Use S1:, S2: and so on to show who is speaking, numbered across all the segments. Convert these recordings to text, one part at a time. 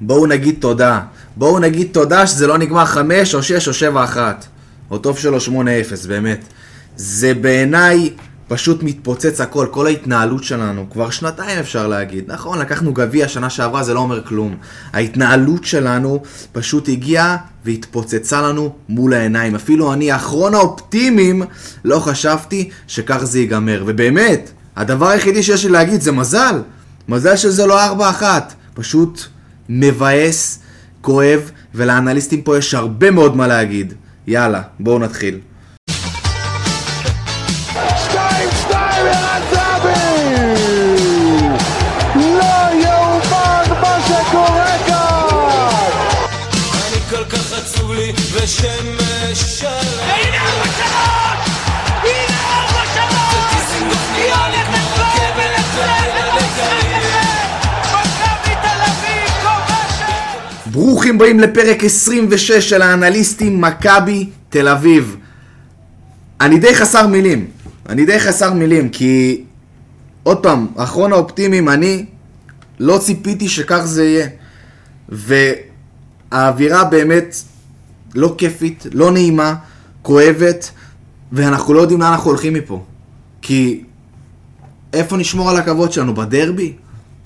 S1: בואו נגיד תודה. בואו נגיד תודה שזה לא נגמר 5 או 6 או 7 אחת. או טוב שלו 8-0, באמת. זה בעיניי פשוט מתפוצץ הכל, כל ההתנהלות שלנו. כבר שנתיים אפשר להגיד. נכון, לקחנו גביע שנה שעברה, זה לא אומר כלום. ההתנהלות שלנו פשוט הגיעה והתפוצצה לנו מול העיניים. אפילו אני, אחרון האופטימיים, לא חשבתי שכך זה ייגמר. ובאמת, הדבר היחידי שיש לי להגיד זה מזל. מזל שזה לא 4-1. פשוט מבאס, כואב, ולאנליסטים פה יש הרבה מאוד מה להגיד. יאללה, בואו נתחיל.
S2: שתיים, שתיים, ערן זהבי! לא יאומן מה שקורה כאן!
S3: אני כל כך עצוב לי ושמש שלם
S4: הנה ארבע שלוש! הנה ארבע שלוש! היא הולכת ואבן לצד במשחק הזה! מכבי תל אביב כובשת!
S1: ברוכים באים לפרק 26 של האנליסטים מכבי תל אביב. אני די חסר מילים. אני די חסר מילים, כי... עוד פעם, אחרון האופטימיים, אני לא ציפיתי שכך זה יהיה. והאווירה באמת לא כיפית, לא נעימה, כואבת, ואנחנו לא יודעים לאן אנחנו הולכים מפה. כי איפה נשמור על הכבוד שלנו? בדרבי?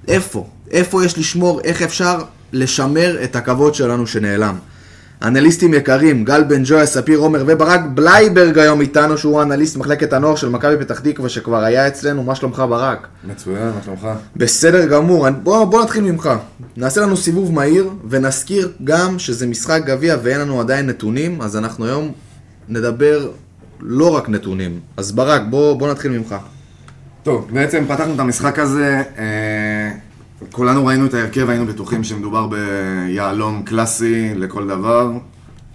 S1: איפה? איפה יש לשמור? איך אפשר לשמר את הכבוד שלנו שנעלם? אנליסטים יקרים, גל בן ג'ויה, ספיר עומר וברק בלייברג היום איתנו, שהוא אנליסט מחלקת הנוער של מכבי פתח תקווה, שכבר היה אצלנו, מה שלומך ברק?
S5: מצוין, מה שלומך?
S1: בסדר גמור, אני- בוא, בוא נתחיל ממך. נעשה לנו סיבוב מהיר, ונזכיר גם שזה משחק גביע ואין לנו עדיין נתונים, אז אנחנו היום נדבר לא רק נתונים. אז ברק, בוא, בוא נתחיל ממך.
S5: טוב, בעצם פתחנו את המשחק הזה, אה, כולנו ראינו את ההרכב, היינו בטוחים שמדובר ביהלום קלאסי לכל דבר,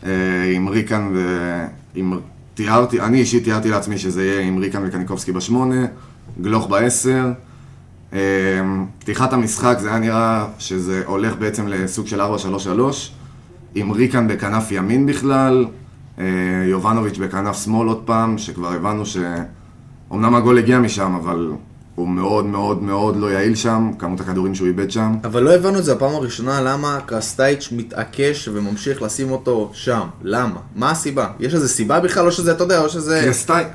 S5: אה, עם ריקן ועם... אמ- תיארתי, אני אישית תיארתי לעצמי שזה יהיה עם ריקן וקניקובסקי בשמונה, גלוך בעשר. אה, פתיחת המשחק זה היה נראה שזה הולך בעצם לסוג של 4-3-3, עם ריקן בכנף ימין בכלל, אה, יובנוביץ' בכנף שמאל עוד פעם, שכבר הבנו ש... אמנם הגול הגיע משם, אבל הוא מאוד מאוד מאוד לא יעיל שם, כמות הכדורים שהוא איבד שם.
S1: אבל לא הבנו את זה בפעם הראשונה, למה קרסטייץ' מתעקש וממשיך לשים אותו שם. למה? מה הסיבה? יש איזה סיבה בכלל? או שזה, אתה יודע, או שזה...
S5: קרסטייץ',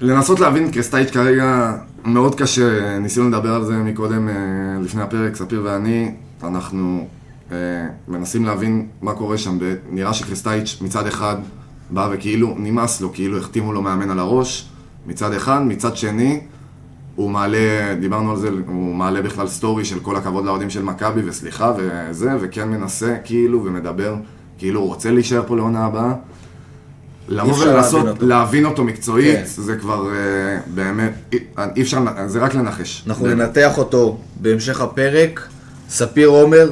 S5: לנסות להבין קרסטייץ' כרגע מאוד קשה, ניסינו לדבר על זה מקודם, אה, לפני הפרק, ספיר ואני, אנחנו אה, מנסים להבין מה קורה שם, נראה שקרסטייץ' מצד אחד בא וכאילו נמאס לו, כאילו החתימו לו מאמן על הראש, מצד אחד, מצד שני, הוא מעלה, דיברנו על זה, הוא מעלה בכלל סטורי של כל הכבוד לאוהדים של מכבי, וסליחה, וזה, וכן מנסה, כאילו, ומדבר, כאילו הוא רוצה להישאר פה לעונה הבאה. לבוא
S1: אפשר
S5: ולנסות
S1: להבין אותו.
S5: להבין אותו מקצועית,
S1: כן.
S5: זה כבר אה, באמת, אי- אי אפשר, לנ- זה רק לנחש.
S1: אנחנו
S5: באמת.
S1: ננתח אותו בהמשך הפרק. ספיר עומר,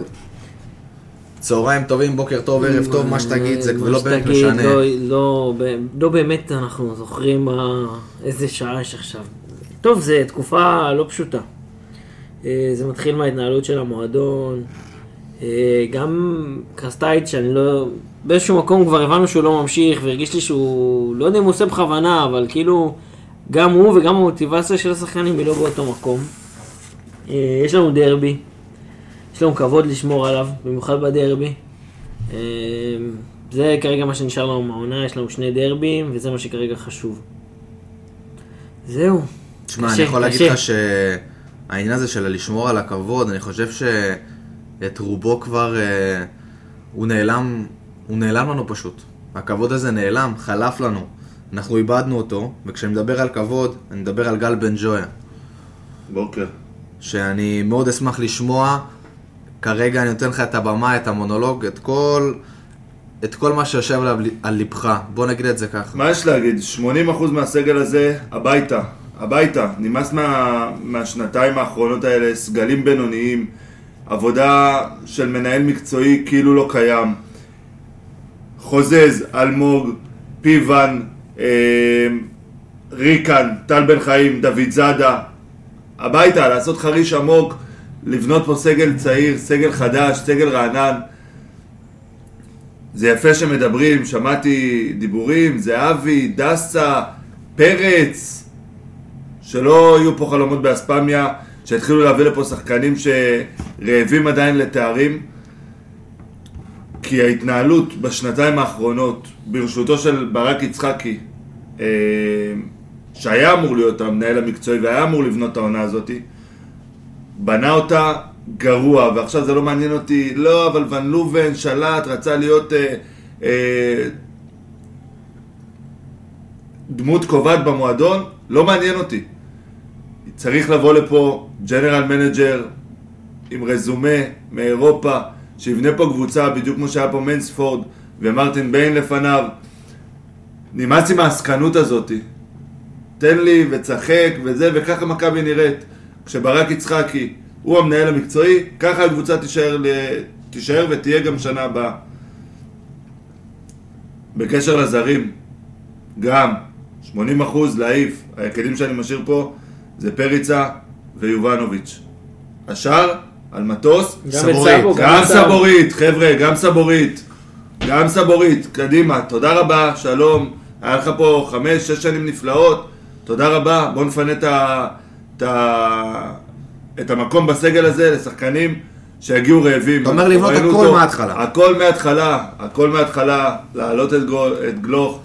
S1: צהריים טובים, בוקר טוב, ערב טוב, מה שתגיד, זה כבר
S6: מה
S1: לא באמת
S6: שתגיד,
S1: משנה.
S6: לא, לא, ב- לא באמת אנחנו זוכרים מה, איזה שעה יש עכשיו. טוב, זו תקופה לא פשוטה. אה, זה מתחיל מההתנהלות של המועדון. אה, גם קרסטייץ', שאני לא... באיזשהו מקום כבר הבנו שהוא לא ממשיך, והרגיש לי שהוא... לא יודע אם הוא עושה בכוונה, אבל כאילו... גם הוא וגם המוטיבציה של השחקנים היא לא באותו מקום. אה, יש לנו דרבי. יש לנו כבוד לשמור עליו, במיוחד בדרבי. אה, זה כרגע מה שנשאר לנו מהעונה, יש לנו שני דרבים, וזה מה שכרגע חשוב. זהו.
S1: תשמע, אני
S6: קשה,
S1: יכול להגיד
S6: קשה.
S1: לך שהעניין הזה של לשמור על הכבוד, אני חושב שאת רובו כבר, אה, הוא נעלם, הוא נעלם לנו פשוט. הכבוד הזה נעלם, חלף לנו. אנחנו איבדנו אותו, וכשאני מדבר על כבוד, אני מדבר על גל בן ג'ויה.
S7: בוקר.
S1: שאני מאוד אשמח לשמוע. כרגע אני נותן לך את הבמה, את המונולוג, את כל, את כל מה שיושב עליו, על ליבך. בוא נגיד את זה ככה.
S7: מה יש להגיד? 80% מהסגל הזה הביתה. הביתה. נמאס מה, מהשנתיים האחרונות האלה, סגלים בינוניים, עבודה של מנהל מקצועי כאילו לא קיים. חוזז, אלמוג, פיוון, אה, ריקן, טל בן חיים, דוד זאדה. הביתה, לעשות חריש עמוק, לבנות פה סגל צעיר, סגל חדש, סגל רענן. זה יפה שמדברים, שמעתי דיבורים, זהבי, דסה, פרץ, שלא יהיו פה חלומות באספמיה, שהתחילו להביא לפה שחקנים שרעבים עדיין לתארים, כי ההתנהלות בשנתיים האחרונות, ברשותו של ברק יצחקי, אה, שהיה אמור להיות המנהל המקצועי והיה אמור לבנות את העונה הזאת, בנה אותה גרוע, ועכשיו זה לא מעניין אותי, לא, אבל ון לובן שלט, רצה להיות אה, אה, דמות קובעת במועדון, לא מעניין אותי. צריך לבוא לפה ג'נרל מנג'ר עם רזומה מאירופה, שיבנה פה קבוצה, בדיוק כמו שהיה פה מנספורד ומרטין ביין לפניו. נמאס עם העסקנות הזאת. תן לי וצחק וזה, וככה מכבי נראית. כשברק יצחקי הוא המנהל המקצועי, ככה הקבוצה תישאר, ל... תישאר ותהיה גם שנה הבאה. בקשר לזרים, גם 80% להעיף, היחידים שאני משאיר פה זה פריצה ויובנוביץ'. השאר, על מטוס,
S6: גם את סבו,
S7: גם סבורית, חבר'ה, גם סבורית. גם סבורית, קדימה, תודה רבה, שלום. היה לך פה חמש, שש שנים נפלאות, תודה רבה, בוא נפנה את, ה, את, ה, את המקום בסגל הזה לשחקנים שיגיעו רעבים.
S1: אתה אומר לבנות
S7: ראינו
S1: הכל
S7: אותו-
S1: מההתחלה.
S7: הכל מההתחלה, הכל מההתחלה, להעלות את, גו, את גלוך,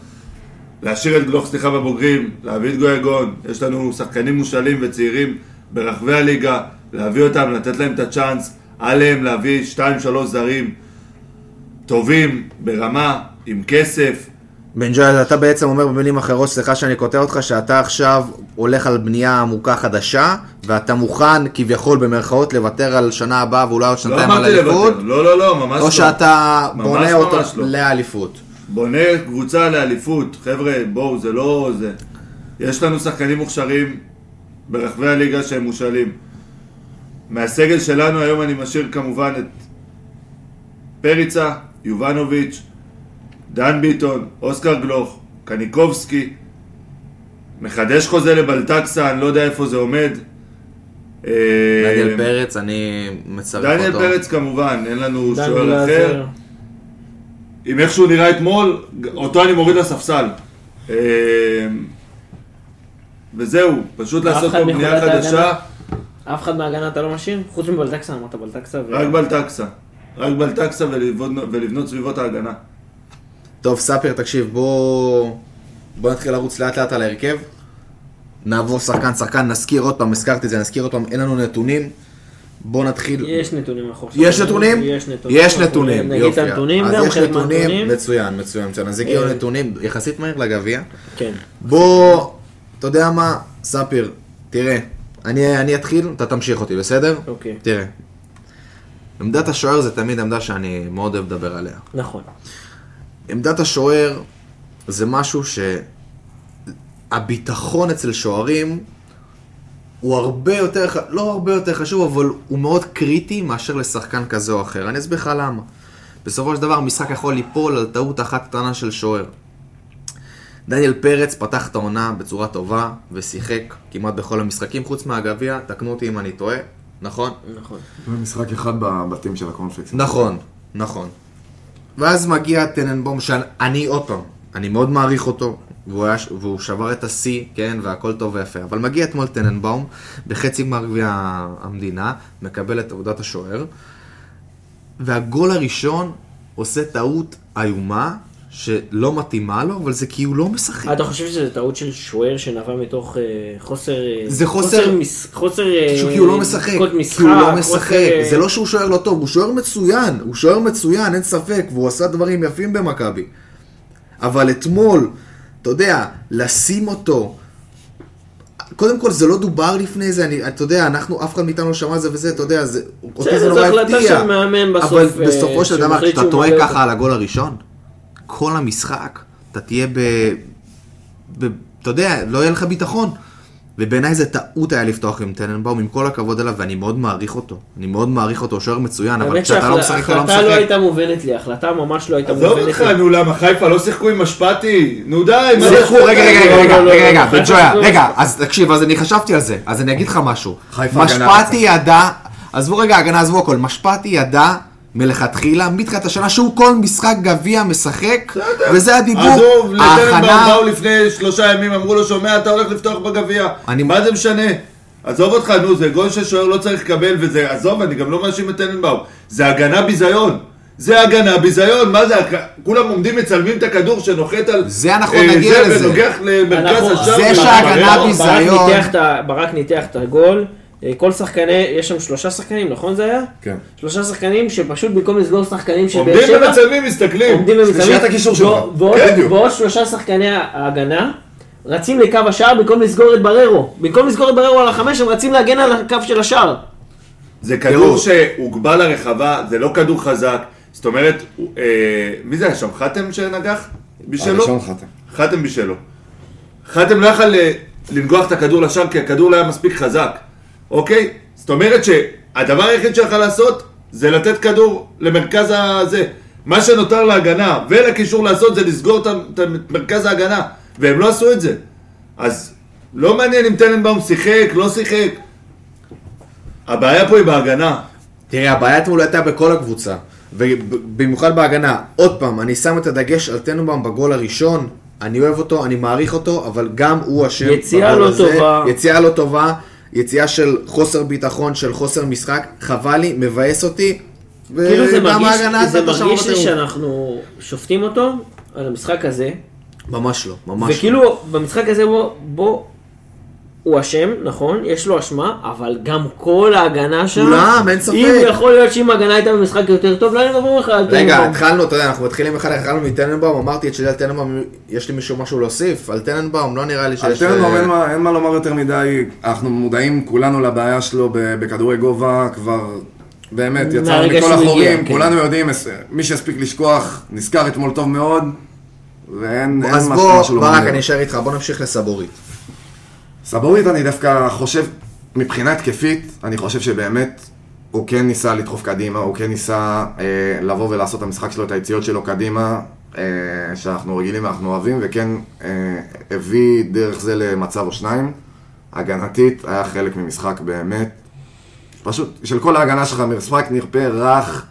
S7: להשאיר את גלוך, סליחה, בבוגרים, להביא את גויגון, יש לנו שחקנים מושאלים וצעירים ברחבי הליגה, להביא אותם, לתת להם את הצ'אנס, עליהם להביא 2-3 זרים טובים, ברמה, עם כסף.
S1: בן ג'ויאל, אתה בעצם אומר במילים אחרות, סליחה שאני קוטע אותך, שאתה עכשיו הולך על בנייה עמוקה חדשה, ואתה מוכן כביכול במרכאות לוותר על שנה הבאה ואולי עוד
S7: לא
S1: שנתיים על
S7: אמרתי
S1: אליפות,
S7: לוותר, לא, לא, לא, ממש לא.
S1: או שאתה
S7: ממש
S1: בונה
S7: ממש
S1: אותה
S7: לא.
S1: לאליפות.
S7: בונה קבוצה לאליפות, חבר'ה, בואו, זה לא זה. יש לנו שחקנים מוכשרים ברחבי הליגה שהם מושאלים. מהסגל שלנו היום אני משאיר כמובן את פריצה, יובנוביץ', דן ביטון, אוסקר גלוך, קניקובסקי, מחדש חוזה לבלטקסה, אני לא יודע איפה זה עומד. אה,
S1: דניאל פרץ, לא. אני מצרף אותו.
S7: דניאל פרץ כמובן, אין לנו
S6: דן
S7: שוער
S6: גלאזר.
S7: אחר. עם איך שהוא נראה אתמול, אותו אני מוריד לספסל. אמ, וזהו, פשוט
S6: אף
S7: לעשות
S6: אחד
S7: פה
S6: מחוליית
S7: בנייה חדשה,
S6: ההגנה? אף אחד מההגנה אתה לא משאיר? חוץ מבלטקסה, אמרת בלטקסה. ו-
S1: אה,
S7: רק בלטקסה. רק בלטקסה ולבנות- ולבנות סביבות ההגנה.
S1: טוב, ספיר, תקשיב, בוא... בוא נתחיל לרוץ לאט לאט על ההרכב. נעבור שחקן שחקן, נזכיר עוד פעם, הזכרתי את זה, נזכיר עוד פעם, אין לנו נתונים. בוא נתחיל...
S6: יש נתונים אנחנו עכשיו.
S1: יש נתונים?
S6: יש נתונים.
S1: יש
S6: אנחנו
S1: נתונים,
S6: נגיד את
S1: יופי.
S6: הנתונים
S1: אז
S6: גם,
S1: יש
S6: חלק
S1: נתונים,
S6: מהנתונים.
S1: מצוין, מצוין, מצוין. אז הגיעו
S6: אה.
S1: נתונים יחסית מהר לגביע.
S6: כן.
S1: בוא, אתה יודע מה, ספיר, תראה, אני, אני אתחיל, אתה תמשיך אותי, בסדר?
S6: אוקיי.
S1: תראה, עמדת השוער זה תמיד עמדה שאני מאוד אוהב לדבר עליה.
S6: נכון.
S1: עמדת השוער זה משהו שהביטחון אצל שוערים הוא הרבה יותר, ח- לא הרבה יותר חשוב, אבל הוא מאוד קריטי מאשר לשחקן כזה או אחר. אני אסביר לך למה. בסופו של דבר משחק יכול ליפול על טעות אחת קטנה של שוער. דניאל פרץ פתח את העונה בצורה טובה ושיחק כמעט בכל המשחקים, חוץ מהגביע, תקנו אותי אם אני טועה, נכון?
S6: נכון.
S5: במשחק אחד בבתים של הקונפלקס.
S1: נכון, נכון. ואז מגיע טננבום, שאני עוד פעם, אני מאוד מעריך אותו, והוא, היה, ש- והוא שבר את השיא, כן, והכל טוב ויפה, אבל מגיע אתמול טננבום, בחצי גמר גביע המדינה, מקבל את עבודת השוער, והגול הראשון עושה טעות איומה, שלא מתאימה לו, אבל זה כי הוא לא משחק.
S6: אתה חושב שזו טעות של שוער שנבע מתוך אה, חוסר... אה,
S1: זה חוסר-
S6: מס- חוסר... אה,
S1: כי הוא לא משחק,
S6: דקות
S1: כי הוא לא
S6: משחק,
S1: משחק,
S6: חוסר, אה,
S1: זה לא שהוא שוער לא טוב, הוא שוער מצוין, הוא שוער מצוין, אין ספק, והוא עשה דברים יפים במכבי. אבל אתמול, אתה יודע, לשים אותו, קודם כל זה לא דובר לפני זה, אני, אתה יודע, אנחנו, אף אחד מאיתנו לא שמע על זה וזה, אתה יודע, זה, אותי זה
S6: בסדר,
S1: נורא
S6: זו
S1: הפתיע.
S6: החלטה של מאמן בסוף,
S1: אבל
S6: אה,
S1: בסופו של
S6: שהוא
S1: דבר,
S6: מחליט
S1: כשאתה
S6: שהוא
S1: טועה
S6: מעלה
S1: ככה
S6: אותו.
S1: על הגול הראשון, כל המשחק, אתה תהיה ב... ב... אתה יודע, לא יהיה לך ביטחון. ובעיניי זה טעות היה לפתוח עם טננבאום, עם כל הכבוד אליו, ואני מאוד מעריך אותו. אני מאוד מעריך אותו, הוא שוער מצוין, אבל
S6: האמת
S1: כשאתה לא משחק, אתה לא
S6: שההחלטה לא
S1: משחק.
S6: הייתה מובנת לי, ההחלטה ממש לא הייתה
S7: עזוב
S6: מובנת
S7: אותך,
S6: לי.
S7: נו למה, חיפה לא שיחקו עם אשפטי? נו די, מה
S1: שיחקו,
S7: זה-
S1: רגע, רגע,
S6: לא,
S1: רגע,
S6: לא, לא,
S1: רגע, רגע,
S6: לא, לא,
S1: בן ג'ויה,
S6: לא,
S1: רגע,
S6: לא.
S1: אז תקשיב, אז אני חשבתי על זה, אז אני אגיד לך משהו.
S5: חיפה הגנה
S1: משפטי ידע, עזבו רגע הגנה, עזבו הכל, משפטי ידע מלכתחילה, מתחילת השנה, שהוא כל משחק גביע משחק, וזה הדיבור,
S7: עזוב, לטרנבאום
S1: ההכנה,
S7: באו לפני שלושה ימים, אמרו לו, שומע, אתה הולך לפתוח בגביע.
S1: אני-
S7: מה זה משנה? עזוב אותך, נו, זה גול ששוער לא צריך לקבל, וזה, עזוב, אני גם לא מאשים את טננבאום. זה הגנה ביזיון. זה הגנה, ביזיון, מה זה, הק- כולם עומדים מצלמים את הכדור שנוחת על...
S1: זה אנחנו
S7: אה,
S1: נגיע
S7: זה,
S1: לזה.
S7: ונוגח למרכז
S6: אנחנו-
S7: השער.
S1: זה
S7: ומתברר.
S1: שההגנה
S6: ברק
S1: ביזיון.
S6: ניתח את ה- ברק ניתח את הגול, אה, כל שחקני, יש שם שלושה שחקנים, נכון זה היה?
S5: כן.
S6: שלושה שחקנים שפשוט במקום לסגור שחקנים של באר
S7: עומדים
S6: שבע,
S7: ומצלמים, מסתכלים.
S6: עומדים ומצלמים,
S5: שלישיית הקישור שלך.
S6: ועוד- ועוד-
S5: כן, בדיוק.
S6: ועוד שלושה שחקני ההגנה רצים לקו השער במקום לסגור את בררו. במקום לסגור את בררו על החמש, הם רצים להגן על הקו של השער.
S5: אה,
S7: זה כדור
S5: תראו.
S7: שהוגבל לרחבה, זה לא כדור חזק. זאת אומרת, הוא- אה, מי זה היה שם? חתם שנגח?
S1: אה,
S7: בשלו?
S5: הראשון חתם.
S7: חתם בשלו. חתם לא יכל ל- לנגוח את הכדור לשם כי הכדור לא היה מספיק חזק, אוקיי? זאת אומרת שהדבר היחיד שיכול לעשות זה לתת כדור למרכז הזה. מה שנותר להגנה ולקישור לעשות זה לסגור את ה- את ה- את מרכז ההגנה, והם לא עשו את זה. אז לא מעניין אם טננבאום שיחק, לא שיחק. הבעיה פה היא בהגנה.
S1: תראה, הבעיה אתמול הייתה בכל הקבוצה, ובמיוחד בהגנה. עוד פעם, אני שם את הדגש על טננבאום בגול הראשון, אני אוהב אותו, אני מעריך אותו, אבל גם הוא אשם
S6: יציאה
S1: בגול
S6: לא
S1: הזה.
S6: טובה.
S1: יציאה לא טובה, יציאה של חוסר ביטחון, של חוסר משחק, חבל לי, מבאס אותי.
S6: כאילו זה
S1: וגם
S6: מרגיש,
S1: ההגנה
S6: זה
S1: עשתה את השער
S6: מרגיש לי
S1: בטירוף.
S6: שאנחנו שופטים אותו על המשחק הזה,
S1: ממש לא, ממש לא.
S6: וכאילו במשחק הזה בו, בו הוא אשם, נכון, יש לו אשמה, אבל גם כל ההגנה שם,
S1: כולם, אין ספק.
S6: אם יכול להיות שאם ההגנה הייתה במשחק יותר טוב, לא היינו מדברים בכלל על
S1: רגע,
S6: טננבאום.
S1: התחלנו, אתה יודע, אנחנו מתחילים אחד, התחלנו מטננבאום, אמרתי את שלי על טננבאום, יש לי מישהו משהו להוסיף? על טננבאום, לא נראה לי שיש...
S5: על טרנבאום
S1: אה,
S5: כן, אין מה- אין מה לומר יותר מדי, אנחנו מודעים כולנו לבעיה שלו ב- בכדורי גובה, כבר באמת יצא
S6: מהרגע
S5: מכל
S6: שהוא
S5: החורים,
S6: הגיע, כן.
S5: כולנו יודעים, אס- מי שהספיק לשכוח נזכר אתמול טוב מאוד, ואין אין
S1: אז
S5: מה- משהו
S1: בוא, ברק,
S5: לא מעניין.
S1: אני אשאר איתך, בוא נמשיך לסבורית.
S5: סבורית אני דווקא חושב, מבחינה התקפית, אני חושב שבאמת הוא כן ניסה לדחוף קדימה, הוא כן ניסה אה, לבוא ולעשות את המשחק שלו, את היציאות שלו קדימה, אה, שאנחנו רגילים ואנחנו אוהבים, וכן אה, הביא דרך זה למצב או שניים. הגנתית היה חלק ממשחק באמת, פשוט, של כל ההגנה שלך, משחק נרפה רך.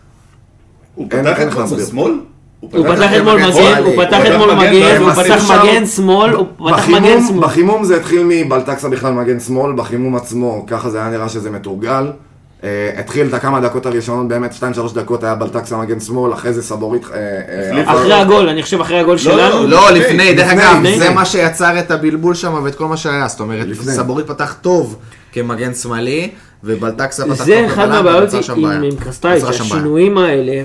S7: הוא
S5: אין-
S7: פתח
S5: אין
S7: את
S5: לך להסביר.
S7: בשמאל?
S1: לא
S6: הוא פתח
S5: פתח
S6: אתמול
S5: במגן
S6: מגן,
S5: שמאלי,
S6: הוא פתח
S7: הוא
S6: אתמול
S7: פתח
S6: מגן,
S7: מגן
S6: הוא
S7: שמאלי.
S6: פתח
S5: אפשר-
S6: מגן שמאל, הוא פתח
S5: בחימום-
S6: מגן שמאל.
S5: בחימום זה התחיל מבלטקסה בכלל מגן שמאל, בחימום עצמו, ככה זה היה נראה שזה מתורגל. אה, התחיל את הכמה דקות הראשונות, באמת 2-3 דקות היה בלטקסה מגן שמאל, אחרי זה סבורית... אה, אה,
S7: החליף.
S6: אחרי הגול, אני חושב אחרי הגול שלנו.
S1: לא,
S7: לפני,
S1: לפני, דרך
S5: לפני,
S1: אגב,
S6: לפני.
S1: זה מה שיצר את הבלבול שם ואת כל מה שהיה, זאת אומרת,
S5: לפני.
S1: סבורית פתח טוב כמגן שמאלי, ובלטקסה פתח טוב
S6: זה אחד מהבעיות
S1: ויצר שם
S6: עם
S1: בעיה.
S6: עם קרסטייץ',
S1: יצרה שם בעיה.
S6: השינויים האלה,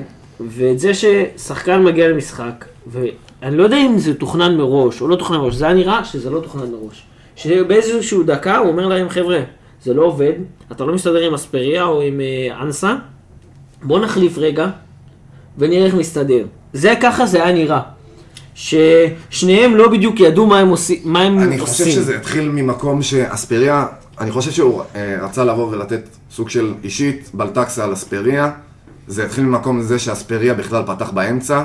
S6: ואת זה ששחקן מגיע למשחק, ואני לא יודע אם זה תוכנן מראש או לא תוכנן מראש, זה היה נראה שזה לא תוכנן מראש. שבאיזשהו דקה הוא אומר להם, חבר'ה, זה לא עובד, אתה לא מסתדר עם אספריה או עם אה, אנסה, בוא נחליף רגע, ונראה איך נסתדר. זה ככה זה היה נראה. ששניהם לא בדיוק ידעו מה הם עושים. מה הם
S5: אני חושב
S6: עושים.
S5: שזה התחיל ממקום שאספריה, אני חושב שהוא אה, רצה לבוא ולתת סוג של אישית, בלטקסה על אספריה. זה התחיל ממקום זה שאספריה בכלל פתח באמצע.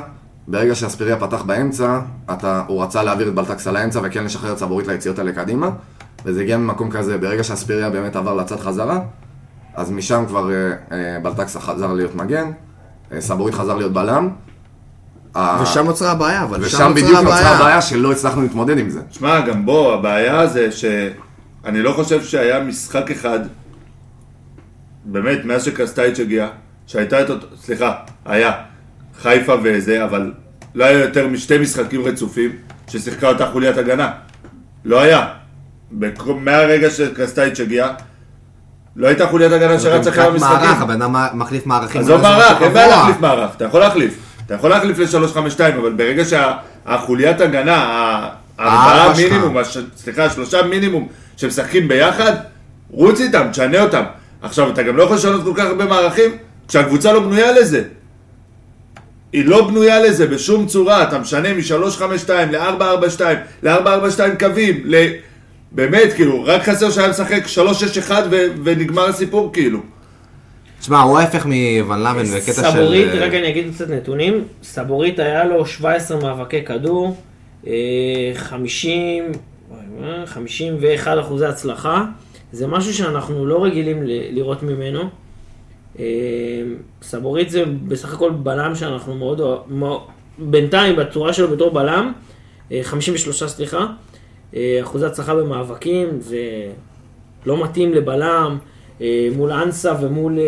S5: ברגע שאספריה פתח באמצע, אתה, הוא רצה להעביר את בלטקסה לאמצע וכן לשחרר את סבורית ליציאות האלה קדימה. וזה הגיע ממקום כזה, ברגע שאספריה באמת עבר לצד חזרה, אז משם כבר אה, אה, בלטקסה חזר להיות מגן, אה, סבורית חזר להיות בלם. ה-
S1: ושם נוצרה הבעיה, אבל שם
S5: ושם
S1: נוצרה
S5: בדיוק נוצרה
S1: הבעיה.
S5: הבעיה שלא הצלחנו להתמודד עם זה.
S7: שמע, גם בו, הבעיה זה שאני לא חושב שהיה משחק אחד, באמת, מאז שקסטייץ' הגיע, שהייתה את אותו, סליחה, היה חיפה וזה, אבל לא היה יותר משתי משחקים רצופים ששיחקה אותה חוליית הגנה. לא היה. בכל- מהרגע שקסטייץ' הגיע, לא הייתה חוליית הגנה שרצה כמה משחקים.
S1: כן, מערך, הבן אדם מחליף מערכים.
S7: עזוב
S1: אבל זה
S7: לא מערך,
S1: משהו
S7: אין בעיה
S1: קבוע.
S7: להחליף מערך, אתה יכול להחליף. אתה יכול להחליף ל-352, אבל ברגע שהחוליית הגנה, ה-
S1: הארבע
S7: הארבעה
S1: שלך.
S7: מינימום, הש- סליחה, השלושה מינימום שמשחקים ביחד, רוץ איתם, תשנה אותם. עכשיו, אתה גם לא יכול לשנות כל כך הרבה מערכים, כשהקבוצה לא בנויה לזה. היא לא בנויה לזה בשום צורה, אתה משנה מ-352 ל-442, ל-442 קווים, ל... באמת, כאילו, רק חסר שהיה משחק 361 ו- ונגמר הסיפור, כאילו.
S1: שמע, הוא ההפך מוון לאמן בקטע של... אה,
S6: סבורית, רק אני אגיד קצת נתונים, סבורית היה לו 17 מאבקי כדור, אה, 50, וואי, וואי, 51 אחוזי הצלחה, זה משהו שאנחנו לא רגילים ל- לראות ממנו. אה, סבורית זה בסך הכל בלם שאנחנו מאוד, אוה- מאו- בינתיים בצורה שלו בתור בלם, אה, 53 סליחה, אה, אחוזי הצלחה במאבקים, זה לא מתאים לבלם, אה, מול אנסה ומול אה,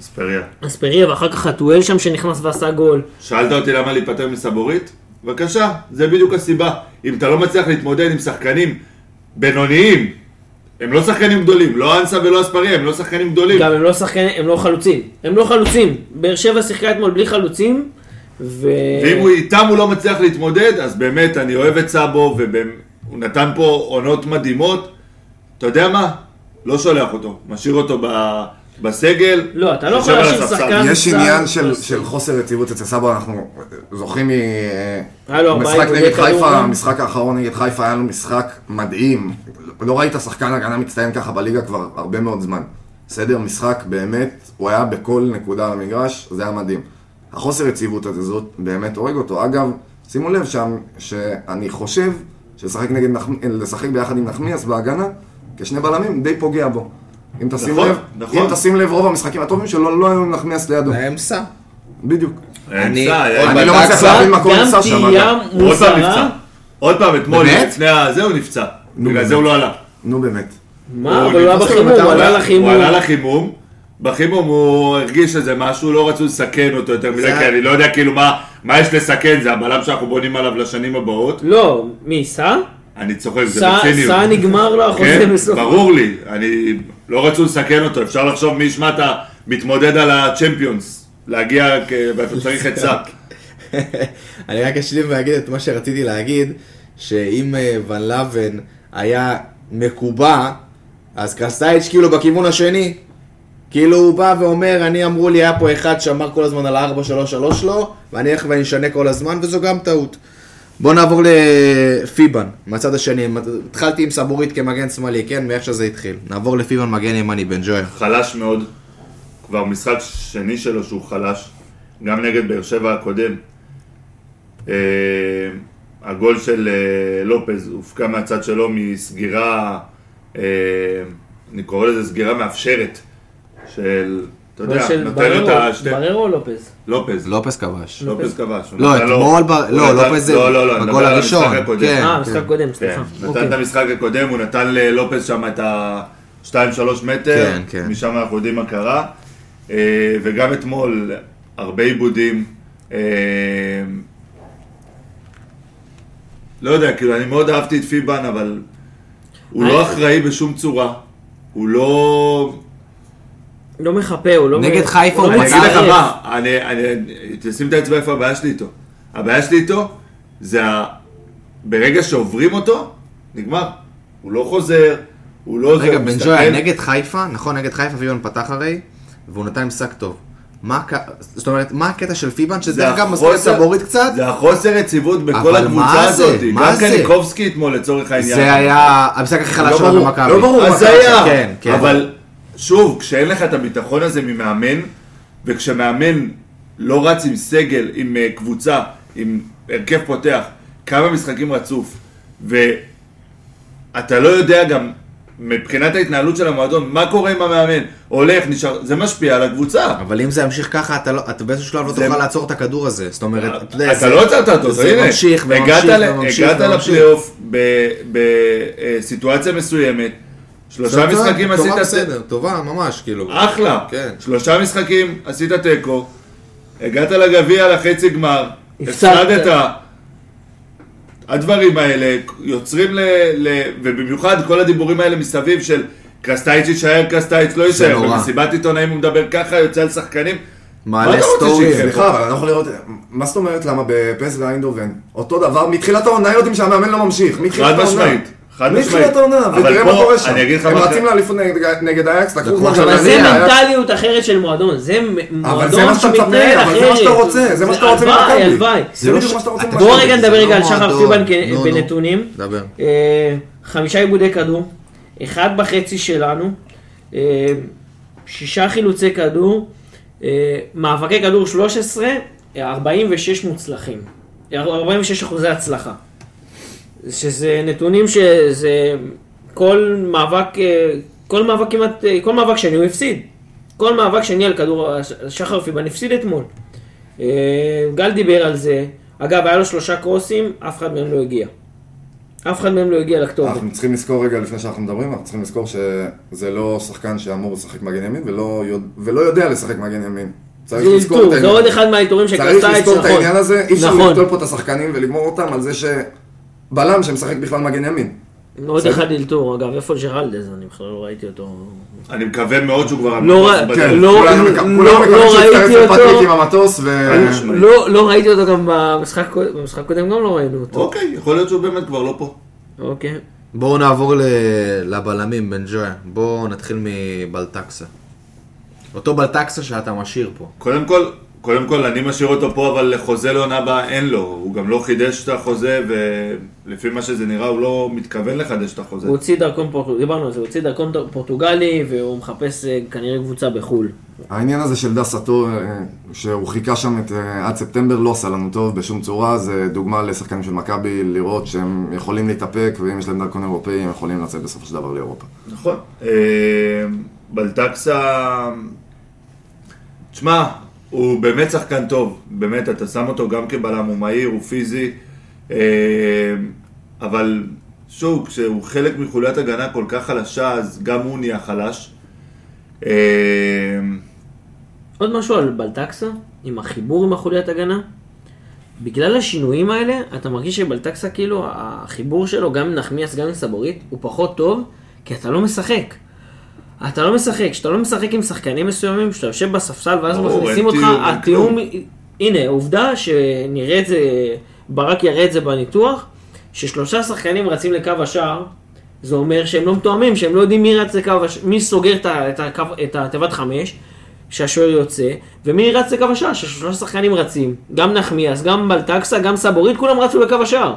S7: אספריה.
S6: אספריה, ואחר כך חתואל שם שנכנס ועשה גול.
S7: שאלת אותי למה להיפטר מסבורית? בבקשה, זה בדיוק הסיבה. אם אתה לא מצליח להתמודד עם שחקנים בינוניים, הם לא שחקנים גדולים, לא אנסה ולא אספריה, הם לא שחקנים גדולים.
S6: גם הם לא שחקנים, הם לא חלוצים. הם לא חלוצים. באר שבע שיחקה אתמול בלי חלוצים, ו...
S7: ואם הוא איתם הוא לא מצליח להתמודד, אז באמת, אני אוהב את סאבו, והוא נתן פה עונות מדהימות. אתה יודע מה? לא שולח אותו, משאיר אותו ב- בסגל.
S6: לא, אתה לא
S7: יושב
S6: יכול
S7: על
S6: להשאיר
S7: הספסל.
S6: שחקן-
S5: יש
S6: גם
S5: עניין
S6: צה"ל
S5: של,
S6: פלסטין.
S5: של חוסר יציבות אצל סבא, אנחנו זוכרים מ-
S6: היה לו ארבעה
S5: משחק
S6: עיבודי
S5: נגד
S6: כדור
S5: חיפה,
S6: גם.
S5: המשחק האחרון נגד חיפה היה לו משחק מדהים. לא ראית שחקן הגנה מצטיין ככה בליגה כבר הרבה מאוד זמן. בסדר, משחק באמת, הוא היה בכל נקודה על המגרש, זה היה מדהים. החוסר יציבות הזה, זאת באמת הורג אותו. אגב, שימו לב שם, שאני חושב שלשחק נגד נחמ- לשחק ביחד עם נחמיאס בהגנה, כשני בלמים, די פוגע בו. אם תשים
S7: נכון,
S5: לב,
S7: נכון.
S5: אם תשים לב, רוב המשחקים הטובים שלו לא היו עם נחמיאס לידו.
S7: אה,
S1: האמצע.
S5: בדיוק.
S1: אני-
S7: אנסה, היה-
S5: אני לא
S1: בטקסה,
S5: מצליח להבין מה קורה עם סשה.
S6: גם
S5: אבל-
S6: תהייה
S7: הוא עוד פעם נפצע.
S6: מוזרה.
S7: עוד פעם, אתמול,
S5: באמת?
S7: לפני הזה הוא נפצע. בגלל
S5: באמת.
S7: זה הוא לא עלה.
S5: נו באמת.
S6: מה?
S7: אה, הוא
S6: אבל הוא היה
S7: נכנס
S6: בחימום,
S1: למטה,
S6: הוא עלה
S7: הוא
S6: לחימום.
S7: עלה לחימום, בחימום הוא הרגיש איזה משהו, לא רצו לסכן אותו יותר מדי,
S1: זה-
S7: כי אני לא יודע כאילו מה מה יש לסכן, זה הבלם שאנחנו בונים עליו לשנים הבאות.
S6: לא, מי? סע?
S7: אני צוחק, זה
S6: סע
S7: בציניות.
S6: סע נגמר לו החוזה
S7: כן,
S6: בסוף.
S7: ברור לי, אני לא רצו לסכן אותו, אפשר לחשוב מי ישמע אתה מתמודד על הצ'מפיונס, להגיע כ- ואתה צריך את סאק.
S6: כן.
S1: אני רק אשלים ואגיד את מה שרציתי להגיד, שאם אה, ון לבן היה מקובע, אז קרסטייץ' כאילו בכיוון השני. כאילו הוא בא ואומר, אני אמרו לי, היה פה אחד שאמר כל הזמן על ה-433 שלו, ואני אלך ואני אשנה כל הזמן, וזו גם טעות. בואו נעבור לפיבן, מהצד השני. התחלתי עם סבורית כמגן שמאלי, כן? מאיך שזה התחיל. נעבור לפיבן מגן ימני, בן ג'ויה.
S7: חלש מאוד, כבר משחק שני שלו שהוא חלש, גם נגד באר שבע הקודם. אה, הגול של אה, לופז הופקע מהצד שלו מסגירה, אה, אני קורא לזה סגירה מאפשרת, של, אתה יודע,
S6: של
S7: נותן לו את
S6: בררו-
S7: השתי... כן,
S6: בררו או לופז?
S7: לופז, לא,
S1: לופס כבש.
S7: לופז כבש. הוא
S1: לא,
S7: נתן לו-
S1: אתמול ב-
S7: הוא
S1: לא,
S7: נתן-
S1: לופז זה
S7: לא, לא, לא, אני
S1: בגול
S7: מדבר על
S1: הראשון,
S7: המשחק הקודם.
S1: כן.
S6: אה, משחק קודם,
S7: כן,
S6: סליחה.
S7: נתן
S6: אוקיי.
S7: את המשחק הקודם, הוא נתן ללופס שם את ה-2-3 מטר,
S1: כן, כן.
S7: משם אנחנו יודעים מה קרה. אה, וגם אתמול, הרבה עיבודים. אה, לא יודע, כאילו, אני מאוד אהבתי את פיבן, אבל הוא
S6: אני-
S7: לא אחראי בשום צורה. הוא לא...
S6: לא מחפה, הוא לא...
S1: נגד
S6: מ-
S1: חיפה
S6: לא
S1: הוא
S7: אני
S1: מצא
S7: אגיד לך
S6: מצטרף.
S7: מה, אני, אני, תשים את האצבע איפה הבעיה שלי איתו. הבעיה שלי איתו, זה ה... ברגע שעוברים אותו, נגמר. הוא לא חוזר, הוא לא עוזר,
S1: רגע,
S7: הוא
S1: בן
S7: מסתכל.
S1: ג'ויה, נגד חיפה, נכון, נגד חיפה פיבן פתח הרי, והוא נתן משחק טוב. מה הק- זאת אומרת, מה הקטע של פיבן, שזה דרך אגב מזכיר את
S7: החוסר-
S1: סבורית קצת?
S7: זה החוסר יציבות בכל
S1: אבל
S7: הקבוצה
S1: מה זה?
S7: הזאת.
S1: מה
S7: גם
S1: זה?
S7: קניקובסקי אתמול לצורך העניין.
S1: זה היה המשחק הכי חלש שלנו במכבי.
S5: לא ברור.
S7: אז
S5: מה קרה
S7: היה,
S1: שם. כן, כן.
S7: אבל שוב, כשאין לך את הביטחון הזה ממאמן, וכשמאמן לא רץ עם סגל, עם אה, קבוצה, עם הרכב פותח, כמה משחקים רצוף, ואתה לא יודע גם מבחינת ההתנהלות של המועדון, מה קורה עם המאמן, הולך, נשאר, זה משפיע על הקבוצה.
S1: אבל אם זה ימשיך ככה, אתה לא- אתה באיזשהו שלב לא
S7: זה-
S1: תוכל לעצור את הכדור הזה. זאת אומרת, אתה יודע,
S7: אתה
S1: זה-
S7: לא יצרת אותו,
S1: זה
S7: הנה.
S1: ממשיך וממשיך
S7: הגעת ל-
S1: וממשיך
S7: הגעת
S1: וממשיך.
S7: לפלייאוף בסיטואציה מסוימת, שלושה
S1: טוב,
S7: משחקים
S1: טובה
S7: עשית... אה.
S1: בסדר, טובה ממש, כאילו.
S7: אחלה.
S1: כן.
S7: שלושה משחקים, עשית תיקו, הגעת לגביע לחצי גמר,
S6: הפסדת.
S7: הפסדת. הדברים האלה יוצרים ל, ל... ובמיוחד כל הדיבורים האלה מסביב של קרסטייץ' יישאר, קרסטייץ' לא יישאר,
S1: נורא.
S7: במסיבת עיתונאים הוא מדבר ככה, יוצא על שחקנים.
S1: מעלה
S7: מה אתה רוצה
S1: סטורי,
S7: שיקרה פה?
S5: סליחה, אבל אני לא יכול לראות... מה זאת אומרת למה בפס ואיינדובן? אותו דבר, מתחילת העונה יודעים שהמאמן לא ממשיך. מתחילת
S7: חד
S5: העונה.
S7: משמעית, חד משמעית.
S5: מתחילת העונה,
S7: אבל
S5: ותראה
S7: פה,
S5: מה קורה שם.
S7: אני אגיד לך
S5: הם
S7: מה-
S5: רצים לאליפות נגד- נגד אייקס, לקחו
S1: לקחו עכשיו
S5: גמר
S6: אבל זה
S5: גביע, היה-
S6: מנטליות אחרת של מועדון, זה מ-
S5: אבל זה מה
S6: מועדון
S5: שאתה מצפה,
S6: שמתנהל אחרת.
S5: אבל זה מה שאתה רוצה, זה מה שאתה רוצה
S6: הלוואי,
S5: ממכבי.
S6: הלוואי.
S5: זה
S1: לא
S5: בדיוק
S1: ש-
S5: מה שאתה רוצה
S1: אתה-
S5: ממכבי.
S6: בואו רגע
S1: זה
S6: נדבר
S1: לא
S6: רגע על שחר
S1: מועדון. לא,
S6: פיבן כ-
S1: נו, נו.
S6: בנתונים.
S1: דבר.
S6: אה, חמישה עיבודי כדור, אחד וחצי שלנו, אה, שישה חילוצי כדור, אה, מאבקי כדור 13, אה, 46 מוצלחים. אה, 46 אחוזי הצלחה. שזה נתונים שזה כל מאבק, אה, כל מאבק כמעט, אה, כל מאבק שני הוא הפסיד. כל מאבק שני על כדור, הש- שחר פיבן הפסיד אתמול. אה, גל דיבר על זה. אגב, היה לו שלושה קרוסים, אף אחד מהם לא הגיע. אף אחד מהם לא הגיע לכתובת.
S5: אנחנו צריכים לזכור רגע לפני שאנחנו מדברים, אנחנו צריכים לזכור שזה לא שחקן שאמור לשחק מגן ימין ולא, יודע, ולא יודע לשחק מגן ימין. צריך
S6: זה
S5: לזכור את
S6: אלתור, זה
S5: העניין.
S6: עוד אחד מהעיטורים
S5: צריך
S6: שקרתה את
S5: לזכור את העניין הזה, אי אפשר
S6: נכון,
S5: לקטול פה את השחקנים ולגמור אותם על זה שבלם שמשחק בכלל מגן ימין.
S6: עוד
S5: בסדר.
S6: אחד אלתור, אגב, איפה ג'רלדז? אני בכלל לא ראיתי אותו.
S7: אני מקווה מאוד שהוא כבר...
S6: לא
S7: היה
S6: ר-
S7: בדרך.
S5: כן,
S6: לא-
S5: כולנו
S6: לא-
S5: מקו-
S6: לא-
S5: כולנו מקווים
S6: לא
S5: שהוא
S6: ראיתי
S5: יצטרף לפטריק
S6: אותו.
S5: עם המטוס ו...
S7: משמעית.
S6: לא לא ראיתי אותו גם במשחק הקוד- במשחק הקודם, גם לא ראינו אותו.
S7: אוקיי, יכול להיות שהוא באמת כבר לא פה.
S6: אוקיי.
S1: בואו נעבור ל- לבלמים, בן ג'ויה. בואו נתחיל מבלטקסה. אותו בלטקסה שאתה משאיר פה.
S7: קודם כל, קודם כל, אני משאיר אותו פה, אבל חוזה לעונה הבאה אין לו. הוא גם לא חידש את החוזה, ולפי מה שזה נראה, הוא לא מתכוון לחדש את החוזה.
S6: הוא הוציא דרכון פורטוגלי, דיברנו על זה, הוא הוציא דרכון פורטוגלי והוא מחפש אה, כנראה קבוצה בחו"ל.
S5: העניין הזה של דסה טור, אה, שהוא חיכה שם את, אה, עד ספטמבר, לא עשה לנו טוב בשום צורה, זה דוגמה לשחקנים של מכבי, לראות שהם יכולים להתאפק, ואם יש להם דרכון אירופאי, הם יכולים לצאת בסופו של דבר לאירופה.
S7: נכון. אה, בלטקסה... תשמע, הוא באמת שחקן טוב. באמת, אתה שם אותו גם כבלם, הוא מהיר, הוא פיזי. אה, אבל שוב, כשהוא חלק מחוליית הגנה כל כך חלשה, אז גם הוא נהיה חלש. אה,
S6: עוד משהו על בלטקסה, עם החיבור עם החוליית הגנה. בגלל השינויים האלה, אתה מרגיש שבלטקסה כאילו, החיבור שלו, גם עם נחמיאס, גם עם סבורית, הוא פחות טוב, כי אתה לא משחק. אתה לא משחק, כשאתה לא משחק עם שחקנים מסוימים, כשאתה יושב בספסל ואז
S7: ברור,
S6: מכניסים
S7: אין
S6: אותך,
S7: תיאום, אין
S6: התיאום, הנה, עובדה שנראה את זה, ברק יראה את זה בניתוח, ששלושה שחקנים רצים לקו השער, זה אומר שהם לא מתואמים, שהם לא יודעים מי רץ לקו, הש- מי סוגר את ה- את הקו- את התיבת חמש, שהשוער יוצא, ומי רץ לקו השער, ששלושה שחקנים רצים, גם נחמיאס, גם בלטקסה, גם סבורית, כולם רצו לקו השער.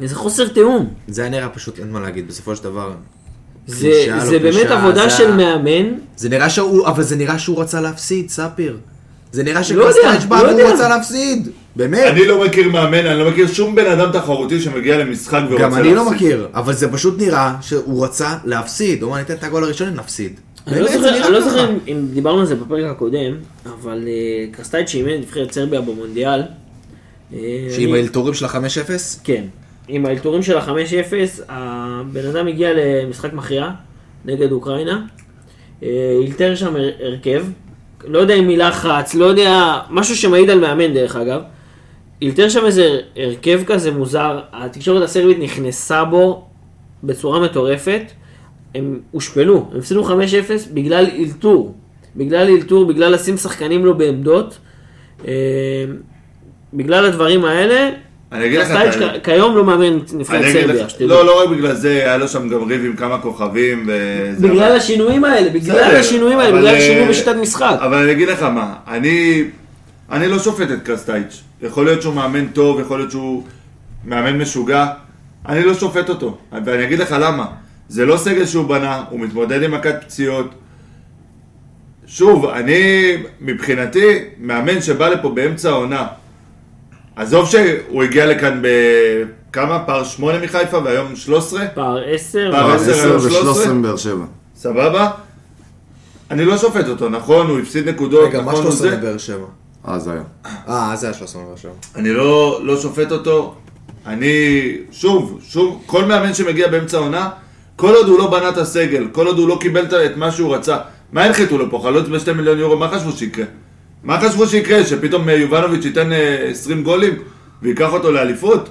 S6: איזה חוסר תיאום.
S1: זה היה נראה פשוט, אין מה להגיד, בסופו של דבר...
S6: זה,
S1: קלישאה, לא
S6: זה באמת
S1: קלישאה,
S6: עבודה
S1: זה
S6: של
S1: ה-
S6: מאמן,
S1: זה נראה שהוא, אבל זה נראה שהוא רצה להפסיד, ספיר. זה נראה
S6: יודע,
S1: שקרסטייץ' בא
S6: לא
S1: והוא
S6: יודע.
S1: רצה להפסיד. באמת.
S7: אני לא מכיר מאמן, אני לא מכיר שום בן אדם תחרותי שמגיע למשחק ורוצה
S1: גם אני לא
S7: להפסיד.
S1: מכיר, אבל זה פשוט נראה שהוא רצה להפסיד. הוא אמר, ניתן את הגול הראשון, נפסיד.
S6: אני לא
S1: באמת, זה
S6: זוכר-
S1: נראה
S6: אני לא
S1: ככה.
S6: זוכר אם- אם דיברנו על זה בפרק הקודם, אבל אה, קרסטייץ' שאימן את נבחרת סרביה במונדיאל. אה,
S1: שעם
S6: אני-
S1: האלתורים של ה-5-0?
S6: כן. עם האלתורים של ה-5-0, הבן אדם הגיע למשחק מכריע נגד אוקראינה. אה, אילתר שם הר- הרכב, לא יודע אם מלחץ, לא יודע, משהו שמעיד על מאמן דרך אגב. אילתר שם איזה הרכב כזה מוזר, התקשורת הסרבית נכנסה בו בצורה מטורפת, הם הושפלו, הם הפסידו 5-0 בגלל אילתור, בגלל אילתור, בגלל לשים שחקנים לא בעמדות, אה, בגלל הדברים האלה,
S7: אני אגיד לך את
S6: קרסטייץ'
S7: האמת.
S6: כ- כיום לא מאמן את נבחרת
S7: אני אגיד
S6: סרביה,
S7: לך,
S6: שתדעו.
S7: לא, לא רק בגלל זה, היה לו שם גם ריב עם כמה כוכבים וזה.
S6: בגלל
S7: אבל-
S6: השינויים האלה, בגלל
S7: לא- בסדר,
S6: השינויים האלה,
S7: אבל,
S6: בגלל
S7: אה,
S6: השינוי בשיטת משחק.
S7: אבל אני אגיד לך מה, אני, אני לא שופט את קרסטייץ'. יכול להיות שהוא מאמן טוב, יכול להיות שהוא מאמן משוגע. אני לא שופט אותו, ואני אגיד לך למה. זה לא סגל שהוא בנה, הוא מתמודד עם מכת פציעות. שוב, אני, מבחינתי, מאמן שבא לפה באמצע העונה. עזוב שהוא הגיע לכאן בכמה? פער שמונה מחיפה והיום 13?
S6: פער 10,
S7: פער
S5: אה,
S7: עשר,
S5: עשר
S7: היום שלוש עשרה?
S5: ו-13 באר שבע.
S7: סבבה? אני לא שופט אותו, נכון? הוא הפסיד נקודות,
S1: רגע, מה
S7: נכון? הוא
S1: 13
S7: זה.
S1: לבאר שבע?
S5: אז היה.
S1: אה, זה היה 13 לבאר שבע.
S7: אני לא, לא שופט אותו. אני, שוב, שוב, כל מאמן שמגיע באמצע העונה, כל עוד הוא לא בנה את הסגל, כל עוד הוא לא קיבל את- את מה שהוא רצה, מה הנחיתו לו פה? חלוץ ב-2 מיליון יורו, מה חשבו שיקרה? מה חשבו שיקרה? שפתאום אה, יובנוביץ' ייתן אה, 20 גולים וייקח אותו לאליפות?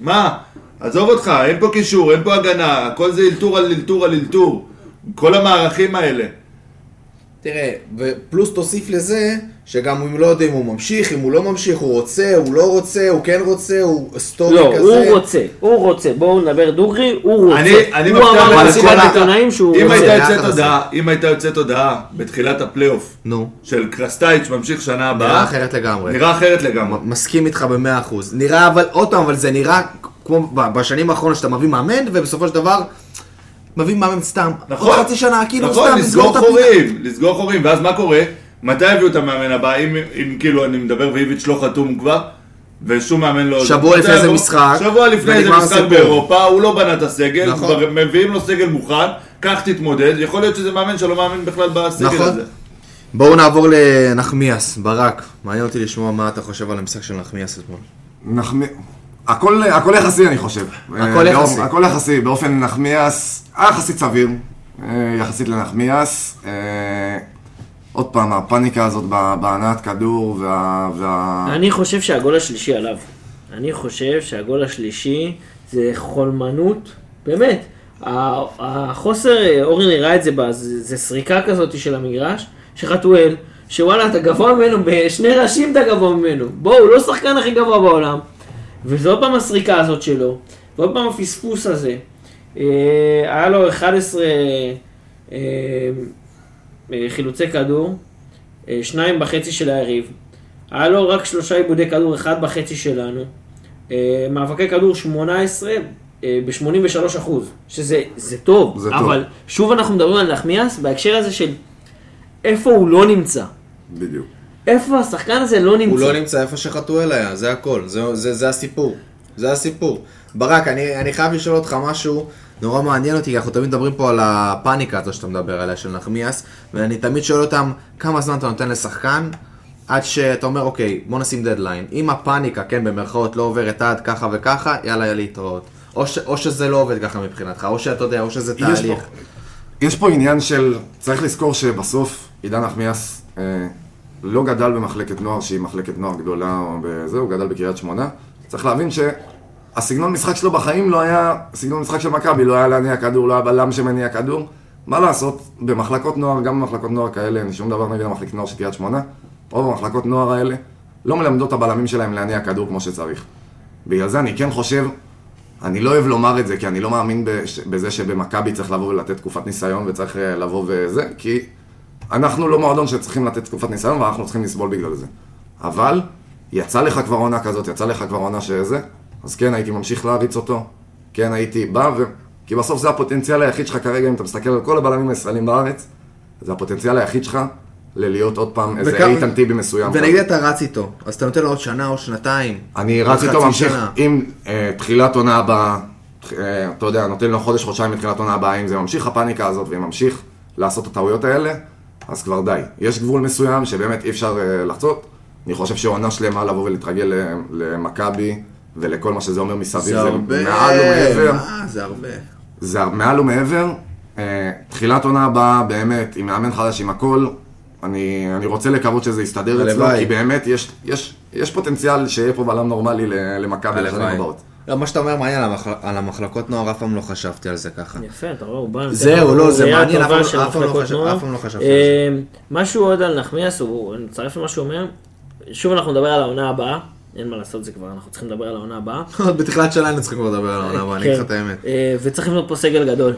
S7: מה? עזוב אותך, אין פה קישור, אין פה הגנה, הכל זה אלתור על אלתור על אלתור. כל המערכים האלה.
S1: תראה, ופלוס תוסיף לזה, שגם אם לא יודע אם הוא ממשיך, אם הוא לא ממשיך, הוא רוצה, הוא לא רוצה, הוא כן רוצה, הוא סטורי
S6: לא,
S1: כזה.
S6: הוא רוצה, הוא רוצה, בואו נדבר דוגרי, הוא רוצה.
S7: אני- אני
S6: הוא
S7: מבטיח לך
S6: אמר
S7: על
S6: במסיבת
S7: כל ה-
S6: עיתונאים שהוא
S7: אם הייתה
S6: רוצה.
S1: יחד
S7: יוצאת
S1: הזה.
S7: הודעה, אם הייתה יוצאת הודעה בתחילת הפלייאוף
S1: נו,
S7: של קרסטייץ' ממשיך שנה הבאה,
S1: נראה אחרת לגמרי.
S7: אה? נראה אחרת לגמרי.
S1: מ- מסכים איתך במאה אחוז. נראה אבל, עוד פעם, אבל זה נראה כמו ב- בשנים האחרונות שאתה מביא מאמן, ובסופו של דבר, מביא מאמן סתם.
S7: נכון.
S1: עוד חצי שנה, כאילו
S7: נכון,
S1: סתם,
S7: לסגור
S1: הפינה.
S7: חורים, לסגור חורים, ואז מה קורה? מתי הביאו את המאמן הבא? אם, אם כאילו אני מדבר ואיביץ' לא חתום כבר, ושום מאמן לא...
S1: שבוע
S7: מתי
S1: לפני איזה
S7: יבוא?
S1: משחק,
S7: שבוע לפני איזה
S1: ונגמר
S7: משחק
S1: הסיפור.
S7: באירופה, הוא לא בנה את הסגל,
S1: נכון.
S7: כבר מביאים לו סגל מוכן, כך תתמודד, יכול להיות שזה מאמן שלא מאמין בכלל בסגל
S1: נכון.
S7: הזה.
S1: בואו נעבור לנחמיאס, ברק. מעניין אותי לשמוע מה אתה חושב על המשחק של נחמיאס אתמול.
S5: נחמי... הכל, הכל יחסי, אני חושב.
S1: הכל
S5: אה,
S1: יחסי.
S5: לא, הכל יחסי, באופן נחמיאס, היה יחסית סביר, אה, יחסית לנחמיאס. אה, עוד פעם, הפאניקה הזאת בה- בהנעת כדור וה... וה...
S6: אני חושב שהגול השלישי עליו. אני חושב שהגול השלישי זה חולמנות, באמת. ה- החוסר, אורן הראה את זה, ב- זה זה סריקה כזאת של המגרש, שחתואל, שוואלה, אתה גבוה ממנו, בשני ראשים אתה גבוה ממנו. בואו, הוא לא השחקן הכי גבוה בעולם. וזה עוד פעם הסריקה הזאת שלו, ועוד פעם הפספוס הזה. אה, היה לו 11 אה, אה, חילוצי כדור, אה, שניים בחצי של היריב. היה לו רק שלושה עיבודי כדור, אחד בחצי שלנו. אה, מאבקי כדור 18 ב-83 אחוז, שזה זה טוב,
S5: זה טוב.
S6: אבל שוב אנחנו מדברים על נחמיאס בהקשר הזה של איפה הוא לא נמצא.
S5: בדיוק.
S6: איפה השחקן הזה לא נמצא.
S1: הוא לא נמצא איפה שחתואל היה, זה הכל, זה, זה, זה הסיפור, זה הסיפור. ברק, אני, אני חייב לשאול אותך משהו נורא מעניין אותי, כי אנחנו תמיד מדברים פה על הפאניקה הזו שאתה מדבר עליה, של נחמיאס, ואני תמיד שואל אותם, כמה זמן אתה נותן לשחקן? עד שאתה אומר, אוקיי, בוא נשים דדליין. אם הפאניקה, כן, במרכאות, לא עוברת עד ככה וככה, יאללה, להתראות. או, ש, או שזה לא עובד ככה מבחינתך, או שאתה יודע, או שזה
S5: יש
S1: תהליך.
S5: פה- יש פה עניין של, צריך לזכור שבסוף עידן נחמיאס אה, לא גדל במחלקת נוער שהיא מחלקת נוער גדולה או בזה, הוא גדל בקריית שמונה. צריך להבין שהסגנון משחק שלו בחיים לא היה, סגנון משחק של מכבי, לא היה להניע כדור, לא היה בלם שמניע כדור. מה לעשות, במחלקות נוער, גם במחלקות נוער כאלה, אין לי שום דבר נגד המחלקת נוער של קריית שמונה, רוב המחלקות נוער האלה לא מלמדות את הבלמים שלהם להניע כדור כמו שצריך. בגלל זה אני כן חושב אני לא אוהב לומר את זה, כי אני לא מאמין בש- בזה שבמכבי צריך לבוא ולתת תקופת ניסיון וצריך אה, לבוא וזה, כי אנחנו לא מועדון שצריכים לתת תקופת ניסיון ואנחנו צריכים לסבול בגלל זה. אבל, יצא לך כבר עונה כזאת, יצא לך כבר עונה שזה, אז כן, הייתי ממשיך להריץ אותו, כן, הייתי בא ו... כי בסוף זה הפוטנציאל היחיד שלך כרגע, אם אתה מסתכל על כל הבלמים הישראלים בארץ, זה הפוטנציאל היחיד שלך ללהיות עוד פעם איזה
S1: וכמה-
S5: איתן טיבי מסוים.
S1: ונגיד אתה רץ איתו, אז אתה נותן לו עוד שנה או שנתיים.
S5: אני
S1: עוד
S5: רץ איתו
S1: חצי
S5: ממשיך
S1: שנה.
S5: עם אה, תחילת עונה הבאה, אה, אתה יודע, נותן לו חודש, חודשיים מתחילת עונה הבאה, אם זה ממשיך הפאניקה הזאת ואם ממשיך לעשות את הטעויות האלה, אז כבר די. יש גבול מסוים שבאמת אי אפשר אה, לחצות. אני חושב שעונה שלמה לבוא ולהתרגל ל- למכבי ולכל מה שזה אומר מסביב,
S1: זה הרבה,
S5: מעל ומעבר.
S1: מה, זה הרבה.
S5: זה מעל ומעבר. אה, תחילת עונה הבאה, באמת, עם מאמן חדש, עם הכל. אני, אני רוצה לקוות שזה יסתדר אצלו,
S1: הלוואי.
S5: כי באמת יש, יש, יש פוטנציאל שיהיה פה בלם נורמלי ל- למכבי לשנים
S1: הלוואי.
S5: הבאות.
S1: לא, מה שאתה אומר מעניין על המחל- על המחלקות נוער, אף פעם לא חשבתי על זה ככה.
S6: יפה, אתה רואה, הוא בא...
S1: זהו, לא, זה
S6: ראייה
S1: מעניין, אף
S6: טובה
S1: פעם-
S6: של
S1: אף פעם לא
S6: מחלקות
S1: חשב-
S6: נוער.
S1: אף פעם לא חשבתי על
S6: אה, משהו עוד על נחמיאס, הוא- אני מצטרף למה שהוא אומר. שוב אנחנו נדבר על העונה הבאה. אין מה לעשות, זה כבר, אנחנו צריכים לדבר על העונה הבאה.
S1: עוד בתחילת שנה היינו צריכים כבר לדבר על העונה, אבל אני אגיד לך את
S6: כן.
S1: האמת.
S6: אה, וצריך לבנות פה סגל גדול.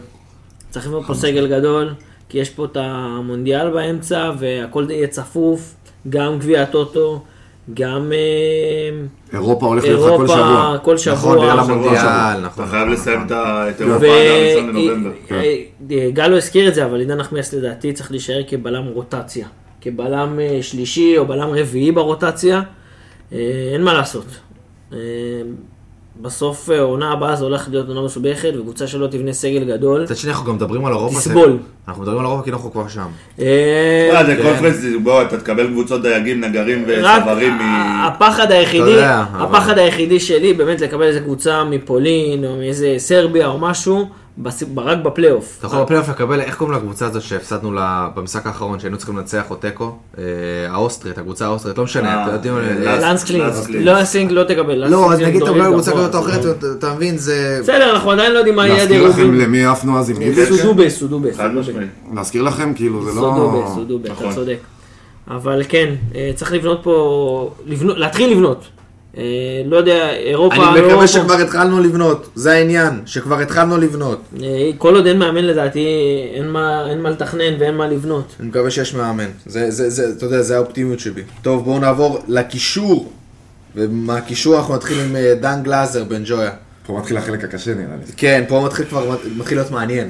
S6: צריך לבנות פה סגל גדול, כי יש פה את המונדיאל באמצע, והכל יהיה צפוף, גם גביע הטוטו, גם אה,
S5: אירופה הולך להיות לך כל
S6: אירופה
S5: שבוע.
S6: כל
S1: נכון,
S6: שבוע.
S5: יאללה,
S1: בגלל
S5: שבוע, שבוע.
S1: המונדיאל,
S7: אתה
S1: נכון.
S7: חייב לסיים את ה- את
S6: ו-
S7: אירופה עד הראשון לנובמבר. כן.
S6: אה, אה, גל לא הזכיר את זה, אבל עידן נחמיאס לדעתי צריך להישאר כבלם רוטציה. כבלם אה, שלישי או בלם רביעי ברוטציה, אה, אין מה לעשות. אה, בסוף אה, העונה הבאה זה הולך להיות עונה מסובכת, וקבוצה שלא תבנה סגל גדול.
S1: מצד שני, אנחנו גם מדברים על אירופה.
S6: תסבול.
S1: זה- אנחנו מדברים על אירופה כי אנחנו כבר שם.
S6: אה,
S7: אה, זה קונפרנס, בוא, אתה תקבל קבוצות דייגים, נגרים
S6: רק
S7: וצווארים מ...
S6: ה- הפחד היחידי,
S1: יודע, אבל-
S6: הפחד היחידי שלי באמת לקבל איזה קבוצה מפולין או מאיזה סרביה או משהו, בס- רק בפלייאוף.
S1: אתה יכול בפלייאוף לקבל, איך קוראים לקבוצה הזאת שהפסדנו לה במשחק האחרון, שהיינו צריכים לנצח או תיקו? אה, האוסטרית, הקבוצה האוסטרית, לא משנה.
S7: אה,
S1: אתם יודעים,
S7: אה,
S1: אה,
S6: לנסקלינס,
S7: לנסקלינס.
S6: לא הסינג לא תקבל.
S1: לא,
S6: לנסקלינס
S1: אז נגיד אתה
S6: מדורג
S1: מקבל קבוצה
S6: גבוה,
S1: כזאת או אחרת, אתה- אתה מבין, זה...
S6: בסדר, אנחנו עדיין לא יודעים מה יהיה
S5: להזכיר לכם
S6: הדירוגים.
S5: למי עפנו אז עם איביץ'?
S6: סודובס, סודובס.
S7: חד משמעית.
S5: להזכיר לכם, כאילו, זה לא...
S6: סודובס, סודובס, אתה
S7: נכון.
S6: צודק. אבל כן, אה, צריך לבנות פה, לבנות- להתחיל לבנות. אה, לא יודע, אירופה...
S1: אני
S6: לא פה.
S1: מקווה שכבר התחלנו לבנות, זה העניין, שכבר התחלנו לבנות.
S6: אה, כל עוד אין מאמן לדעתי, אין מה, אין מה לתכנן ואין מה לבנות.
S1: אני מקווה שיש מאמן. זה, זה, זה, אתה יודע, זה האופטימיות שלי. טוב, בואו נעבור לקישור. ומהקישור אנחנו נתחיל עם אה, דן גלאזר, בן ג'ויה.
S5: פה מתחיל החלק הקשה נראה לי.
S1: כן, פה מתחיל כבר, מתחיל להיות מעניין.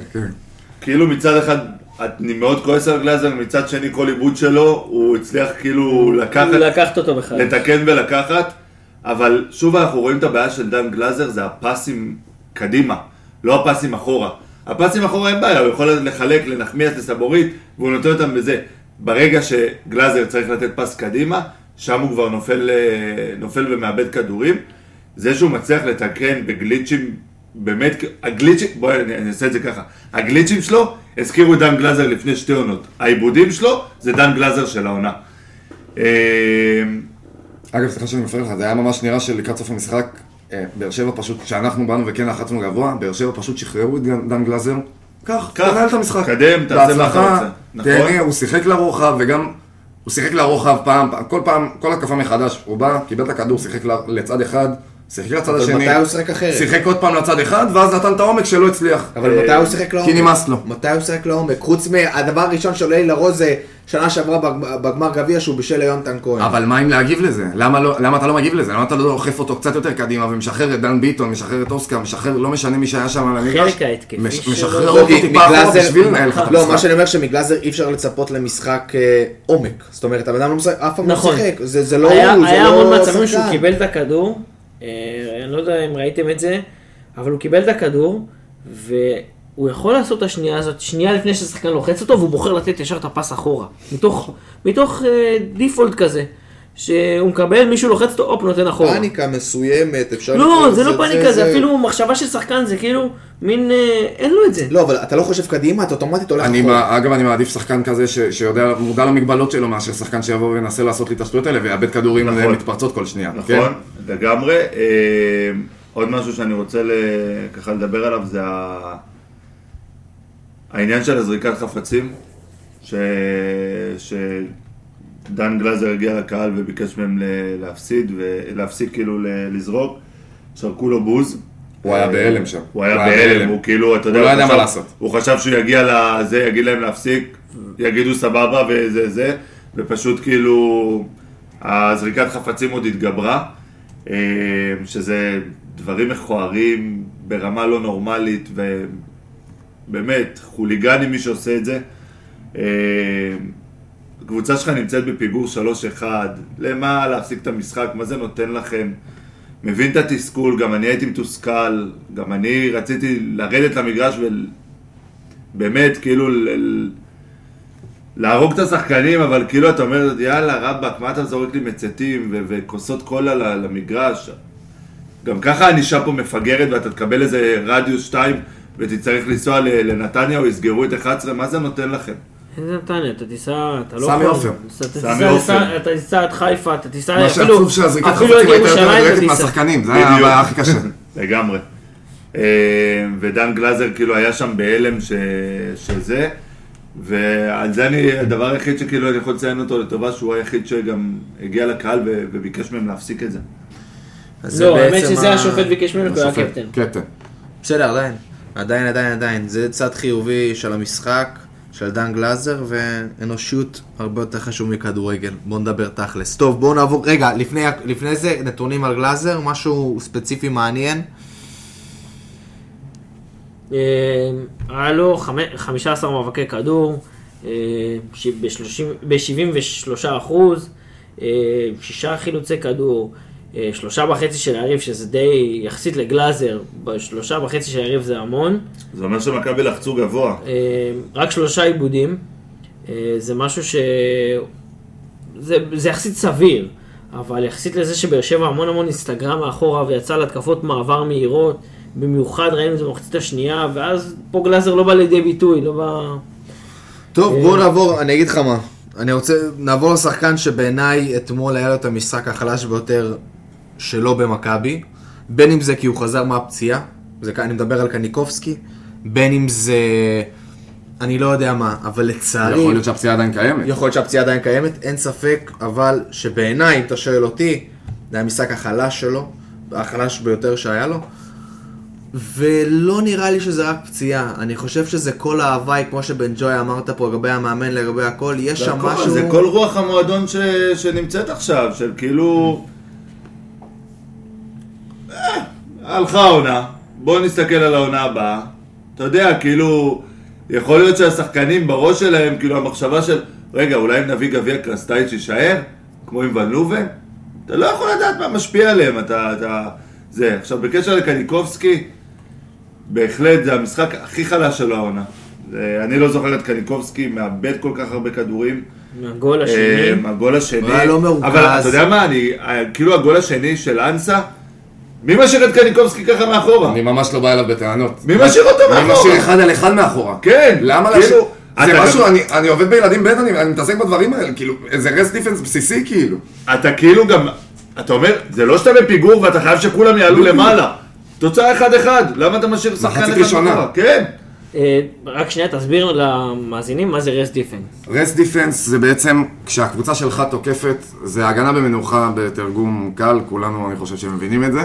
S7: כאילו מצד אחד, אני מאוד כועס על גלאזר, מצד שני כל עיבוד שלו, הוא הצליח כאילו
S6: הוא
S7: לקחת,
S6: לקחת אותו בכלל.
S7: לתקן ולקחת, אבל שוב אנחנו רואים את הבעיה של דן גלאזר, זה הפסים קדימה, לא הפסים אחורה. הפסים אחורה אין בעיה, הוא יכול לחלק לנחמיאס, לסבורית, והוא נותן אותם בזה. ברגע שגלאזר צריך לתת פס קדימה, שם הוא כבר נופל, אה, נופל ומאבד כדורים. זה שהוא מצליח לתקן בגליצ'ים, באמת, הגליצ'ים, בואי אני, אני אעשה את זה ככה, הגליצ'ים שלו הזכירו את דן גלאזר לפני שתי עונות, העיבודים שלו זה דן גלאזר של העונה. אה,
S5: אגב, סליחה שאני מפריע לך, זה היה ממש נראה שלקראת סוף המשחק, אה, באר שבע פשוט, כשאנחנו באנו וכן לחצנו גבוה, באר שבע פשוט שחררו את גן- דן גלאזר. קח,
S7: קח,
S5: תנהל את המשחק.
S7: קדם, תעשה מה אתה
S5: בהצלחה,
S7: רוצה. נכון.
S5: תהנה, הוא שיחק לרוחב, וגם... הוא שיחק לרוחב פעם, פעם- כל פעם, כל התקפה מחדש, הוא בא, קיבל את הכדור, שיחק ל- לצד אחד, שיחק לצד
S1: אבל
S5: השני.
S1: מתי הוא שיחק אחרת?
S5: שיחק עוד פעם לצד אחד, ואז נתן את העומק שלא הצליח. אה,
S1: אבל מתי הוא שיחק לעומק?
S5: נמאס לו.
S1: מתי הוא שיחק לעומק? חוץ מהדבר הראשון שעולה לי לראש זה אה, שנה שעברה בגמ- בגמר גביע שהוא בישל ליונתן כהן. אוקיי,
S5: אבל מה אם להגיב לזה? למה, לא, למה אתה לא מגיב לזה? למה אתה לא דוחף אותו קצת יותר קדימה ומשחרר את דן ביטון, משחרר את אוסקר, משחרר, לא משנה מי שהיה שם על המגרש?
S6: חלק ההתקפי
S5: מש-
S6: שלו.
S5: משחרר
S1: לא,
S5: אותו
S1: כי
S5: טיפה אחורה
S1: מגלאזר-
S5: בשביל לנהל לך את
S1: לא, מה
S5: המשחק.
S1: שאני אומר שמגלאזר אי אפשר לצפות למשחק אה, עומק. זאת אומרת, הבן אדם לא משחק, אף פעם לא
S6: נכון.
S1: משחק. זה זה לא הוא,
S6: היה
S1: זה לא...
S6: היה המון מצבים שהוא
S1: שחקן.
S6: קיבל את הכדור, אה, אני לא יודע אם ראיתם את זה, אבל הוא קיבל את הכדור, והוא יכול לעשות את השנייה הזאת, שנייה לפני שהשחקן לוחץ אותו, והוא בוחר לתת ישר את הפס אחורה. מתוך, מתוך אה, דיפולט כזה, שהוא מקבל, מישהו לוחץ אותו, הופ, נותן אחורה.
S1: פאניקה מסוימת, אפשר... לקרוא
S6: לא,
S1: לזה-
S6: זה לא פאניקה, זה אפילו מחשבה של שחקן, זה כאילו מין, אה, אין לו את זה.
S1: לא, אבל אתה לא חושב קדימה, אתה אוטומטית הולך...
S5: אני,
S1: אחורה.
S5: מה- אגב, אני מעדיף שחקן כזה ש, שיודע, מודע למגבלות שלו, מאשר שחקן שיבוא וינסה לעשות לי את השטויות האלה ויאבד כדורים
S7: נכון.
S5: אה, מתפרצות כל שנייה. כן?
S7: נכון, לגמרי. אה, עוד משהו שאני רוצה ל- ככה לדבר עליו זה ה- העניין של הזריקת חפצים, ש... שדן גלזר הגיע לקהל וביקש מהם ל- להפסיד, ו... להפסיק כאילו ל... לזרוק, שרקו לו בוז.
S5: הוא היה
S7: אה,
S5: בהלם שם.
S7: הוא היה בהלם, הוא כאילו, אתה יודע,
S5: הוא לא ידע
S7: חשב-
S5: מה לעשות.
S7: הוא חשב שהוא יגיע לזה, יגיד להם להפסיק, יגידו סבבה וזה זה, ופשוט כאילו הזריקת חפצים עוד התגברה, אה, שזה דברים מכוערים ברמה לא נורמלית, ובאמת, חוליגני מי שעושה את זה. אה, הקבוצה שלך נמצאת בפיגור 3-1, למה להפסיק את המשחק, מה זה נותן לכם? מבין את התסכול, גם אני הייתי מתוסכל, גם אני רציתי לרדת למגרש ובאמת, כאילו, ל... ל- להרוג את השחקנים, אבל כאילו אתה אומר, יאללה, רבאק, מה אתה זורק לי מצתים ו- וכוסות קולה ל- למגרש? גם ככה הענישה פה מפגרת ואתה תקבל איזה רדיוס 2 ותצטרך לנסוע ל- לנתניה או יסגרו את 11, מה זה נותן לכם?
S6: איזה נתניה, אתה תיסע, אתה לא
S5: סמי
S6: יכול.
S5: עופר.
S6: אתה תיסע-
S7: סמי עופר.
S6: לסע- אתה תיסע עד חיפה, אתה תיסע
S5: מה
S6: אה, אפילו-
S5: שעצוב שהזריקת
S6: אפילו עד
S5: חפצים הייתה יותר
S6: ירושלים אתה
S5: מדויקת
S6: תיסע.
S5: מהשחקנים, זה היה
S7: בדיוק.
S5: הבעיה אה, הכי קשה.
S7: לגמרי. אה, ודן גלזר כאילו היה שם בהלם ש... שזה, ועל זה אני, הדבר היחיד שכאילו אני יכול לציין אותו לטובה, שהוא היחיד שגם הגיע לקהל ו... וביקש מהם להפסיק את זה.
S1: אז זה
S6: לא, האמת
S1: בעצם
S6: שזה
S1: ה-
S6: השופט ביקש ממנו, כי הוא היה
S5: השופט,
S6: קפטן.
S5: קפטן.
S1: בסדר, עדיין. עדיין, עדיין, עדיין. זה צד חיובי של המשחק, של דן גלאזר, ואנושיות הרבה יותר חשוב מכדורגל. בואו נדבר תכלס. טוב, בואו נעבור... רגע, לפני, לפני זה, נתונים על גלאזר, משהו ספציפי מעניין.
S6: אה, היה לו חמ- 15 מאבקי כדור, אה, ב-73 אחוז, אה, שישה חילוצי כדור, אה, שלושה וחצי של היריב, שזה די יחסית לגלאזר, ב- שלושה וחצי של היריב זה המון,
S7: זה אומר שמכבי לחצו גבוה.
S6: אה, רק שלושה עיבודים, אה, זה משהו ש... זה, זה יחסית סביר, אבל יחסית לזה שבאר שבע המון המון הסתגרה מאחורה ויצאה להתקפות מעבר מהירות, במיוחד ראינו את זה במחצית השנייה, ואז פה גלאזר לא בא לידי ביטוי, לא בא...
S5: אה,
S1: טוב, בואו נעבור, אני אגיד לך מה. אני רוצה, נעבור לשחקן שבעיניי אתמול היה לו את המשחק החלש ביותר שלו במכבי. בין אם זה כי הוא חזר מהפציעה, זה, כ- אני מדבר על קניקובסקי, בין אם זה, אני לא יודע מה, אבל לצערי...
S5: יכול להיות שהפציעה עדיין קיימת.
S1: יכול להיות שהפציעה עדיין קיימת, אין ספק, אבל שבעיניי, אם אתה שואל אותי, זה המשחק החלש שלו, החלש ביותר שהיה לו. ולא נראה לי שזה רק פציעה, אני חושב שזה כל ההוואי, כמו שבן ג'וי אמרת פה לגבי המאמן, לגבי הכל, יש שם
S7: והכל-
S1: משהו...
S7: זה כל רוח המועדון ש... שנמצאת עכשיו, של כאילו... אה, הלכה העונה, בואו נסתכל על העונה הבאה. אתה יודע, כאילו, יכול להיות שהשחקנים בראש שלהם, כאילו המחשבה של, רגע, אולי אם נביא גביע קרסטייץ' יישאר? כמו עם ון לובן? אתה לא יכול לדעת מה משפיע עליהם, אתה... אתה... זה. עכשיו, בקשר לקניקובסקי, בהחלט, זה המשחק הכי חלש של העונה. זה- אני לא זוכר את קניקובסקי מאבד כל כך הרבה כדורים.
S6: מהגול השני.
S7: אמ, הגול השני,
S1: הוא היה לא מרוכז.
S7: אה, אבל אתה יודע מה, אני, ה- כאילו הגול השני של אנסה, מי משאיר את קניקובסקי ככה מאחורה?
S5: אני ממש לא בא אליו בטענות.
S7: מי משאיר אותו
S5: אני
S7: מאחורה?
S5: משאיר אחד על אחד מאחורה.
S7: כן,
S5: למה
S7: כאילו,
S5: להשאיר?
S7: אתה
S5: זה
S7: גם-
S5: משהו, אני- אני עובד בילדים ב', אני אני מתעסק בדברים האלה, כאילו, זה רס דיפנס בסיסי, כאילו.
S7: אתה כאילו גם, אתה אומר, זה לא שאתה בפיגור ואתה חייב שכולם יעלו למעלה. תוצאה 1-1, למה אתה משאיר שחקן
S5: מחצית
S7: אחד
S5: ראשונה.
S7: מאחורה? כן.
S6: אה, רק שנייה, תסביר למאזינים מה זה רס דיפנס.
S5: רס דיפנס זה בעצם, כשהקבוצה שלך תוקפת, זה הגנה במנוחה בתרגום קל, כולנו, אני חושב שמבינים את זה.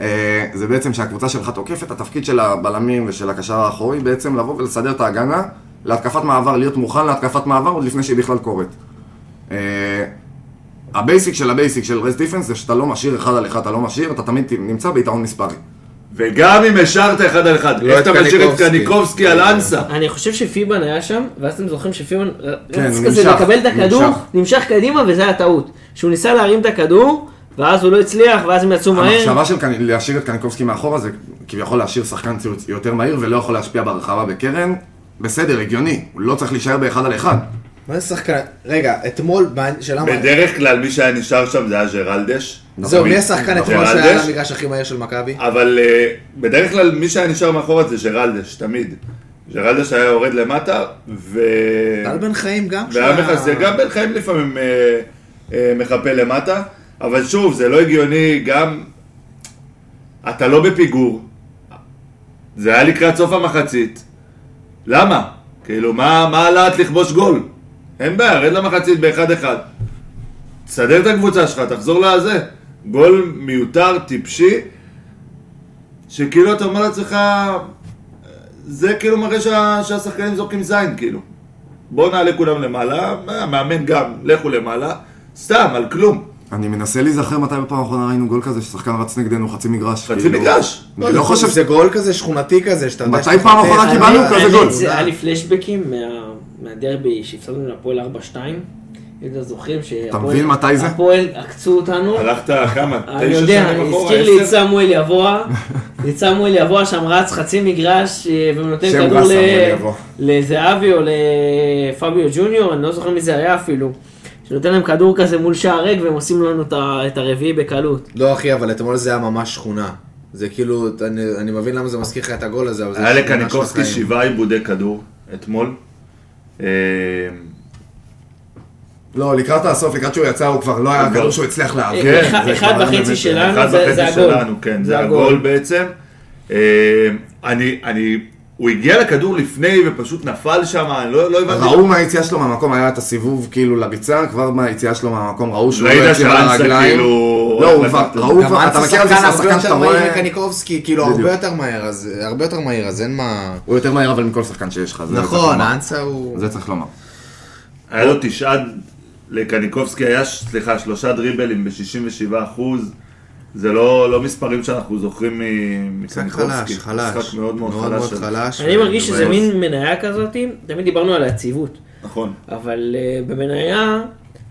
S5: אה, זה בעצם כשהקבוצה שלך תוקפת, התפקיד של הבלמים ושל הקשר האחורי בעצם לבוא ולסדר את ההגנה להתקפת מעבר, להיות מוכן להתקפת מעבר עוד לפני שהיא בכלל קורית. אה, הבייסיק של הבייסיק של רס דיפנס זה שאתה לא משאיר אחד על אחד, אתה לא משאיר, אתה תמיד נמצא ביתרון מספרי.
S7: וגם אם השארת אחד על אחד,
S1: לא
S7: איך
S1: את
S7: אתה משאיר את
S1: קניקובסקי. אה,
S7: קניקובסקי על
S8: אה,
S7: אנסה?
S6: אני חושב שפיבן היה שם, ואז אתם זוכרים שפיבן רץ
S5: כן, הוא
S6: כזה
S5: נמשך,
S6: לקבל את הכדור,
S5: נמשך.
S6: נמשך קדימה וזה היה טעות. שהוא ניסה להרים את הכדור, ואז הוא לא הצליח, ואז הם יצאו מהר.
S5: המחשבה של קני- להשאיר את קניקובסקי מאחורה זה כביכול להשאיר שחקן ציוץ יותר מהיר ולא יכול להשפיע ברחבה בקרן. בסדר, הגיוני, הוא לא צריך להישאר באחד על אחד.
S8: מה זה שחקן? רגע, אתמול, מה- שאלה מה...
S7: בדרך נכון. כלל מי שהיה נשאר שם זה היה ג'רלדש.
S8: אה. זהו, מי השחקן אתמול
S7: ג'רלדש?
S8: שהיה על המגרש הכי מהר של מכבי?
S7: אבל אה, בדרך כלל מי שהיה נשאר מאחורה זה ג'רלדש, תמיד. ג'רלדש היה יורד למטה, ו...
S8: טל בן חיים גם?
S7: והיה
S8: שהיה-
S7: מכסה, גם בן חיים לפעמים אה, אה, מחפה למטה, אבל שוב, זה לא הגיוני, גם אתה לא בפיגור, זה היה לקראת סוף המחצית, למה? כאילו, מה, מה הלהט לכבוש גול? אין בעיה, רד למחצית באחד-אחד. תסדר את הקבוצה שלך, תחזור לזה. גול מיותר, טיפשי, שכאילו אתה אומר לעצמך, זה כאילו מראה שה, שהשחקנים זורקים זין, כאילו. בואו נעלה כולם למעלה, המאמן גם, לכו למעלה, סתם, על כלום.
S5: אני מנסה להיזכר מתי בפעם האחרונה ראינו גול כזה ששחקן רץ נגדנו חצי מגרש.
S7: חצי
S5: כאילו.
S7: מגרש.
S5: אני לא חושב ש...
S1: זה גול כזה שכונתי כזה, שאתה יודע...
S5: מתי
S1: שאתה
S5: פעם
S1: חוטף?
S5: אחרונה
S1: אני-
S5: קיבלנו כזה
S1: אני-
S5: גול?
S1: זה-
S6: היה לי פלשבקים מה- מהדרבי שהפסדנו להפועל 4-2. אם אתם זוכרים שהפועל...
S5: אתה מבין מתי זה?
S6: הפועל עקצו אותנו.
S7: הלכת כמה?
S6: אני
S7: תשע
S6: יודע,
S7: שנים אחורה,
S6: הזכיר לי את
S7: עשר?
S6: סמואל יבואה, את סמואל יבואה שם רץ חצי מגרש אה, ונותן
S5: שם
S6: כדור
S5: רע,
S6: ל-
S5: סמואל יבואה.
S6: לזהבי או לפביו ג'וניור, אני לא זוכר מי זה היה אפילו, שנותן להם כדור כזה מול שער ריק והם עושים לנו את ה- את הרביעי בקלות.
S1: לא אחי, אבל אתמול זה היה ממש שכונה. זה כאילו, אני- אני מבין למה זה מזכיר לך את הגול הזה, אבל זה...
S7: היה
S1: שכונה של
S7: לקניקובסקי
S1: החיים.
S7: שבעה עיבודי כדור אתמול. אה,
S5: לא, לקראת הסוף, לקראת שהוא יצא, הוא כבר לא היה
S7: הגול.
S5: כדור שהוא הצליח להעביר.
S7: כן,
S6: אחד-
S7: זה
S6: אחד
S5: כבר היה
S6: וחצי
S5: באמת-
S6: שלנו
S7: אחד
S6: זה זה
S7: וחצי
S6: הגול.
S7: שלנו, כן, זה הגול בעצם. אה, אני, אני, הוא הגיע לכדור לפני ופשוט נפל שם, אני לא לא הבנתי.
S5: ראו מהיציאה שלו מהמקום, היה את הסיבוב כאילו לביצה, כבר מהיציאה שלו מהמקום ראו שהוא לא
S7: ראית
S5: יצא על
S7: שאנסה,
S5: הרגליים.
S7: כאילו,
S5: לא,
S7: הולך
S5: הוא כבר,
S7: לקחת.
S5: ראו
S1: גם
S5: כבר, אתה
S1: אנסה
S5: מכיר את זה
S1: שחקן הרבה
S5: שחקן שאתה
S1: יותר מהיר
S5: רואה,
S1: מקניקובסקי, כאילו הרבה
S5: בדיוק.
S1: יותר מהר, אז הרבה יותר מהיר, אז אין מה...
S5: הוא יותר מהיר אבל מכל שחקן שיש לך. זה צריך
S1: נכון,
S5: לומר.
S1: אנסה הוא...
S5: זה צריך לומר.
S7: היה לו תשעה, לקניקובסקי היה, ש- סליחה, שלושה דריבלים ב-67 אחוז. זה לא, לא מספרים שאנחנו זוכרים מ-
S1: משחק
S7: מקניקובסקי.
S1: חלש, חלש.
S7: משחק מאוד מאוד, חלש. של-
S1: חלש.
S6: אני מרגיש שזה
S1: מבאס.
S6: מין מניה כזאת, תמיד דיברנו על היציבות,
S7: נכון,
S6: אבל אה, במניה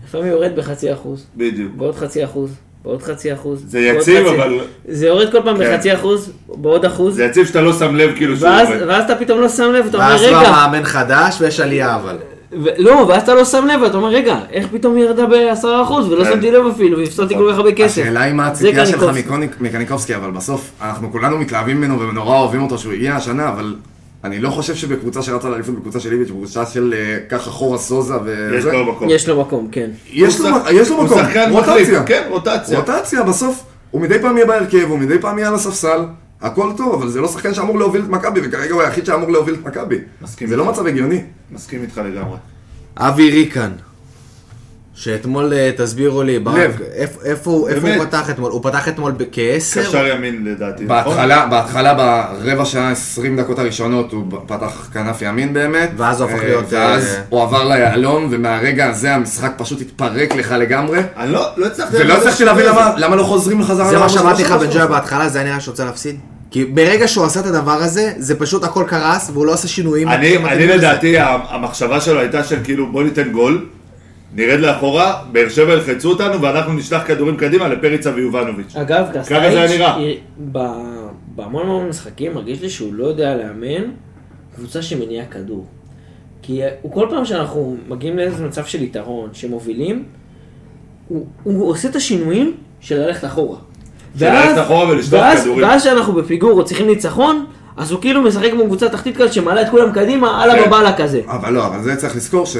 S6: לפעמים יורד בחצי אחוז.
S7: בדיוק.
S6: בעוד חצי אחוז, בעוד חצי אחוז.
S7: זה
S6: בעוד
S7: יציב,
S6: חצי-
S7: אבל-
S6: זה יורד כל פעם
S7: כן.
S6: בחצי אחוז, בעוד אחוז,
S7: זה יציב שאתה לא שם לב כאילו שהוא
S6: ואז
S7: עובד.
S6: ואז אתה פתאום לא שם לב, אתה אומר
S1: ואז בא
S6: רגע,
S1: מאמן חדש ויש עלייה אבל.
S6: ו- לא, ואז אתה לא שם לב, אתה אומר רגע, איך פתאום היא ירדה בעשרה אחוז, ולא
S7: כן.
S6: שמתי לב אפילו, והפסדתי כל כך הרבה כסף.
S5: נכון. השאלה היא מה
S6: זה
S5: הציפייה שלך
S6: קניקובסקי.
S5: מקוניק- מקניקובסקי, אבל בסוף אנחנו כולנו מתלהבים ממנו ונורא אוהבים אותו שהוא הגיע השנה, אבל אני לא חושב שבקבוצה שרצה לאליפות, בקבוצה של איביץ', בקבוצה של אה, ככה חורה סוזה
S7: יש
S5: וזה,
S7: לו מקום.
S6: יש לו מקום, כן.
S5: יש לו
S7: הוא
S5: מק- יש לו
S7: הוא
S5: מקום,
S7: שחקן מחליף,
S5: רוטציה,
S7: כן, רוטציה.
S5: רוטציה, בסוף הוא מדי פעם יהיה בהרכב, הוא מדי פעם יהיה על הספסל. הכל טוב, אבל זה לא שחקן שאמור להוביל את מכבי, וכרגע הוא היחיד שאמור להוביל את מכבי.
S7: מסכים
S5: זה לא
S7: איתך.
S5: מצב הגיוני.
S7: מסכים איתך לגמרי.
S1: אבי ריקן, שאתמול אה, תסבירו לי, ברק,
S5: לב.
S1: איפ- איפה הוא איפה
S7: באמת.
S1: הוא פתח אתמול? הוא פתח אתמול בכעשר?
S7: קשר ימין לדעתי, נכון?
S5: בהתחלה, בהתחלה, ברבע שעה, 20 דקות הראשונות, הוא פתח כנף ימין באמת.
S1: ואז הוא הפך
S5: אה,
S1: להיות,
S5: ואז
S1: אה,
S5: הוא עבר ליהלום, ומהרגע הזה המשחק פשוט התפרק לך לגמרי.
S7: אני לא לא הצלחתי...
S5: ולא
S7: להבין
S5: הצלחתי
S7: את
S5: להבין
S7: השינוי
S5: למה- למה לא חוזרים לחזרה.
S1: זה מה
S5: למה
S1: שאמרתי לך
S5: שלוש
S1: בן ג'וי
S5: שלוש.
S1: בהתחלה, זה היה נראה שרוצה להפסיד? כי ברגע שהוא עשה את הדבר הזה, זה פשוט הכל קרס והוא לא עשה שינויים.
S7: אני,
S1: אתם
S7: אני
S1: מתאימים לזה.
S7: לדעתי, ה- המחשבה שלו הייתה של כאילו בוא ניתן גול, נרד לאחורה, באר שבע ילחצו אותנו ואנחנו נשלח כדורים קדימה לפריצה ויובנוביץ'.
S6: אגב,
S7: ככה זה היה
S6: קסטייץ',
S7: נראה.
S6: ב- בהמון המון משחקים מרגיש לי שהוא לא יודע לאמן קבוצה שמניעה כדור. כי אה, הוא כל פעם שאנחנו מגיעים לאיזה מצב של יתרון, שמובילים, הוא, הוא עושה את השינויים של ללכת אחורה.
S7: שללכת אחורה ולשלוח
S6: ואז-
S7: כדורים.
S6: ואז שאנחנו בפיגור או צריכים ניצחון, אז הוא כאילו משחק כמו קבוצה תחתית כזאת שמעלה את כולם קדימה,
S7: כן.
S6: אללה בבאללה כזה.
S5: אבל לא, אבל זה צריך לזכור ש...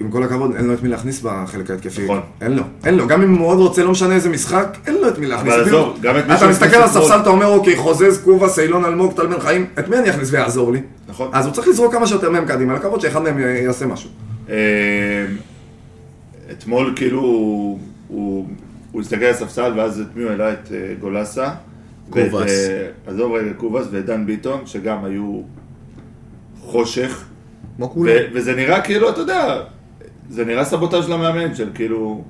S5: עם כל הכבוד, אין לו את מי להכניס בחלק ההתקפי.
S7: נכון.
S5: אין לו. אין לו. גם אם הוא מאוד רוצה, לא משנה איזה משחק, אין לו את מי להכניס. אפילו-
S7: עזוב, גם את מי
S5: אתה
S7: שהכניס
S5: מסתכל על
S7: אתמול.
S5: הספסל, אתה אומר, אוקיי, חוזז, קובאס, אילון, אלמוג, טל בן חיים, את מי אני אכניס ויעזור לי?
S7: נכון.
S5: אז הוא צריך לזרוק כמה שיותר מהם קדימה, לקוות שאחד מהם י- יעשה משהו.
S7: אה, אתמול כאילו הוא- הוא הוא הסתכל על הספסל ואז את מי הוא העלה? את אה, גולסה. ואת,
S1: קובאס.
S7: אה, עזוב רגע, קובאס ואת דן ביטון, שגם היו חושך.
S1: כמו
S7: ו-
S1: כולם.
S7: וזה נראה כאילו, אתה יודע, זה נראה סבוטאז' למאמן של כאילו,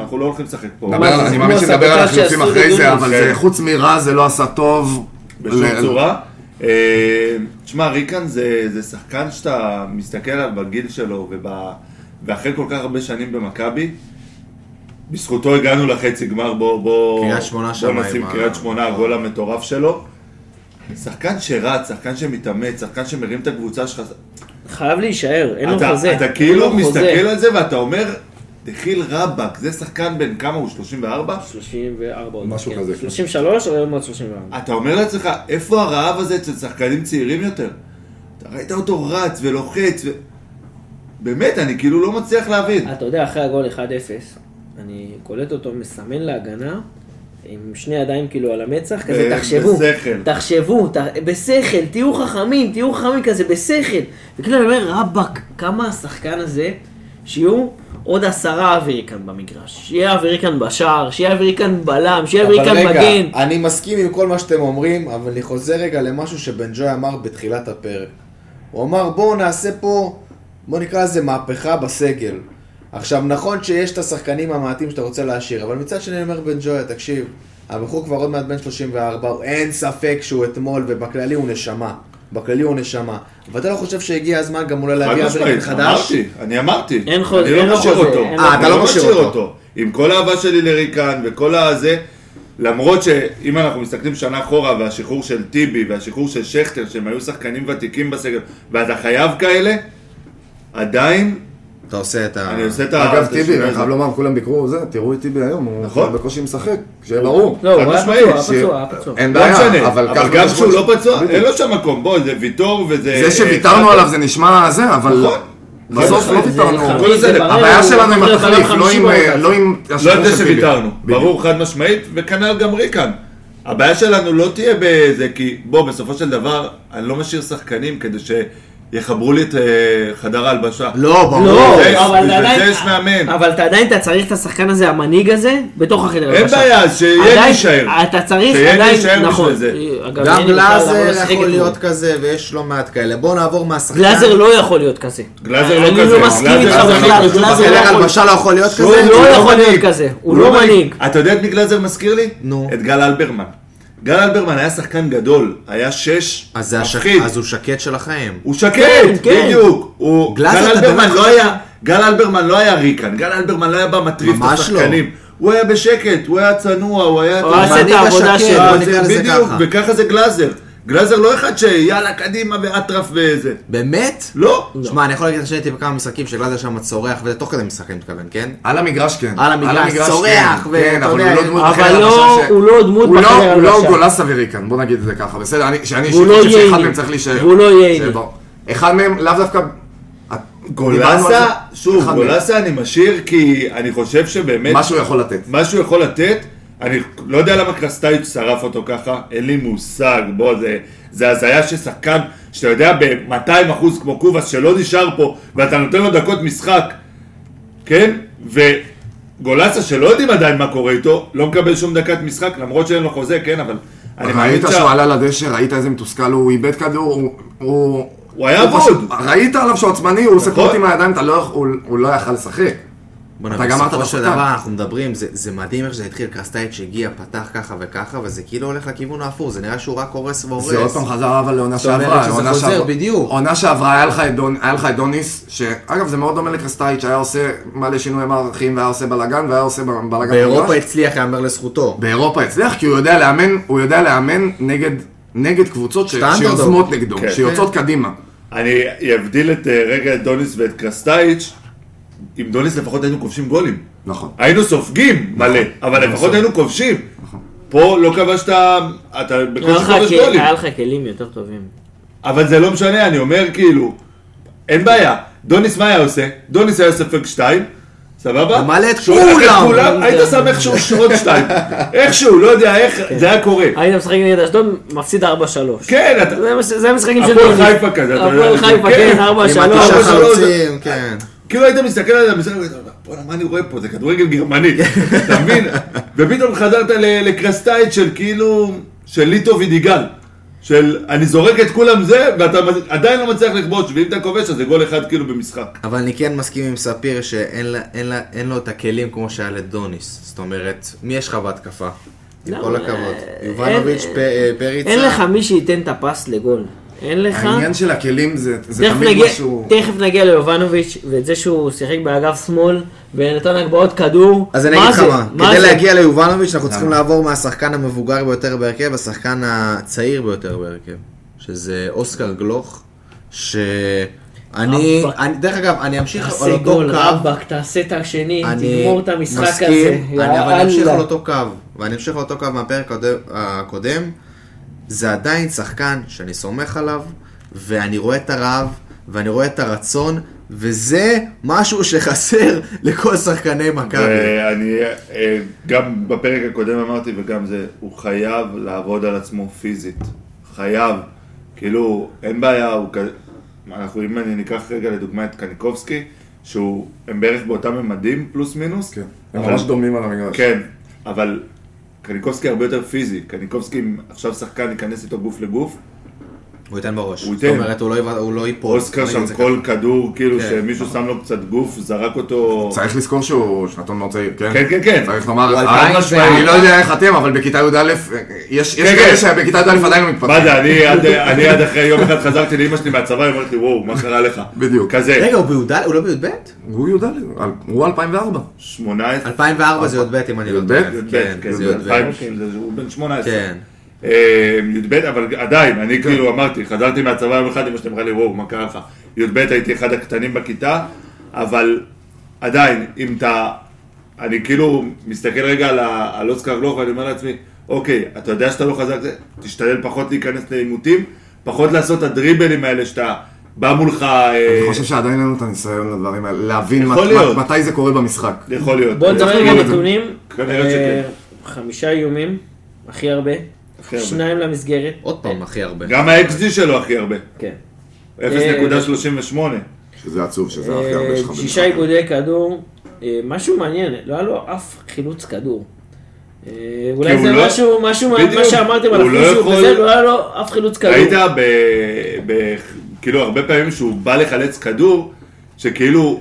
S7: אנחנו לא הולכים לשחק פה.
S5: נדבר על- אני מאמין
S6: כמו
S5: שנדבר על
S6: הסרטוטה
S5: החילופים
S6: שעשו
S5: אחרי זה,
S6: בדונבאס.
S5: אבל
S7: כן.
S5: זה- חוץ מרע זה לא עשה טוב.
S7: בשום
S5: ל-
S7: צורה. אה, תשמע, ריקן זה, זה שחקן שאתה מסתכל עליו בגיל שלו, וב, ואחרי כל כך הרבה שנים במכבי, בזכותו הגענו לחצי גמר, בוא, בוא,
S1: קריית שמונה
S7: בוא
S1: שם
S7: נשים
S1: עם ה-
S7: קריית שמונה, הגול המטורף שלו. שחקן שרץ, שחקן שמתאמץ, שחקן שמרים את הקבוצה שלך.
S6: חייב להישאר, אין לו
S7: אתה,
S6: חוזה.
S7: אתה
S6: אין
S7: כאילו
S6: לו
S7: מסתכל
S6: חוזה.
S7: על זה ואתה אומר, דחיל רבאק, זה שחקן בן כמה הוא? 34?
S6: 34 עוד,
S5: משהו
S6: כן.
S5: כזה, כן.
S6: 33 או עוד מעט 34.
S7: אתה אומר לעצמך, איפה הרעב הזה אצל שחקנים צעירים יותר? אתה ראית אותו רץ ולוחץ ו... באמת, אני כאילו לא מצליח להבין.
S6: אתה יודע, אחרי הגול 1-0, אני קולט אותו, מסמן להגנה, עם שני ידיים כאילו על המצח, כזה
S7: ב-
S6: תחשבו,
S7: אה, בשכל.
S6: תחשבו, ת... בשכל, תהיו חכמים, תהיו חכמים כזה, בשכל. וכאילו אני אומר, רבאק, כמה השחקן הזה, שיהיו עוד עשרה אוויריקן במגרש, שיהיה אוויריקן בשער, שיהיה אוויריקן בלם, שיהיה
S8: אבל
S6: אוויריקן
S8: רגע,
S6: מגן.
S8: אני מסכים עם כל מה שאתם אומרים, אבל אני חוזר רגע למשהו שבן ג'וי אמר בתחילת הפרק. הוא אמר, בואו נעשה פה, בואו נקרא לזה מהפכה בסגל. עכשיו, נכון שיש את השחקנים המעטים שאתה רוצה להשאיר, אבל מצד שני אני אומר, בן ג'וי, תקשיב, הבחור כבר עוד מעט בן 34, הוא- אין ספק שהוא אתמול, ובכללי הוא נשמה. בכללי הוא נשמה. ואתה לא חושב שהגיע הזמן גם אולי
S7: חד
S8: להביא אוויריקן
S7: משמעית,
S8: חדש?
S7: אמרתי, אני אמרתי.
S6: אין חוזה,
S7: אני
S6: אין
S7: לא
S6: לו
S7: משאיר
S6: חוזה,
S7: אותו.
S6: אין לו
S7: אני
S8: אה, אתה לא משאיר אותו.
S7: עם כל האהבה שלי לריקן וכל הזה, למרות שאם אנחנו מסתכלים שנה אחורה והשחרור של טיבי והשחרור של שכטר, שהם היו שחקנים ותיקים בסגל, ואתה חייב כאלה, עדיין
S1: אתה עושה את ה...
S7: אני עושה את ה...
S5: אגב,
S7: את
S5: טיבי,
S7: השינוי
S5: אני
S7: הזה.
S5: חייב לומר, כולם ביקרו זה, תראו את טיבי היום, הוא
S7: נכון.
S5: כבר בקושי משחק, שיהיה ברור.
S6: לא, הוא היה
S7: משמעית,
S6: פצוע, היה
S5: ש-
S6: פצוע, היה פצוע.
S5: אין
S7: לא משנה,
S5: בעיה,
S7: אבל,
S5: ככה
S7: גם
S5: זה
S7: כשהוא
S5: יכול-
S7: לא פצוע,
S5: בדיוק.
S7: אין לו שם מקום, בוא, זה ויטור וזה...
S5: זה שוויתרנו
S7: אה,
S5: עליו זה נשמע זה, אבל
S7: נכון.
S5: בסוף
S7: זה-
S5: לא
S7: זה-
S5: ויתרנו.
S7: זה-
S6: חמישי,
S7: זה-
S6: זה ברור,
S5: הבעיה
S6: הוא
S5: שלנו עם
S6: צריך להיות
S5: התחליף, לא
S6: חמישי
S5: עם,
S6: בעונה.
S5: אה, לא עם
S7: לא
S5: השחרור
S7: את זה
S5: של טיבי.
S7: שוויתרנו,
S5: בדיוק.
S7: ברור, חד משמעית, וכנ"ל גם ריקן. הבעיה שלנו לא תהיה בזה, כי בוא, בסופו של דבר, אני לא משאיר שחקנים כדי שיחברו לי את אה, חדר ההלבשה.
S5: לא, ברור.
S6: לא,
S7: זה-
S6: אבל
S7: בשביל
S6: עדיין,
S7: זה יש מאמן.
S6: אבל אתה עדיין אתה צריך את השחקן הזה, המנהיג הזה, בתוך החדר.
S7: אין
S6: הלבשה.
S7: בעיה, אז שיהיה
S6: עדיין-
S7: להישאר.
S6: אתה צריך
S7: שיהיה
S6: עדיין,
S7: להישאר בשביל
S6: נכון.
S7: זה.
S6: אגב,
S1: גם
S6: אין לי בכלל למה
S1: גלאזר
S6: לשחק
S1: יכול
S6: אתמול.
S1: להיות כזה, ויש לא מעט כאלה. בואו נעבור מהשחקן.
S6: גלאזר לא יכול להיות כזה.
S7: גלאזר לא
S6: אני
S7: כזה.
S6: לא מסכים איתך
S7: גלאזר לא
S6: בכלל,
S7: כזה.
S6: גלאזר לא
S1: חדר
S6: יכול.
S1: הלבשה לא יכול להיות
S6: הוא
S1: כזה?
S6: לא יכול להיות
S7: מנהיג.
S6: כזה, הוא לא מנהיג.
S7: אתה יודע את מי גלאזר מזכיר לי?
S1: נו.
S7: את גל אלברמן. גל אלברמן היה שחקן גדול, היה שש,
S1: אז זה השק-
S7: מפחיד.
S1: אז הוא שקט של החיים.
S7: הוא שקט,
S6: כן, כן.
S7: בדיוק. הוא... גל
S1: גלאזר, אתה
S7: אלברמן
S1: באמת
S7: לא
S1: חושב-
S7: היה, גל אלברמן לא היה ריקן, גל אלברמן לא היה בא מטריף את
S1: ממש לא.
S7: השחקנים. הוא היה בשקט, הוא היה צנוע, הוא היה...
S6: הוא עשה את
S1: מנהיג
S6: העבודה
S1: השקט,
S6: שלו.
S1: בוא
S7: אה,
S1: נקרא
S7: זה-
S1: לזה
S7: בדיוק,
S1: ככה.
S7: וככה זה גלאזר. גלאזר לא אחד שיאללה קדימה ואטרף וזה.
S1: באמת?
S7: לא.
S1: שמע, אני יכול להגיד לך שאני הייתי בכמה משחקים שגלאזר שם צורח, וזה תוך כדי משחק, אני מתכוון, כן?
S5: על המגרש כן.
S1: על המגרש, צורח,
S5: כן,
S1: ואתה
S5: כן, אבל
S1: יודע,
S5: הוא לא דמות
S6: אבל
S5: בחדר
S6: לא-
S5: הלבשה ש-
S6: הוא לא דמות
S5: הוא לא-
S6: בחדר
S5: הוא לא
S6: הלבשה.
S5: גולס אוויריקן, בוא נגיד את זה ככה, בסדר? אני- שאני
S6: והוא
S5: אישית
S6: לא
S5: חושב
S6: יהיה
S5: שאחד
S6: איני.
S5: מהם צריך להישאר.
S6: והוא לא יהיה איני.
S5: זה ברור. אחד מהם לאו דווקא... דיברנו על זה.
S7: גולסה, שוב,
S5: אחד
S7: גולסה אני משאיר כי אני חושב שבאמת...
S5: מהם. מה שהוא יכול לתת.
S7: מה שהוא יכול לתת, אני לא יודע למה קרסטייץ' שרף אותו ככה, אין לי מושג, בוא, זה, זה הזיה ששחקן, שאתה יודע ב-200 אחוז כמו קובאס שלא נשאר פה, ואתה נותן לו דקות משחק, כן? וגולסה שלא יודעים עדיין מה קורה איתו, לא מקבל שום דקת משחק, למרות שאין לו חוזה, כן, אבל... אני מאמין
S5: ראית
S7: שה-
S5: שהוא עלה לדשא, ראית איזה מתוסכל הוא, הוא איבד כדור, הוא... הוא
S7: הוא היה
S5: פשוט-
S7: אבוד.
S5: ראית עליו שהוא עצמני, הוא עושה
S7: נכון.
S5: פרוט עם הידיים, אתה לא יכול- הוא הוא לא יכל לשחק.
S1: בוא'נה,
S5: אתה גם אמרת
S1: בסופו של
S5: בשחקן.
S1: דבר אנחנו מדברים, זה, זה מדהים איך שזה התחיל, קרסטייץ' הגיע, פתח ככה וככה, וזה כאילו הולך לכיוון ההפוך, זה נראה שהוא רק הורס והורס.
S5: זה עוד פעם חזר אבל לעונה
S1: זאת אומרת
S5: שעברה.
S1: שזה
S5: עונה
S1: חוזר,
S5: שעברה-
S1: בדיוק.
S5: עונה שעברה היה לך את דון- היה לך את דוניס, שאגב זה מאוד דומה לקרסטייץ', שהיה עושה מלא שינוי מערכים והיה עושה בלאגן והיה עושה ב- בלאגן.
S1: באירופה
S5: במגרש.
S1: הצליח, יאמר לזכותו.
S5: באירופה הצליח, כי הוא יודע לאמן, הוא יודע לאמן נגד, נגד קבוצות ש-
S1: סטנדרט.
S5: שיוזמות נגדו,
S7: כן.
S5: שיוצאות קדימה.
S7: אני אבדיל את אה, רגע את דוניס ואת קרסטייץ', עם דוניס לפחות היינו כובשים גולים.
S5: נכון.
S7: היינו סופגים מלא, אבל
S5: נכון.
S7: לפחות היינו כובשים. פה לא כבשת, אתה
S6: היה
S7: בקושי
S6: לך
S7: כובש
S6: כל-
S7: גולים.
S6: היה לך כלים יותר טובים.
S7: אבל זה לא משנה, אני אומר כאילו, אין בעיה. דוניס מה היה עושה? דוניס היה ספק שתיים, סבבה?
S1: הוא מעלה את
S7: שהוא הולך
S1: כולם.
S7: היית שם איכשהו שרות שתיים. איכשהו, לא יודע איך, זה היה קורה.
S6: היית משחק נגד אשדוד, מפסיד 4-3.
S7: כן, אתה...
S6: זה מה ש- זה המשחקים של
S7: הפועל
S6: דוניס.
S7: חיפה כזה, אתה
S6: הפועל
S7: יודע,
S6: חיפה,
S7: כן.
S6: כן, 4-3.
S1: עם התשעה
S7: אבל שלא-
S1: חלוצים, כן.
S7: כאילו היית מסתכל על המשחק ואתה אומר, בואנה, מה אני רואה פה? זה כדורגל גרמני, אתה מבין? ופתאום חזרת ל- לקרסטייט של כאילו, של ליטו וידיגל. של אני זורק את כולם זה, ואתה עדיין לא מצליח לכבוש, ואם אתה כובש אז זה גול אחד כאילו במשחק.
S1: אבל אני כן מסכים עם ספיר שאין לה- אין לה- אין לו את הכלים כמו שהיה לדוניס. זאת אומרת, מי יש לך בהתקפה? עם
S6: לא,
S1: כל
S6: אה,
S1: הכבוד.
S6: אין-
S1: יובנוביץ', פ- אה, פריצה.
S6: אין לך מי שייתן את הפס לגול. אין לך.
S5: העניין של הכלים זה זה
S6: אה, תכף
S5: תמיד
S6: נגיע,
S5: משהו...
S6: תכף נגיע ליובנוביץ', ואת זה שהוא שיחק באגף שמאל, ונתן הגבהות כדור.
S1: אז אני
S6: מה
S1: אגיד לך
S6: זה?
S1: מה, כדי
S6: זה?
S1: להגיע ליובנוביץ' אנחנו צריכים לעבור מהשחקן המבוגר ביותר בהרכב לשחקן הצעיר ביותר בהרכב, שזה אוסקר גלוך, שאני,
S6: רבאק.
S1: אני- דרך אגב, אני אמשיך על
S6: תעשה
S1: אותו
S6: גול,
S1: קו,
S6: רבאק, תעשה את השני,
S1: אני
S6: תגמור את המשחק הזה.
S1: מסכים,
S6: יא
S1: אני- אבל אני אמשיך לא- על
S6: אללה.
S1: אותו קו, ואני אמשיך על אותו קו מהפרק הקודם- הקודם, זה עדיין שחקן שאני סומך עליו, ואני רואה את הרעב, ואני רואה את הרצון, וזה משהו שחסר לכל שחקני מכבי.
S7: אני אה, גם בפרק הקודם אמרתי וגם זה, הוא חייב לעבוד על עצמו פיזית. חייב. כאילו, אין בעיה, הוא כזה... אנחנו, אם אני ניקח רגע לדוגמה את קניקובסקי, שהוא, הם בערך באותם ממדים, פלוס מינוס.
S5: כן. הם ממש דומים על המגרש.
S7: כן, אבל קניקובסקי הרבה יותר פיזי. קניקובסקי, אם עכשיו שחקן ייכנס איתו גוף לגוף,
S1: הוא ייתן בראש.
S7: הוא
S1: זאת
S7: ייתן.
S1: אומרת, הוא לא, יבע- הוא לא ייפול.
S7: אוסקר
S1: נגיד
S7: שם
S1: זה
S7: כל כדור, כאילו,
S1: כן,
S7: שמישהו שם לו קצת גוף, זרק אותו...
S5: צריך לזכור שהוא שנתון מאוד צעיר, כן?
S7: כן, כן, כן.
S5: צריך לומר,
S1: הוא
S5: אה,
S1: עדיין זה-
S5: אני לא יודע איך אתם, אבל בכיתה י"א, אה, יש יש
S7: כן,
S5: כאלה
S7: כן.
S5: שבכיתה י"א עדיין לא מתפתחים.
S7: מה זה, אני עד- אני עד אחרי יום אחד חזרתי לאמא שלי מהצבא, היא אומרת לי, וואו, מה קרה לך?
S5: בדיוק.
S1: ככה.
S7: כזה,
S1: רגע, הוא בי"ד? הוא לא בי"ב?
S5: הוא י"א, הוא 2004.
S7: 18,
S1: 2004 זה י"ב אם אני לא
S5: י"ב?
S1: טועה.
S7: אוקיי. י"ב,
S1: כן,
S7: כן,
S1: זה
S7: זה
S1: י"ב.
S7: 2000, זה- הוא בן 18.
S1: כן.
S7: אה, י"ב, אבל עדיין, אני
S5: כן.
S7: כאילו אמרתי, חזרתי מהצבא יום אחד, אמא שלי אמרה לי, וואו, מה קרה לך? י"ב הייתי אחד הקטנים בכיתה, אבל עדיין, אם אתה... אני כאילו מסתכל רגע על ה- על אוסקר גלוך ואני אומר לעצמי, אוקיי, אתה יודע שאתה לא חזק, תשתדל פחות להיכנס לעימותים, פחות לעשות את הדריבלים האלה שאתה בא מולך... אה,
S5: אני חושב שעדיין אין לנו את הניסיון לדברים האלה, להבין
S7: יכול
S5: מת-
S7: להיות.
S5: מתי זה קורה במשחק.
S7: יכול להיות.
S6: בוא נדבר
S5: צריך
S6: עם
S1: לא-
S5: לראות את זה.
S6: הנתונים.
S7: כנראה שכן.
S6: אה, חמישה איומים, הכי הרבה.
S7: הכי הרבה.
S6: שניים למסגרת.
S1: עוד פעם, הכי הרבה.
S7: גם ה-XG שלו הכי הרבה,
S6: כן.
S7: 0.38.
S5: שזה עצוב, שזה הכי הרבה שלך.
S6: אה, שישה איגודי כדור. אה, משהו מעניין, לא היה לו אף חילוץ כדור. אה, אולי
S7: הוא
S6: זה
S7: לא-
S6: משהו, משהו מה- מה
S7: בדיוק.
S6: שאמרתם על
S7: הוא לא
S6: הפיזיות
S7: יכול-
S6: וזה, לא היה לו אף חילוץ כדור.
S7: ראית ב... ב... כאילו הרבה פעמים שהוא בא לחלץ כדור, שכאילו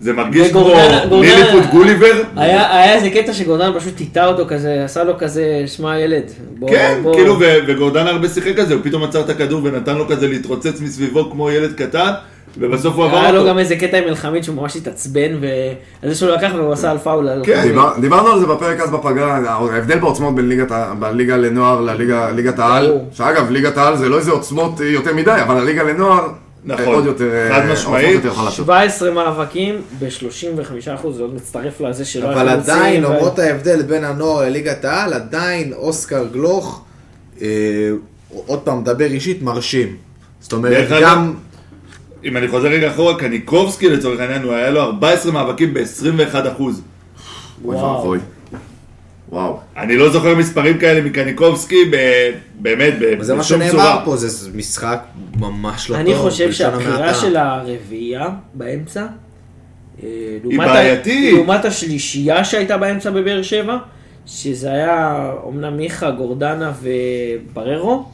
S7: זה מרגיש כמו
S6: וגורדנה- גורדנה-
S7: נילי פוט גוליבר.
S6: היה היה איזה קטע שגורדן פשוט טיטה אותו כזה, עשה לו כזה, שמע ילד. בוא-
S7: כן,
S6: בוא."
S7: כאילו, ו- וגורדן הרבה שיחק על זה, הוא פתאום עצר את הכדור ונתן לו כזה להתרוצץ מסביבו כמו ילד קטן, ובסוף הוא עבר
S6: היה לו
S7: אותו.
S6: גם איזה קטע עם אלחמיד שהוא ממש התעצבן, ועל זה שהוא לקח והוא עשה על פאול. על
S7: כן,
S6: אלחמיד.
S5: דיבר- דיברנו על זה בפרק אז בפגרה, ההבדל בעוצמות בין ליגת ה- בליגה לנוער לליגה- ליגת העל,
S6: ברור.
S5: שאגב, ליגת העל זה לא איזה עוצמות אה, יותר מדי, אבל הליגה לנוער,
S7: נכון.
S5: אה, עוד יותר, אה,
S7: חד
S5: עוצמות
S7: משמעית.
S5: יותר חלשות.
S6: 17 מאבקים ב-35 אחוז, זה עוד מצטרף לזה שלא
S1: אבל
S6: היה חלוצים,
S1: עדיין,
S6: וה-
S1: למרות ההבדל בין הנוער לליגת העל, עדיין אוסקר גלוך, אה, עוד פעם, מדבר אישית, מרשים. זאת אומרת,
S7: דרך אגב-
S1: גם...
S7: אם אני חוזר רגע אחורה, קניקובסקי לצורך העניין, הוא היה לו 14 מאבקים ב-21 אחוז.
S5: אוי
S6: וואו.
S5: ואבוי. וואו.
S7: אני לא זוכר מספרים כאלה מקניקובסקי, ב- באמת, ב- בשום צורה.
S1: זה מה שנאמר פה, זה משחק ממש לא טוב.
S6: אני חושב
S1: בלשון
S6: שהבחירה
S1: המעטה.
S6: של הרביעייה באמצע, אה, לעומת ה-
S7: בעייתית.
S6: לעומת השלישייה שהייתה באמצע בבאר שבע, שזה היה אומנם מיכה, גורדנה ובררו,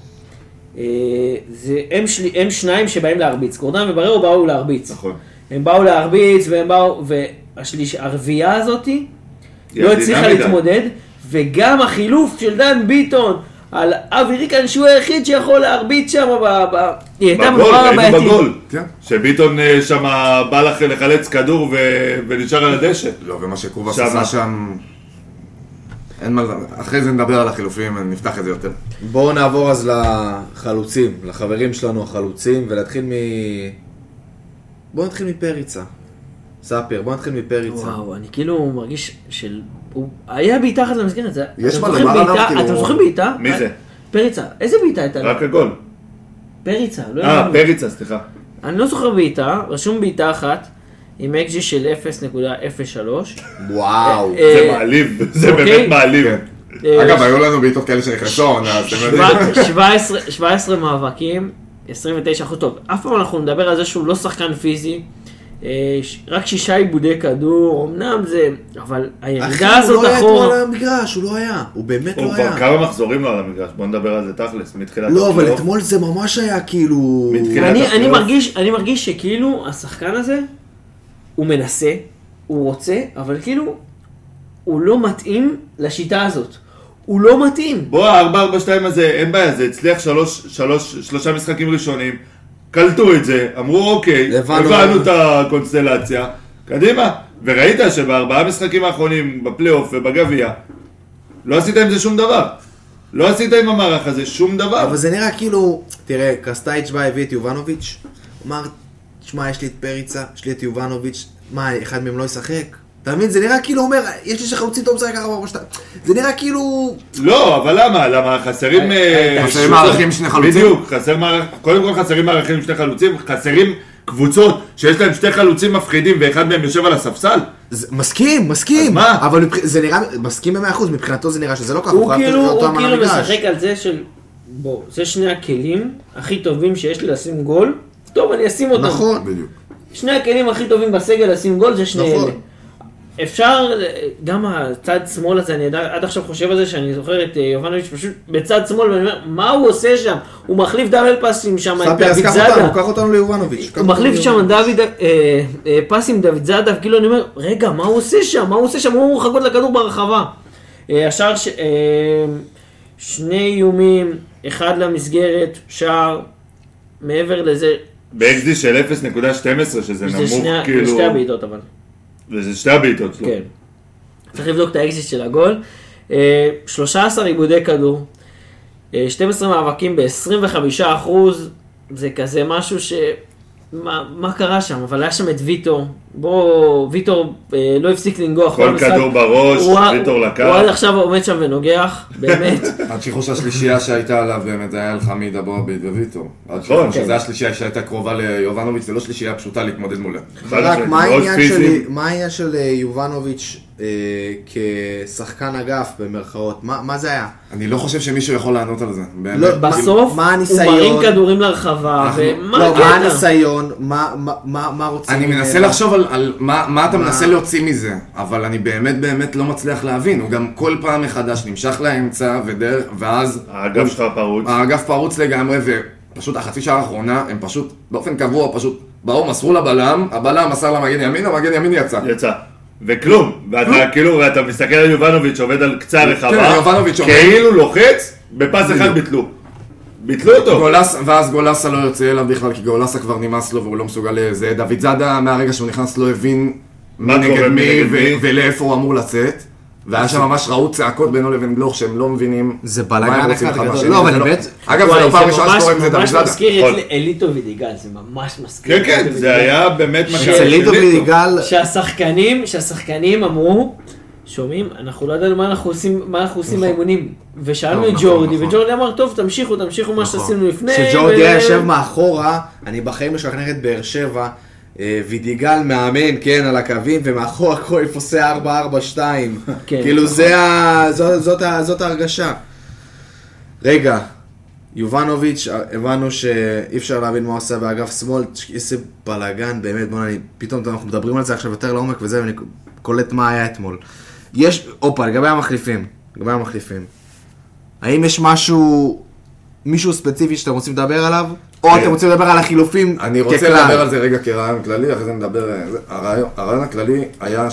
S6: אה, זה הם, של... הם שניים שבאים להרביץ, גורדנה ובררו באו להרביץ.
S7: נכון.
S6: הם באו להרביץ, והם באו, והרביעייה הזאתי,
S7: היא
S6: לא
S7: עדינה
S6: הצליחה
S7: מדי.
S6: להתמודד, וגם החילוף של דן ביטון על אבי ריקן, שהוא היחיד שיכול להרביץ שם, ב... ב... היא הייתה
S7: בגול,
S6: נורא
S7: ראינו
S6: בעייתית.
S7: בגול.
S5: כן.
S7: שביטון אה, שם בא לך לחלץ כדור ו- ונשאר על הדשא.
S5: לא, ומה שקובס
S7: שמה.
S5: עשה שם... אין מה לדבר. אחרי זה נדבר על החילופים, נפתח את זה יותר.
S1: בואו נעבור אז לחלוצים, לחברים שלנו החלוצים, ולהתחיל מ... בואו נתחיל מפריצה. ספיר, בואו נתחיל מפריצה.
S6: וואו, אני כאילו מרגיש של הוא היה בעיטה אחת למסגרת, זה-
S5: יש
S6: אתה
S5: מה
S6: זוכר
S5: לומר עליו,
S6: בעיטה-
S5: כאילו-
S6: אתה זוכר בעיטה?
S7: מי זה?
S6: פריצה. איזה בעיטה הייתה? לו?
S7: רק הגול.
S6: פריצה. לא
S7: אה,
S6: יודע.
S7: פריצה, סליחה.
S6: אני לא זוכר בעיטה, רשום בעיטה אחת, עם אקג'י של 0.03.
S1: וואו.
S7: זה
S6: אה,
S7: מעליב, זה
S6: אוקיי.
S7: באמת מעליב.
S1: כן.
S6: אה,
S5: אגב, היו לנו בעיטות כאלה שנכנסו העונה, אז אתם יודעים.
S6: שבע- 17 17 מאבקים, 29 אחוז טוב. אף פעם אנחנו נדבר על זה שהוא לא שחקן פיזי. אה, ש- רק שישה עיבודי כדור, אמנם זה, אבל
S1: אחי,
S6: הירידה
S1: הוא לא
S6: אה, הזאת
S1: היה אתמול
S6: אחורה,
S1: על המגרש, הוא לא היה. הוא באמת
S7: הוא
S1: לא
S7: כבר
S1: היה.
S7: כמה מחזורים לא על המגרש, בוא נדבר על זה תכלס, מתחילת
S1: לא, אבל
S7: הפלייאוף.
S1: אתמול זה ממש היה כאילו...
S6: אני,
S7: מתחילת הפלייאוף.
S6: אני, מרגיש, אני מרגיש שכאילו השחקן הזה, הוא מנסה, הוא רוצה, אבל כאילו, הוא לא מתאים לשיטה הזאת. הוא לא מתאים.
S7: בוא, ה-442 הזה, אין בעיה, זה הצליח שלוש, שלוש, שלושה משחקים ראשונים, קלטו את זה, אמרו אוקיי,
S1: הבנו."
S7: הבנו את הקונסטלציה, קדימה. וראית שבארבעה משחקים האחרונים, בפלייאוף ובגביע, לא עשית עם זה שום דבר. לא עשית עם המערך הזה שום דבר.
S1: אבל זה נראה כאילו, תראה, קסטייץ' בא, הביא את יובנוביץ', הוא אמר, תשמע, יש לי את פריצה, יש לי את יובנוביץ', מה, אחד מהם לא ישחק? אתה מבין? זה נראה כאילו, הוא אומר, יש לי שחלוצים טוב משחק ככה, ארבע, שתיים." זה נראה כאילו...
S7: לא, אבל למה? למה חסרים... אה,
S5: חסרים
S7: שוב,
S5: מערכים עם שני חלוצים?
S7: בדיוק, חסר מערך... קודם כל חסרים מערכים עם שני חלוצים, חסרים קבוצות שיש להם שתי חלוצים מפחידים ואחד מהם יושב על הספסל?
S1: זה- מסכים, מסכים.
S7: אז מה?
S1: אבל מבח- זה נראה, מסכים במאה אחוז, מבחינתו זה נראה שזה לא ככה,
S6: הוא
S1: חייב
S6: כאילו,
S1: לראות
S6: הוא
S1: אותם על
S6: כאילו
S1: המגרש.
S6: משחק על זה של, בוא, זה שני הכלים הכי טובים שיש לי לשים גול, טוב, אני אשים אותם.
S1: נכון.
S5: בדיוק.
S6: שני הכלים הכי טובים בסגל לשים גול זה שני
S1: נכון.
S6: אלה. אפשר, גם הצד שמאל הזה, אני עד- עד עכשיו חושב על זה שאני זוכר את אה, יובנוביץ' פשוט בצד שמאל, ואני אומר, מה הוא עושה שם? הוא מחליף דאבל פאסים שם, את
S1: ספי, אז
S6: דוד
S1: קח
S6: זאדה.
S1: אותנו, קח אותנו ליובנוביץ'. קח
S6: הוא
S1: אותנו
S6: מחליף
S1: ליובנוביץ'.
S6: שם דוד, אה, אה, פס עם דוד זאדה, כאילו אני אומר, רגע, מה הוא עושה שם? מה הוא עושה שם? הוא אמור לחכות לכדור ברחבה. אה, השער, ש- אה, שני איומים, אחד למסגרת, שער, מעבר לזה,
S7: באקזי של 0.12, שזה
S6: זה
S7: נמוך,
S6: שני ה- זה
S7: כאילו...
S6: שתי הבעיטות אבל.
S7: וזה שתי לא. הבעיטות שלו.
S6: כן. צריך לבדוק את האקזיט של הגול. אה, 13 עיבודי כדור, אה, 12 מאבקים ב-25 אחוז, זה כזה משהו ש... מה, מה קרה שם? אבל היה שם את ויטור. בוא, ויטור אה, לא הפסיק לנגוח.
S7: כל כדור בראש,
S6: הוא-
S7: ויטור
S6: הוא-
S7: לקח.
S6: הוא עד עכשיו עומד שם ונוגח, באמת.
S5: השחרוש השלישייה שהייתה עליו באמת זה היה אלחמיד, אבוביד וויטור.
S7: נכון.
S5: נכון. שזו השלישייה שהייתה קרובה ליובנוביץ', ולא שלישייה פשוטה להתמודד מולה.
S1: רק
S7: מאוד
S1: מה העניין
S7: פיזי.
S1: של- מה העניין של אה, יובנוביץ' אה, כשחקן אגף במרכאות? מה מה זה היה?
S5: אני לא חושב שמישהו יכול לענות על זה. באמת.
S1: לא,
S5: כאילו,
S6: בסוף,
S1: מה הניסיון?
S6: הוא מרים כדורים לרחבה, ומה
S1: לא, מה
S6: הקטע?
S1: הניסיון? מה- מה- מה מה רוצים?
S5: אני מנסה
S1: ממנו?
S5: לחשוב על, על מה, מה אתה מנסה להוציא מזה, אבל אני באמת באמת לא מצליח להבין. הוא גם כל פעם מחדש נמשך לאמצע, ודר, ואז...
S7: האגף שלך פרוץ.
S5: האגף פרוץ לגמרי, ופשוט החצי שעה האחרונה, הם פשוט, באופן קבוע, פשוט באו, מסרו לבלם, הבלם מסר למגן ימין, המגן ימין יצא.
S7: יצא. וכלום, ואתה כאילו, ואתה מסתכל על יובנוביץ' עובד על קצה
S5: אה? כן,
S7: רחבה,
S5: יובנוביץ' עובד.
S7: כאילו לוחץ, בפס אחד
S5: בדיוק.
S7: ביטלו. ביטלו אותו.
S5: גולס, ואז גולסה לא יוצא אליו בכלל, כי גולסה כבר נמאס לו והוא לא מסוגל לזה. דוד זאדה, מהרגע שהוא נכנס, לא הבין
S7: מה
S5: מי נגד
S7: קורה, מי
S5: מי
S7: נגד
S5: ו-
S7: מי.
S5: ולאיפה הוא אמור לצאת. והיה שם ממש ראו צעקות בינו לבין גלוך שהם לא מבינים
S1: זה
S5: מה הם
S1: בלאגן
S5: רוצים
S1: אחד
S5: אחד
S1: גדול.
S5: מהשני.
S1: לא, אבל
S5: זה
S1: אני באמת-
S5: אגב, זה
S6: וואי,
S5: לא פעם ראשונה
S6: ממש-
S5: שקוראים לזה דוד
S6: ממש
S5: זאדה.
S6: מזכיר את
S7: נכון.
S6: אליטו ודיגל, זה ממש מזכיר.
S7: כן,
S6: את
S7: כן,
S6: אליטו
S7: זה
S6: ודיגל.
S7: היה באמת מה
S1: אצל לידו ויגאל,
S6: שהשחקנים, שהשחקנים אמרו, שומעים, אנחנו לא ידענו מה אנחנו עושים, מה אנחנו עושים באימונים. ושאלנו
S5: נכון,
S6: את
S5: נכון,
S6: ג'ורדי,
S5: נכון.
S6: וג'ורדי אמר, טוב, תמשיכו, תמשיכו מה שעשינו לפני.
S1: כשג'ורדי
S6: ו-
S1: היה יושב מאחורה, אני בחיים משכנע את באר שבע, אה, וידיגל מאמן, כן, על הקווים, ומאחורה קרויף עושה 4-4-2.
S6: כן.
S1: כאילו זה ה... זו- זאת ה- זאת ההרגשה. רגע, יובנוביץ', הבנו שאי אפשר להבין מה הוא עשה באגף שמאל, תש- איזה בלאגן, באמת, בוא'נה, אני- פתאום אנחנו מדברים על זה עכשיו יותר לעומק וזה, ואני קולט מה היה אתמול. יש, הופה, לגבי המחליפים, לגבי המחליפים. האם יש משהו, מישהו ספציפי שאתם רוצים לדבר עליו? או
S5: כן.
S1: אתם רוצים לדבר על החילופים
S5: אני רוצה
S1: ככלל?
S5: לדבר על זה רגע כרעיון כללי, אחרי זה נדבר... אה, זה- הרעיון- הרעיון הכללי היה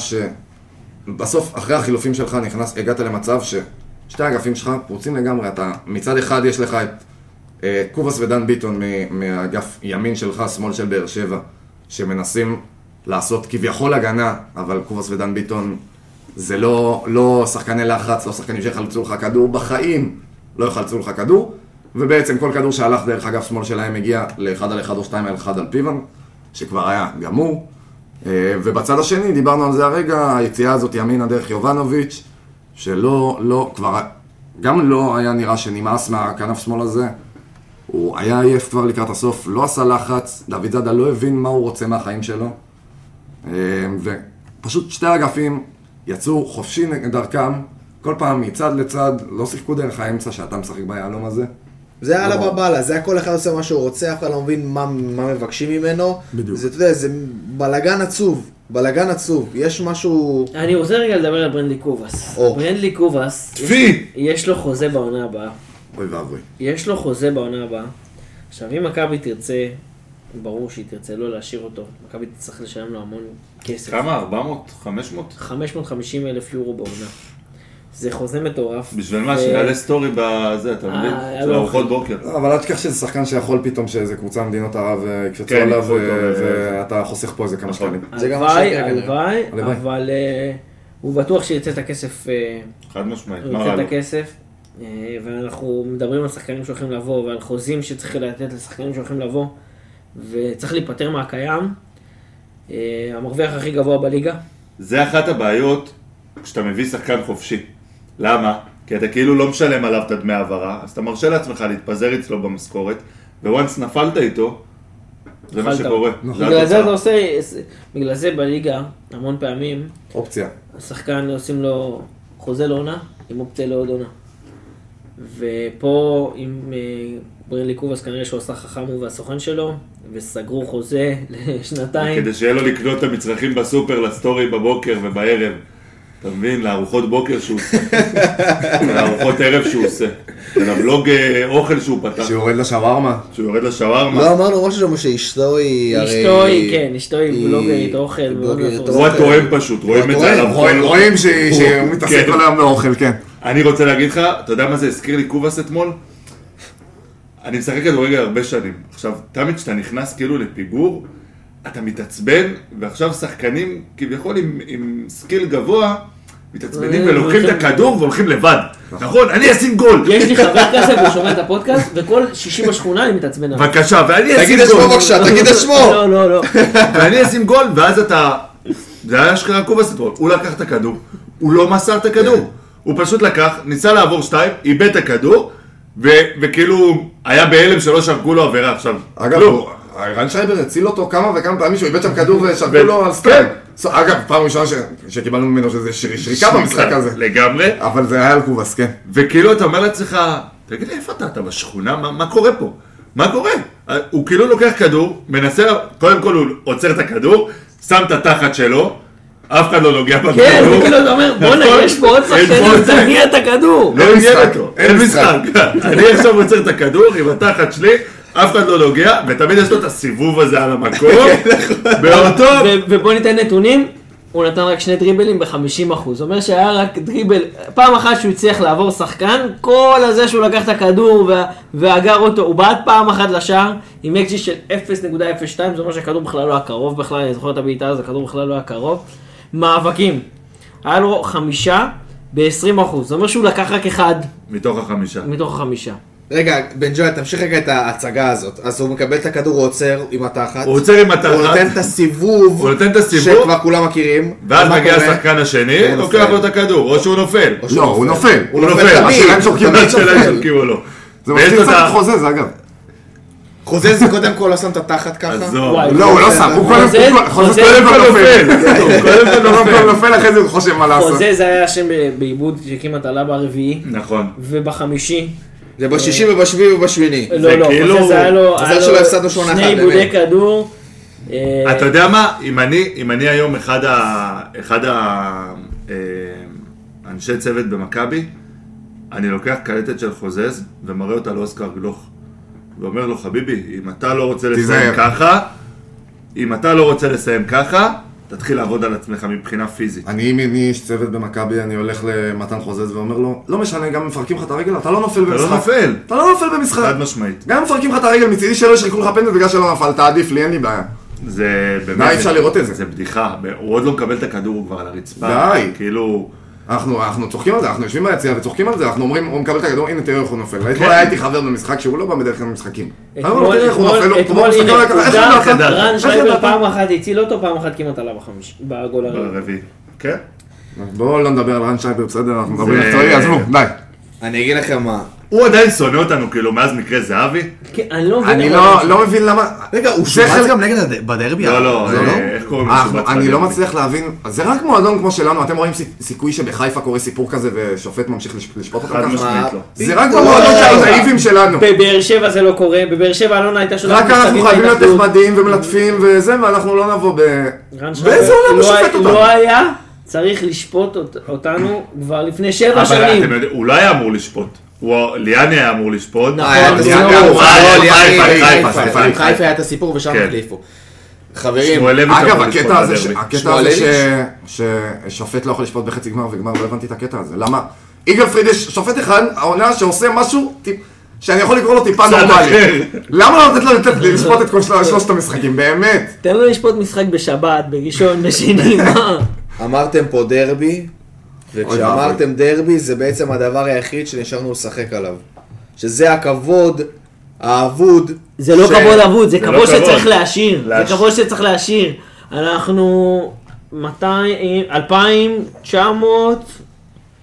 S5: שבסוף, אחרי החילופים שלך, נכנס, הגעת למצב ששתי האגפים שלך פרוצים לגמרי. אתה, מצד אחד יש לך את אה, קובס ודן ביטון מ- מאגף ימין שלך, שמאל של באר שבע, שמנסים לעשות כביכול הגנה, אבל קובס ודן ביטון זה לא, לא שחקני לחץ, לא שחקנים שיחלצו לך כדור, בחיים לא יחלצו לך כדור, ובעצם כל כדור שהלך דרך אגף שמאל שלהם הגיע לאחד על אחד או שתיים על אחד על פיבן, שכבר היה גמור. אה, ובצד השני, דיברנו על זה הרגע, היציאה הזאת ימינה דרך יובנוביץ', שלא, לא, כבר, גם לא היה נראה שנמאס מהכנף שמאל הזה. הוא היה עייף כבר לקראת הסוף, לא עשה לחץ, דוד זאדה לא הבין מה הוא רוצה מהחיים שלו. אה, ופשוט שתי אגפים יצאו חופשי דרכם, כל פעם מצד לצד, לא שיחקו דרך האמצע שאתה משחק ביהלום הזה.
S8: זה יאללה
S5: לא.
S8: בבאללה, זה היה כל אחד עושה מה שהוא רוצה, אף אחד לא מבין מה, מה מבקשים ממנו.
S5: בדיוק.
S8: זה, אתה יודע, זה בלאגן עצוב, בלאגן עצוב. יש משהו...
S6: אני רוצה רגע לדבר על ברנדלי קובאס.
S8: או.
S6: ברנדלי קובאס,
S7: צבי!
S6: יש לו חוזה בעונה הבאה.
S5: אוי ואבוי.
S6: יש לו חוזה בעונה הבאה. עכשיו, אם מכבי תרצה, ברור שהיא תרצה לא להשאיר אותו. מכבי תצטרך לשלם לו המון כסף.
S9: כמה? 400? 500?
S6: 550 אלף יורו בעונה. זה חוזה מטורף.
S9: בשביל מה?
S6: ו-
S9: שיעלה סטורי בזה, אתה
S6: אה,
S9: מבין?
S6: היה
S9: של
S6: לו
S9: ארוחות
S6: אוכל.
S9: בוקר.
S5: אבל אל תשכח שזה שחקן שיכול פתאום שאיזה קבוצה ממדינות ערב אה, יקפצו
S7: כן,
S5: עליו
S7: יקחו אותו,
S5: ו-
S7: אה,
S5: ואתה חוסך פה איזה כמה
S9: נכון.
S5: שקלים.
S8: זה גם מה
S6: הלוואי,
S8: שיקרה כנראה.
S6: הלוואי,
S5: הלוואי.
S6: אבל אה, הוא בטוח שירצה את הכסף, אה,
S9: חד משמעית,
S6: הוא
S9: מה רע
S6: ירצה
S9: לו?
S6: את הכסף. אה, ואנחנו מדברים על שחקנים שהולכים לבוא, ועל חוזים שצריך לתת לשחקנים שהולכים לבוא, וצריך להיפטר מהקיים. אה, המרוויח הכי גבוה בליגה.
S7: זה אחת הבעיות כשאתה מביא שחקן חופשי. למה? כי אתה כאילו לא משלם עליו את הדמי העברה, אז אתה מרשה לעצמך להתפזר אצלו במשכורת, וואנס נפלת איתו, זה מה
S6: נפלת. נכון.
S7: שקורה. זה
S6: בגלל זה אתה
S7: התוצאה.
S6: עושה, בגלל זה בליגה, המון פעמים,
S5: אופציה.
S6: השחקן עושים לו חוזה לעונה, עם אופציה לעוד עונה. ופה עם אה, ברנלי קובאס כנראה שהוא עשה חכם הוא והסוכן שלו, וסגרו חוזה לשנתיים.
S7: כדי שיהיה לו לקנות את המצרכים בסופר לסטורי בבוקר ובערב. אתה מבין? לארוחות בוקר שהוא עושה. לארוחות ערב שהוא עושה. לבלוג אה, אוכל שהוא פתח.
S5: שיורד לשווארמה.
S7: שהוא יורד לשווארמה.
S8: לא אמרנו משהו שם שאשתו היא... הרי-
S6: אשתו היא, כן, אשתו היא
S8: היא-
S6: בלוגרית אוכל. מאוד
S8: בלוגרית
S6: מפורסמת.
S7: הוא התואם פשוט, רואים את זה עליו.
S5: רואים- רואים שהיא- שהוא
S7: כן. הוא-
S5: מתעסק
S7: כן.
S5: כל היום באוכל, כן.
S7: אני רוצה להגיד לך, אתה יודע מה זה הזכיר לי קובאס אתמול? אני משחק כדורגל הרבה שנים. עכשיו, תמיד כשאתה נכנס כאילו לפיגור, אתה מתעצבן, ועכשיו שחקנים כביכול עם, עם סקיל גבוה, מתעצבנים
S6: אה,
S7: ולוקחים את
S6: הולכים-
S7: הכדור והולכים לבד. נכון? אני אשים גול!
S6: יש לי חבר כזה והוא שומע את הפודקאסט, וכל שישי בשכונה אני מתעצבן עליו.
S7: בבקשה, ואני אשים גול.
S8: תגיד את שמו בבקשה, תגיד את שמו!
S6: לא, לא, לא.
S7: ואני אשים גול, ואז אתה... זה היה אשכרה קובס אתמול. הוא לקח את הכדור, הוא לא מסר את הכדור. הוא פשוט לקח, ניסה לעבור שתיים, איבד את הכדור, ו- וכאילו היה בהלם שלא שרקו לו עבירה עכשיו.
S5: אגב,
S7: כלום.
S5: הוא- רן שייבר הציל אותו כמה וכמה פעמים שהוא איבד שם כדור ושרקו
S7: ו-
S5: לו על סתם.
S7: כן.
S5: אגב, פעם ראשונה ש- שקיבלנו ממנו שזה שרי- שריקה במשחק הזה.
S7: לגמרי.
S5: אבל זה היה על קובס, כן.
S7: וכאילו אתה אומר לעצמך, תגיד לי, איפה אתה? אתה בשכונה? מה, מה קורה פה? מה קורה? הוא כאילו לוקח כדור, מנסה, לה- קודם כל הוא עוצר את הכדור, שם את התחת שלו, אף אחד לא נוגע בכדור.
S6: כן, הוא כאילו אומר, בואנה,
S7: נכון?
S6: יש פה עוד
S7: אין פה עוד
S6: שחקנים,
S7: זה."
S6: תגיע את הכדור.
S7: לא
S5: אין
S7: עניין
S5: משחק,
S7: אותו,
S5: אין
S7: אין משחק.
S5: משחק.
S7: אני עכשיו עוצר את הכדור עם התחת שלי, אף אחד לא נוגע, ותמיד יש לו את הסיבוב הזה על המקום,
S8: כן, נכון.
S7: באותו...
S6: ו- ובוא ניתן נתונים, הוא נתן רק שני דריבלים ב-50 אחוז. אומר שהיה רק דריבל, פעם אחת שהוא הצליח לעבור שחקן, כל הזה שהוא לקח את הכדור וה- ואגר אותו, הוא בעט פעם אחת לשער, עם אקג'י של 0.02, זה אומר שהכדור בכלל לא היה קרוב בכלל, אני זוכר את הבעיטה הזאת, הכדור בכלל לא היה קרוב. מאבקים, היה לו חמישה ב-20 אחוז, זה אומר שהוא לקח רק אחד
S7: מתוך החמישה.
S6: מתוך החמישה.
S8: רגע, בן ג'וי, תמשיך רגע את ההצגה הזאת. אז הוא מקבל את הכדור, הוא עוצר עם התחת.
S7: הוא עוצר עם
S8: הוא
S7: התחת,
S8: נותן את הסיבוב.
S7: הוא נותן את הסיבוב.
S8: שכבר כולם מכירים.
S7: ואז
S8: מה
S7: מגיע
S8: קורה?
S7: השחקן השני,
S8: הוא
S7: לוקח
S8: נופל.
S7: לו את הכדור, או שהוא נופל.
S8: או
S5: לא,
S8: שהוא
S5: הוא נופל.
S8: הוא
S7: הוא נופל,
S8: נופל
S7: השאלה
S8: תמיד.
S7: אם שורקים
S8: תמיד
S7: השאלה אם
S8: נופל.
S7: שורקים או לא.
S5: זה
S7: ויש
S5: מפתיע
S7: לו את
S5: קצת
S7: ה-
S5: חוזה, זה אגב.
S8: חוזה זה קודם כל לא שם את התחת ככה.
S7: עזוב.
S6: וואי.
S5: לא, הוא לא שם, הוא קודם
S6: חוזה-
S5: כל
S6: חוזה-
S5: חוזה
S7: קודם כל נופל, קודם כל
S5: קודם
S7: נופל.
S5: כל נופל, אחרי זה הוא חושב מה לעשות.
S6: חוזה זה היה השם ב- בעיבוד שכמעט עלה ברביעי,
S7: נכון.
S6: ובחמישי.
S8: זה בשישי ובשביעי ובשמיני.
S6: לא, לא,
S7: כאילו-
S6: חוזה זה היה לו,
S8: מזל
S6: היה
S8: שלא
S6: לו
S8: הפסדנו שמונה
S6: שני
S8: אחת,
S6: עיבודי
S8: באמת.
S6: כדור. אה,
S7: אתה יודע מה, אם אני, אם אני היום אחד, ה, אחד ה, אה, אנשי צוות במכבי, אני לוקח קלטת של חוזז ומראה אותה לאוסקר גלוך. ואומר לו, חביבי, אם אתה לא רוצה לסיים
S5: תיזהר.
S7: ככה, אם אתה לא רוצה לסיים ככה, תתחיל לעבוד על עצמך מבחינה פיזית.
S5: אני, אם אני איש צוות במכבי, אני הולך למתן חוזז ואומר לו, לא משנה, גם אם מפרקים לך את הרגל, אתה לא נופל
S7: אתה
S5: במשחק.
S7: לא נופל,
S5: אתה לא נופל במשחק.
S7: חד משמעית.
S5: גם אם מפרקים לך את הרגל, מצידי שלא ישרקו לך פנדל בגלל שלא נפלת, עדיף לי, אין לי בעיה.
S7: זה באמת...
S5: די, אפשר לראות את זה.
S7: זה בדיחה, הוא עוד לא מקבל את הכדור, הוא כבר על הרצפה.
S5: די.
S7: כאילו...
S5: אנחנו, אנחנו צוחקים על זה, אנחנו יושבים ביציע וצוחקים על זה, אנחנו אומרים, הוא מקבל את הכדור, הנה תראה איך הוא נופל. אתמול היה איתי חבר במשחק שהוא לא בא בדרך כלל במשחקים. אמרנו לו,
S6: כן. אתמול,
S5: "תראה איך הוא נופל,
S6: אתמול,
S5: הוא כמו
S6: אתמול,
S5: מסתכל
S6: הנה,
S5: עליי ככה, איך הוא
S6: עובדה,
S5: נופל? אה.
S6: רן
S5: איך
S6: שרייבר
S5: ידעת?"
S6: אה. פעם אחת הציל אותו, פעם אחת כמעט עלה בחמישי, בגול הרביעי.
S7: ברביעי. כן?
S5: בואו לא נדבר על רן שייבר, בסדר? אנחנו מדברים מקצועי, עזבו, די.
S1: אני אגיד לכם מה.
S7: הוא עדיין שונא אותנו, כאילו, מאז מקרה זהבי?
S6: כן, אני לא מבין.
S5: אני
S6: אבל-
S5: לא לא מבין למה...
S1: רגע, הוא
S5: זה
S1: שובץ
S5: חלק-
S1: גם נגד הד- בדרבי?
S7: לא, לא,
S5: לא?
S7: אה, איך קוראים
S5: אה,
S7: לזה? בצד?
S5: אני לא מצליח להבין, אז זה רק מועדון כמו שלנו, אתם רואים סי- סיכוי שבחיפה קורה סיפור כזה ושופט ממשיך לש- לשפוט אותו
S7: חד
S5: ככה?
S7: משמעית לא.
S5: זה רק במועדון
S6: לא,
S5: של הנאיבים שלנו.
S6: בבאר שבע זה לא קורה, בבאר שבע אלונה הייתה שולחת
S5: רק אנחנו
S6: מכתבים
S5: חייבים להיות
S6: להתאחדות.
S5: נחמדים ומלטפים וזה, ואנחנו לא נבוא ב...
S6: רן שרייבר
S5: באיזה עולם הוא
S6: לא
S5: שופט
S6: היה-
S5: אותנו?
S6: לא היה צריך לשפוט אות- אותנו כבר לפני שבע
S7: אבל
S6: שנים.
S7: אתם יודעים, הוא לא היה אמור לשפוט. הוא- ליאני היה אמור לשפוט.
S1: נכון, היה את
S7: ליאני
S1: הסיפור,
S7: אמור-
S1: אבל
S7: חיפה,
S1: לא, ליאני,
S7: נכון, אה, חיפה,
S1: חיפה,
S7: חיפה,
S1: חיפה,
S7: חיפה.
S1: חיפה היה את הסיפור ושם
S7: כן.
S1: החליפו. חברים,
S7: שמואלביץ'
S5: אגב,
S7: אמור לשפוט
S5: הקטע הזה, ש-
S7: בדרבי.
S5: הקטע הזה
S1: שמואלביץ'.
S5: ש- ששופט לא יכול לשפוט בחצי גמר וגמר, לא הבנתי את הקטע הזה. למה? יגאל פריד יש שופט אחד, העונה שעושה משהו טיפ- שאני יכול לקרוא לו טיפה
S7: צד
S5: נורמלי.
S7: אחר.
S5: למה לא לתת לו לתת- לשפוט את כל של- שלושת המשחקים, באמת?
S6: תן לו לשפוט משחק בשבת, בראשון, בשני, מה?
S1: אמרתם פה דרבי,
S5: אוי
S1: וכשאמרתם דרבי זה בעצם הדבר היחיד שנשארנו לשחק עליו. שזה הכבוד האבוד.
S6: זה לא
S1: ש-
S6: כבוד אבוד, זה
S7: לא
S6: כבוד
S7: כבוד.
S6: שצריך להשאיר. זה
S7: להש-
S6: כבוד שצריך להשאיר. אנחנו... 200, 2,900,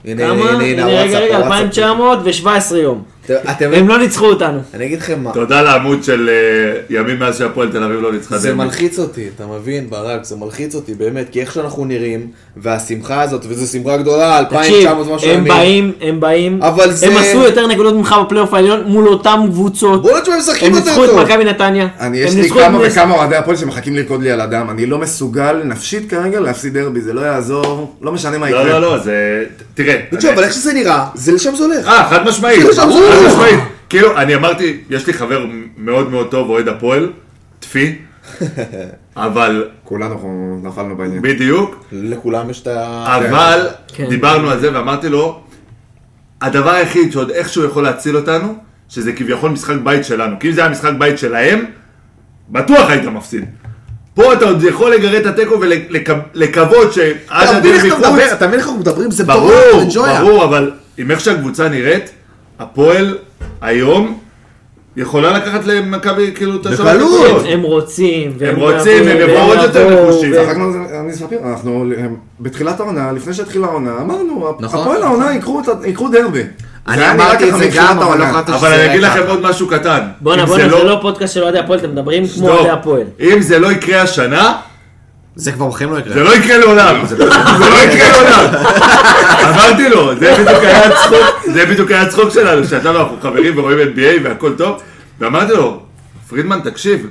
S1: הנה,
S6: כמה?
S1: הנה, הנה, הנה,
S6: הנה, רגע,
S1: הוואטסאפ,
S6: רגע,
S1: הוואטסאפ.
S6: 2,917 יום.
S1: אתם- אתם
S6: הם לא ניצחו אותנו.
S1: אני אגיד לכם מה,
S7: תודה לעמוד של אה, ימים מאז שהפועל תל אביב לא ניצחה
S1: זה
S7: דרבי.
S1: מלחיץ אותי, אתה מבין, ברק, זה מלחיץ אותי, באמת, כי איך שאנחנו נראים, והשמחה הזאת, וזו שמחה גדולה,
S6: תקשיב,
S1: 2,900 משהו
S6: הם
S1: ימים.
S6: באים, הם באים,
S1: אבל
S6: הם
S1: זה-
S6: עשו יותר נקודות ממך בפלייאוף העליון מול אותם קבוצות.
S1: בוא נשמע, הם משחקים
S6: הם
S1: יותר
S6: ניצחו את
S1: טוב.
S6: מכבי נתניה.
S5: אני,
S6: הם
S5: יש לי
S6: ניצחו את
S5: כמה
S6: בני-
S5: וכמה אוהדי הפועל שמחכים לרקוד לי על הדם. אני לא מסוגל נפשית כרגע להפסיד דרבי, זה לא יעזור, לא משנה מה יקרה.
S7: לא, לא, לא, זה... ת- תראה.
S1: תקשיב,
S7: אני-
S1: אבל איך שזה נראה, זה לשם זה הולך.
S7: אה, חד משמעית.
S1: כאילו,
S7: חד
S1: שם זה-
S7: משמעית. כאילו, אני אמרתי, יש לי חבר מאוד מאוד טוב, אוהד הפועל, טפי, אבל
S5: כולנו אנחנו נפלנו בעניין.
S7: בדיוק,
S1: לכולם יש את ה...
S7: אבל
S6: כן.
S7: דיברנו על זה ואמרתי לו, הדבר היחיד שעוד איכשהו יכול להציל אותנו, שזה כביכול משחק בית שלנו. כי אם זה היה משחק בית שלהם, בטוח היית מפסיד. פה אתה עוד יכול לגרד את התיקו ולקוות שעד
S1: אתה מבין איך
S7: הדרבי
S1: אתה
S7: חוץ,
S1: מדבר? אתה מבין איך אנחנו מדברים? זה
S7: ברור,
S1: מטורף, זה ג'ויה.
S7: ברור, אבל עם איך שהקבוצה נראית, הפועל היום יכולה לקחת למכבי כאילו את השלוש
S1: בקלות.
S7: נקודות.
S6: הם רוצים, והם
S7: רוצים,
S6: יבואו,
S7: הם יבואו עוד יותר
S6: יבואו,
S7: נחושים.
S6: ו-
S5: צחקנו על זה, אני אספר, אנחנו הם, בתחילת העונה, לפני שהתחילה העונה, אמרנו,
S1: נכון.
S5: הפועל העונה ייקחו את ה- ייקחו דרבי. זה
S1: אני
S5: היה נראה
S1: אמרתי את
S5: ככה
S1: זה
S5: מתחילת
S1: גם, אבל לא
S5: העונה.
S1: חשבתי
S7: אבל אני אגיד
S1: רקע.
S7: לכם עוד משהו קטן.
S6: בואנה,
S7: אם
S6: בואנה, זה לא פודקאסט של אוהדי הפועל, אתם מדברים כמו
S7: לא.
S6: אוהדי הפועל.
S7: אם זה לא יקרה השנה,
S1: זה כבר בחיים לא
S7: זה
S1: יקרה.
S7: לא יקרה לעולם. זה לא יקרה לעולם. אמרתי לו, זה בדיוק היה הצחוק, זה בדיוק היה הצחוק שלנו, שאתה ואנחנו חברים ורואים NBA והכל טוב, ואמרתי לו, פרידמן, תקשיב,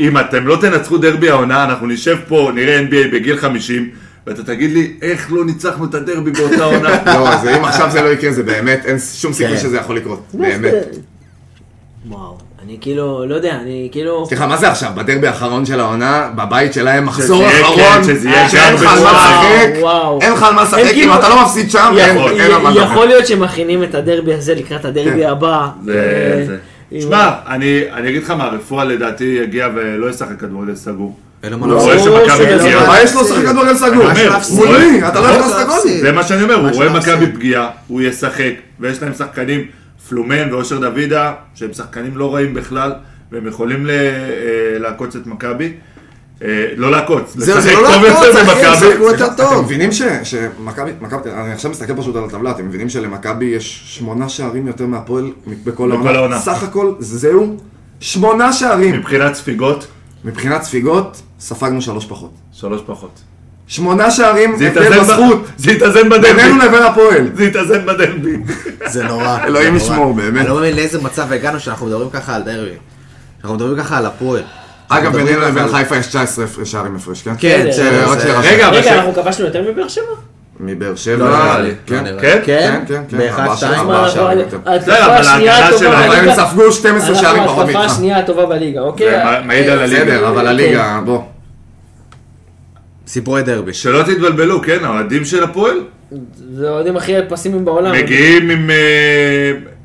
S7: אם אתם לא תנצחו דרבי העונה, אנחנו נשב פה, נראה NBA בגיל 50, ואתה תגיד לי, איך לא ניצחנו את הדרבי באותה עונה?
S5: לא, זה אם עכשיו זה לא יקרה, זה באמת, אין שום סיכוי
S1: כן.
S5: שזה יכול לקרות, באמת.
S6: וואו, אני כאילו, לא יודע, אני כאילו...
S5: סליחה, מה זה עכשיו? בדרבי האחרון של העונה, בבית שלהם, מחזור
S7: יהיה,
S5: אחרון,
S7: כן, שזה יהיה
S5: שאין לך
S7: גם
S5: על מה
S7: בוואו,
S5: לשחק,
S6: וואו.
S5: אין לך על מה לשחק, אם
S6: כאילו-
S5: אתה לא מפסיד שם, אין
S6: יכול-
S5: אין על מה לשחק.
S6: יכול להיות שמכינים את הדרבי הזה לקראת הדרבי הבא.
S7: זה-
S6: אה,
S7: זה.
S6: עם-
S7: שמע, אני אני אגיד לך מה, רפואה לדעתי יגיע ולא ישחק כדורגל סגור.
S1: אין לו מה
S7: הוא רואה
S1: לעשות.
S6: ברור
S7: שמכבי
S6: שזה
S7: פגיעה.
S6: לא
S5: מה יש לו לשחק כדורגל סגור?
S7: אני אומר,
S5: הוא
S7: הוא-
S5: מולי, אתה לא
S7: הוא-
S5: הכנסת גול.
S7: זה מה שאני אומר, הוא רואה
S1: אוקיי. שאתה
S7: מכבי
S1: עושה.
S7: פגיעה, הוא ישחק, ויש להם שחקנים, פלומן ואושר דוידה, שהם שחקנים לא רעים בכלל, והם יכולים ל- אה, לעקוץ את מכבי. אה, לא לעקוץ,
S1: זהו,
S7: לשחק
S1: זה לא
S7: טוב
S1: לעקוץ,
S7: יותר
S1: אחי,
S7: במכבי.
S1: שיחקו יותר
S5: סליחה, אתם
S1: טוב.
S5: מבינים ש- שמכבי, מכבי- אני עכשיו מסתכל פשוט על הטבלה, אתם מבינים שלמכבי יש שמונה שערים יותר מהפועל בכל העונה.
S7: העונה.
S5: סך הכל זהו שמונה שערים.
S7: מבחינת ספיגות,
S5: מבחינת ספיגות, ספגנו שלוש פחות.
S7: שלוש פחות.
S5: שמונה שערים,
S7: זה
S5: הבדל
S7: יתאזן
S5: בזכות,
S7: ב- זה יתאזן
S5: בינינו
S7: בדרבי.
S5: לבין הפועל.
S7: זה יתאזן בדרבי.
S1: זה נורא.
S5: אלוהים
S1: זה נורא.
S5: ישמור, באמת.
S1: אני לא מבין לאיזה מצב הגענו שאנחנו מדברים ככה על דרבי. אנחנו מדברים ככה על הפועל. אנחנו
S5: אגב,
S1: מדברים
S5: בינינו
S1: ככה
S5: לבין
S1: על-
S5: חיפה יש 19 הפרש- שערים הפרש, כן?
S1: כן,
S6: בסדר,
S1: בסדר,
S5: רק
S1: זה-
S5: שנייה,
S7: רגע, אבל
S6: רגע,
S7: ש-
S6: אנחנו כבשנו יותר מבאר שבע?
S5: מבאר שבע.
S1: לא נראה לי.
S5: כן,
S1: לא נראה לי.
S7: כן?
S5: כן,
S1: כן?
S5: כן, כן.
S1: באחד,
S5: ארבעה
S1: שתיים,
S5: שערים,
S1: מה,
S5: ארבעה
S1: אבל-
S5: שערים יותר.
S7: בסדר, אבל
S6: ההתקפה השנייה
S7: ההגנה שלהם-
S6: הטובה
S5: אבל
S6: בליגה-
S5: הם ספגו 12 שערים
S6: אנחנו
S5: פחות
S6: ההתקפה
S5: ממך.
S6: השנייה הטובה בליגה, אוקיי?
S7: זה מע- מעיד על הליגה.
S5: בסדר, אבל
S1: כן.
S5: הליגה, בוא.
S1: סיפורי דרבי.
S7: שלא תתבלבלו, כן, האוהדים של הפועל
S6: זה האוהדים הכי פסימיים בעולם.
S7: מגיעים עם אה,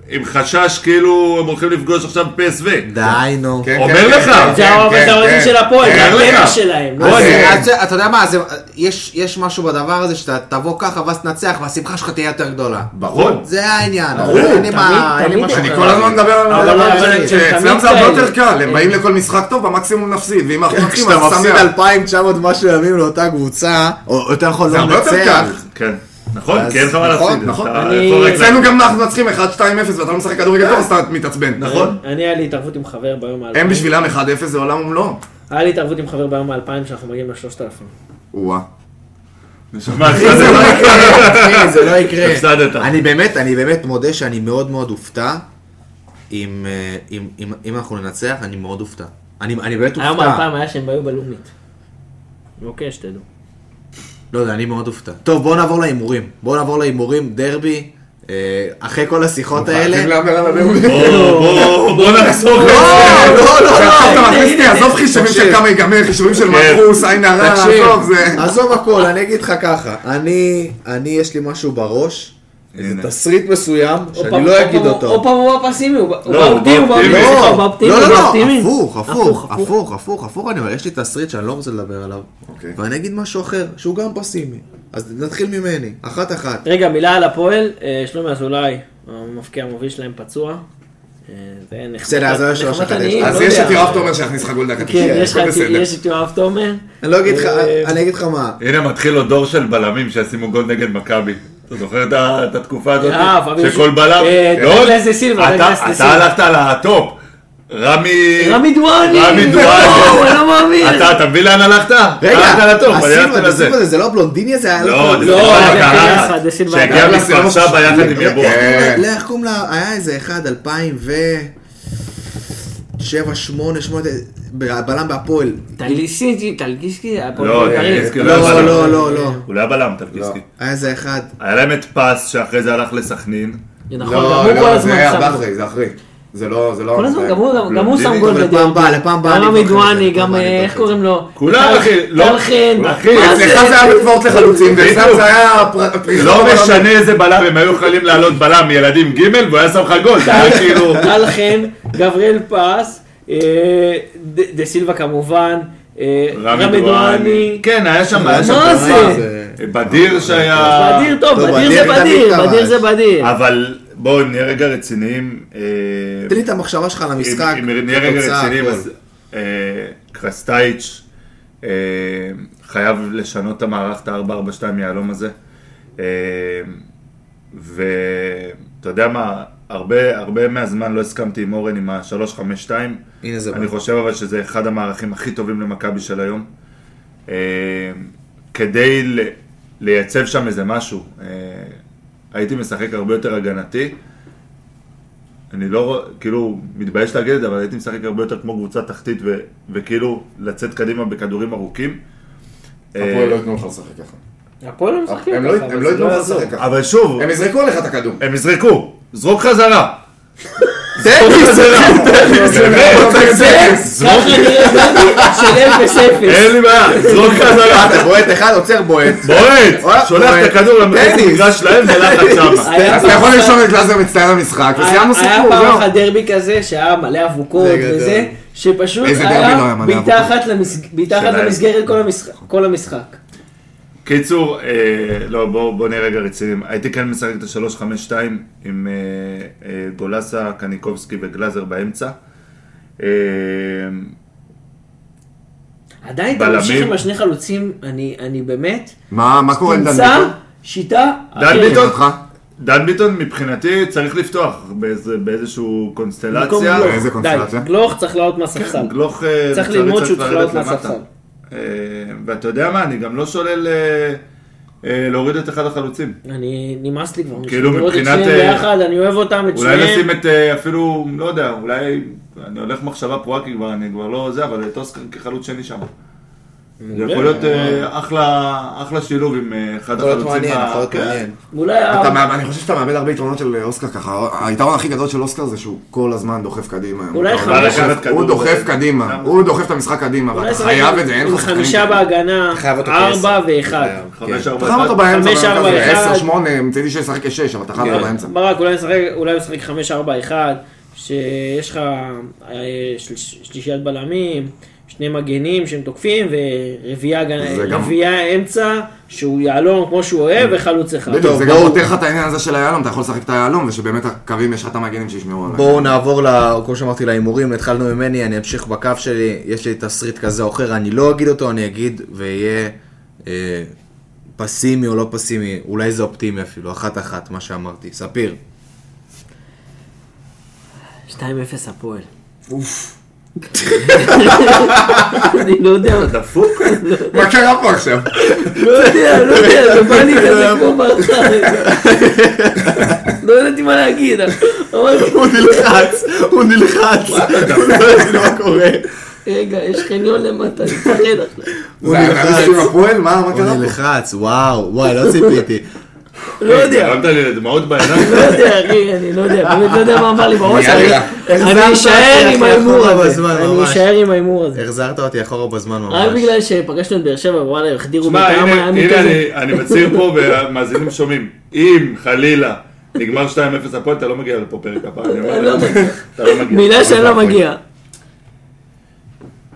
S7: עם חשש כאילו הם הולכים לפגוש עכשיו PSV.
S1: די, נו.
S5: כן,
S7: אומר
S5: כן,
S7: לך.
S5: כן,
S6: זה
S5: כן, כן,
S6: האוהדים
S5: כן.
S6: של הפועל, זה
S7: כן,
S6: הפרע
S7: רגע.
S6: שלהם. לא?
S7: בוא,
S1: אז-
S7: אני-
S1: אז- אתה יודע מה, זה- יש יש משהו בדבר הזה שאתה תבוא ככה ואז תנצח והשמחה שלך תהיה יותר גדולה.
S7: ברור.
S1: זה העניין.
S5: ברור,
S1: אין לי מה- אה, אין
S6: תמיד,
S1: לי
S6: תמיד.
S1: משהו
S5: אני
S1: אחר.
S5: כל הזמן מדבר על
S6: אבל
S5: הדבר
S6: אבל
S5: הזה,
S6: הם
S5: שאצלם
S6: תמיד
S5: זה הרבה
S6: כאלה. כן.
S5: יותר קל,
S6: הם-
S5: הם באים לכל משחק טוב, במקסימום נפסיד, ואם אנחנו נפסיד,
S1: כשאתה
S5: אז
S1: אה, מפסיד
S5: שמח.
S1: 2,900 משהו ימים לאותה קבוצה, או יותר נכון
S5: זה
S1: לא
S5: הרבה יותר
S1: לנצח,
S5: קל.
S7: כן. נכון,
S1: אז-
S7: כי אין לך מה
S1: נכון,
S7: להפסיד.
S5: נכון.
S7: אתה
S6: אני-
S7: יכול רק-
S5: אצלנו גם אנחנו מנצחים 1-2-0 ואתה לא משחק כדורגל טוב, אז אתה מתעצבן.
S7: נכון.
S6: אני, היה לי התערבות עם חבר ביום האלפיים.
S5: הם בשבילם 1-0 זה עולם ומלואו.
S6: היה לי התערבות עם חבר ביום האלפיים שאנחנו מגיעים לשלושת אלפים.
S5: וואה.
S7: מה,
S1: זה לא יקרה, אחי, זה לא יקרה.
S7: הפסדת.
S1: אני באמת, אני באמת מודה שאני מאוד מאוד אופתע. אם, אה, אם, אם, אם אנחנו ננצח, אני מאוד אופתע. אני, אני באמת
S6: היום
S1: אופתע.
S6: האלפיים היה שהם היו בלאומית. אוקיי, שתדעו.
S1: לא יודע, אני מאוד אופתע. טוב, בואו נעבור להימורים. בואו נעבור להימורים, דרבי, אה, אחרי כל השיחות
S5: חייבים
S1: האלה.
S5: להמר על הדרבי.
S7: בוא בוא נחזור לזה.
S1: לא, לא, לא,
S5: עכשיו אתה
S1: לא.
S5: מכניס לי, עזוב חישובים של
S1: תקשיב.
S5: כמה ייגמר, חישובים של
S7: כן.
S5: מטרוס, עין הרע, עזוב,
S1: תקשיב,
S5: זה...
S1: עזוב הכל, אני אגיד לך ככה. אני, אני, יש לי משהו בראש. איזה תסריט מסוים, שאני לא אגיד
S6: עוד
S1: אותו.
S6: פעם הוא בפסימי, הוא
S7: לא, הוא
S6: באופטימי, הוא
S7: באופטימי.
S6: באופטימי,
S1: לא,
S6: הוא באופטימי,
S1: לא,
S6: הוא
S1: לא, לא,
S6: באופטימי.
S1: הפוך, הפוך, הפוך, הפוך, הפוך, אני אומר, יש לי תסריט שאני לא רוצה לדבר עליו.
S5: אוקיי.
S1: ואני אגיד משהו אחר, שהוא גם פסימי. אז נתחיל ממני, אחת אחת.
S6: רגע, מילה על הפועל, אה, שלומי אזולאי, המפקיע המוביל שלהם פצוע. אה, זה נחמד-
S1: בסדר, אז לא יש
S6: נחמד
S1: שלוש אחד,
S6: אני,
S1: יש.
S6: לא
S5: אז יש
S6: יודע.
S5: את יואב תומר שיכניס לך גול דקה
S6: כן,
S5: 90,
S6: יש לך
S5: הכל
S6: את-
S5: בסדר.
S6: יש את יואב תומר.
S1: אני לא אגיד לך,
S6: אה,
S1: אני אגיד לך מה.
S7: הנה מתחיל עוד דור של בלמים שישימו גול נגד מכבי. אתה זוכר את ה- את התקופה הזאת?
S6: אה, פביו
S7: שכל
S6: ש-
S7: בלם...
S6: אה,
S7: לא,
S6: דגלס דה סילבה,
S7: אתה-
S6: דגלס דה
S7: אתה
S6: סילבה.
S7: הלכת על הטופ. רמי...
S6: רמי דואני!
S7: רמי דואני.
S6: וואו, אני לא מאמין.
S7: אתה, אתה מבין לאן הלכת? הלכת על הטופ, אני הלכתי
S1: הסילבה,
S7: לזה.
S1: הסילבה הזה, זה לא בלונדיני הזה, היה
S7: לא,
S1: לו-
S7: זה
S6: לא,
S7: סילבה
S6: זה
S7: לקחת.
S6: ביחד, זה סילבה
S7: שהגיע
S6: לקחת.
S7: מסרשה ביחד עם
S1: לא,
S7: יבוא.
S1: איך-
S7: כן.
S1: לא, איך קוראים לה, היה איזה אחד, אלפיים ו... שבע, שמונה, שמונה, בלם בהפועל.
S6: טליסקי, טלגיסקי, הפועל
S7: לא,
S6: בית"רי.
S7: טלגיסקי
S1: לא,
S7: לא, אבל-
S1: לא, לא, לא.
S7: הוא לא היה בלם, תרגיסקי.
S1: היה איזה אחד.
S7: היה להם את פס שאחרי זה הלך לסכנין.
S6: נכון, גם
S5: לא,
S6: הוא כל
S5: לא, זה
S6: הזמן
S5: היה
S6: שם.
S5: אחרי, זה אחרי. זה לא, זה לא...
S6: כל הזמן, גם הוא- גם הוא שם
S7: בדיוק,
S6: גול
S1: אבל
S6: בדיוק.
S1: פעם הבאה, לפעם הבאה אני
S6: גם
S1: אבדוק את זה,
S6: עמידואני,
S1: פעם
S6: גם
S1: הבאה אני
S6: אה,
S1: אבדוק
S6: איך
S1: את
S6: קוראים לו?
S7: כולם, אחי, לא-
S6: טלחן.
S7: אחי,
S6: מה
S5: אצלך זה היה בגבעות לחלוצים, ואצלם זה היה... פר- פריחה
S7: לא
S5: בעולם.
S7: משנה איזה בלם, הם היו יכולים לעלות בלם מילדים ג' והוא היה שם לך גול, זה היה כאילו...
S6: טל חן, גבריאל פס, אה, ד- דה סילבה כמובן, אה, רמי דואני,
S7: כן, היה שם, היה שם...
S6: מה
S1: אה,
S6: זה?
S1: זה-
S7: בדיר שהיה...
S6: בדיר
S5: אה,
S6: טוב,
S1: טוב,
S6: בדיר
S1: אדיר
S6: זה בדיר,
S1: תמיד
S6: בדיר
S1: כבש.
S6: זה בדיר.
S7: אבל בואו נהיה רגע רציניים. אה,
S1: תן לי את המחשבה שלך על המשחק.
S7: אם, אם נהיה רגע
S1: התוצאה,
S7: רציניים,
S1: הכל.
S7: אז אה, קרסטייץ' אה, חייב לשנות את המערך, את ה-442 יהלום הזה. אה, ואתה יודע מה, הרבה, הרבה מהזמן לא הסכמתי עם אורן עם ה-352.
S1: הנה זה
S7: אני
S1: בא.
S7: חושב אבל שזה אחד המערכים הכי טובים למכבי של היום. אה, כדי ל- לייצב שם איזה משהו, אה, הייתי משחק הרבה יותר הגנתי. אני לא, רוא- כאילו, מתבייש להגיד את זה, אבל הייתי משחק הרבה יותר כמו קבוצה תחתית ו, וכאילו לצאת קדימה בכדורים ארוכים.
S5: הפועל לא
S7: אה,
S5: ייתנו לך לשחק ככה.
S6: הפועל לא משחקים
S5: הם לא
S6: ככה,
S5: הם
S6: אבל
S5: לא
S6: זה
S5: ייתנו
S6: לא
S5: לך
S6: יעזור.
S5: לשחק ככה.
S7: אבל שוב,
S5: הם יזרקו עליך את הכדור.
S7: הם יזרקו, זרוק חזרה.
S1: תן לי,
S6: לא
S5: לא
S6: ככה נראה גול של 0-0.
S7: אין לי בעיה, זרוק חזרה.
S1: אתה בועט אחד, עוצר בועט.
S7: בועט,
S1: אוהב,
S7: שולח
S1: בועט.
S7: את הכדור למחצית
S1: טניס.
S7: מגרש שלהם ולחץ שמה.
S6: היה
S5: אז אתה
S6: פעם
S5: יכול
S6: אחת-
S5: לרשום את גלאזר מצטיין במשחק, וסיימנו
S6: היה
S5: נכון, סיפור,
S6: פעם
S5: זהו.
S6: אחת דרבי כזה שהיה מלא אבוקות
S1: זה גדול.
S6: וזה, שפשוט
S5: איזה דרבי לא היה
S6: היה
S5: מלא
S6: בעיטה
S5: אבוקות?
S6: אחת למסג- בעיטה אחת
S7: שלהם.
S6: למסגרת כל המשחק- כל המשחק.
S7: קיצור, אה, לא, בואו בוא נהיה רגע רציניים. הייתי כן משחק את ה-3-5-2 עם אה, אה, גולסה, קניקובסקי וגלאזר באמצע. אה,
S6: עדיין אתה
S7: בלמים.
S6: ממשיך עם השני חלוצים, אני אני באמת,
S5: מה מה קורה עם דן
S6: תמצא
S5: ביטון?
S6: שיטה
S7: דן
S6: אחרת.
S7: ביטון?
S5: מבחינתך?
S7: דן ביטון מבחינתי צריך לפתוח באיזה, באיזשהו
S6: במקום
S7: קונסטלציה.
S6: גלוך.
S5: איזה
S6: לא. די,
S5: קונסטלציה?
S6: גלוך צריך לעלות
S5: כן,
S6: מהספסל.
S7: גלוך אה,
S6: לא. צריך ללמוד שהוא צריך לעלות
S7: לרדת למטה.
S6: מהספסל.
S7: אה, ואתה יודע מה, אני גם לא שולל אה, אה, להוריד את אחד החלוצים.
S6: אני, נמאס לי כבר.
S7: כאילו,
S6: לראות את
S7: מבחינת,
S6: שניהם
S7: אה,
S6: ביחד, אני אוהב אותם, את
S7: אולי
S6: שניהם.
S7: לשים את אה, אפילו, לא יודע, אולי, אני הולך מחשבה פרועה כי כבר אני כבר לא זה, אבל את אוסקר כחלוץ שני שם. זה יכול להיות אה, אחלה, אחלה שילוב עם אה, אחד
S1: יכול להיות
S7: החלוצים.
S1: מעניין,
S7: ה-
S1: יכול להיות
S7: כן.
S1: מעניין.
S6: ואולי... ה-
S5: אתה מאבד- אני חושב שאתה מאבד הרבה יתרונות של אה, אוסקר ככה, היתרון הכי גדול של אוסקר זה שהוא כל הזמן דוחף קדימה.
S6: אולי
S5: הוא
S6: חמש-
S5: דוחף- הוא דוחף קדימה, הוא דוחף את המשחק קדימה,
S6: אולי
S5: ואתה
S6: זה
S5: חייב
S6: רק
S5: את זה, אין
S6: עם
S5: לך שחקנים
S6: חמישה
S5: כאלה.
S6: בהגנה,
S1: חייב אותו
S6: ארבע
S1: כעשר.
S5: אה,
S6: ואחד.
S7: חמש, ארבע,
S5: אתה חייב
S7: אחד.
S5: אותו באמצע,
S6: חמש, ארבע, אחד.
S5: 10, 8, מצדי שישחק כשש, אבל אתה חייב אותו באמצע.
S6: כן. ברק, אולי נשחק- אולי הוא ישחק 5-4-1, שיש לך אה, של- שלישיית בלמים, שני מגנים שהם תוקפים, ורביעייה
S5: זה
S6: הגנ-
S5: גם-
S6: רביעייה אמצע, שהוא יהלום כמו שהוא אוהב, וחלוץ אחד.
S5: בדיוק, זה גם
S1: בואו-
S5: פותר לך את העניין הזה של היהלום, אתה יכול לשחק את היהלום, ושבאמת הקווים יש לך את המגנים שישמרו עליהם.
S1: בואו נעבור, ל- כמו שאמרתי, להימורים, התחלנו ממני, אני אמשיך בקו שלי, יש לי תסריט כזה או אחר, אני לא אגיד אותו, אני אגיד ואהיה אה, פסימי או לא פסימי, אולי זה אופטימי אפילו, אחת-אחת, מה שאמרתי. ספיר.
S6: 2-0 הפועל. אוף. אני לא יודע,
S7: דפוק?
S5: מה קרה פה עכשיו?
S6: לא יודע, לא יודע, זה בא לי כזה כמו ברכה. לא ידעתי מה להגיד, אמרתי,
S1: הוא נלחץ, הוא נלחץ. לא יודעים מה קורה.
S6: רגע, יש חניון למטה, אני מפחד עכשיו.
S1: הוא
S5: זה היה
S1: נלחץ.
S5: מישהו עם הפועל? מה מה
S1: הוא
S5: קרה פה?
S1: נלחץ, וואו, וואי, לא ציפיתי.
S6: לא יודע.
S7: הרמת לי לדמעות בעיניים?
S6: לא יודע, אחי, אני לא יודע, באמת לא יודע מה עבר לי בראש, אני-
S5: יאללה.
S6: אני
S1: החזרת
S6: אשאר
S1: אותי
S6: עם
S1: אחורה
S6: ההימור הזה,
S1: בזמן,
S6: אני
S1: ממש.
S6: אשאר עם ההימור הזה.
S1: החזרת אותי אחורה בזמן
S6: רק
S1: ממש.
S6: בגלל שפגשנו את באר שבע, וואלה, החדירו
S7: שמע,
S6: בקרם
S7: הנה,
S6: היה
S7: הנה
S6: כזה.
S7: אני- אני מצהיר פה והמאזינים שומעים. אם חלילה נגמר 2-0 הפועל, אתה לא מגיע לפה פרק הבא. אני אומר
S6: לא
S7: לך,
S6: מגיע.
S7: אתה לא מגיע.
S6: מילה שאני לא מגיע.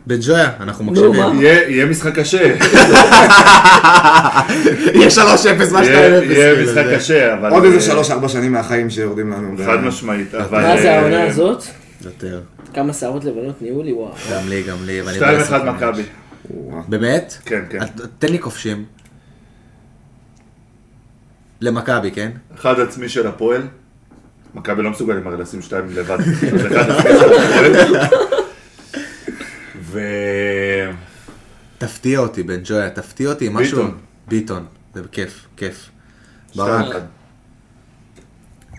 S1: בג'ויה, אנחנו
S6: נו,
S1: מקשיבים.
S6: מה?
S7: יהיה יהיה משחק קשה,
S1: יהיה 3-0, מה 2-0.
S7: יהיה
S1: כאילו,
S7: יהיה משחק
S1: זה-
S7: קשה, אבל...
S5: עוד איזה
S7: אה,
S5: שלוש ארבע שנים מהחיים שיורדים לנו.
S7: חד משמעית, אבל...
S6: מה זה
S7: אה,
S6: העונה הזאת?
S1: יותר.
S6: כמה שערות לבנות נהיו לי, וואו.
S1: גם לי, גם לי. ואני
S7: 2-1
S6: לא
S1: בעשר
S7: מכבי.
S1: באמת?
S7: כן, כן.
S1: את- תן לי כובשים. למכבי, כן?
S7: אחד עצמי של הפועל. מכבי לא מסוגלים הרי לשים שתיים לבד. אז אחד עצמי של הפועל. ו...
S1: תפתיע אותי, בן ג'ויה, תפתיע אותי עם משהו.
S7: ביטון.
S1: ביטון. זה כיף, כיף.
S7: שתיים
S1: ברק.
S7: אחד.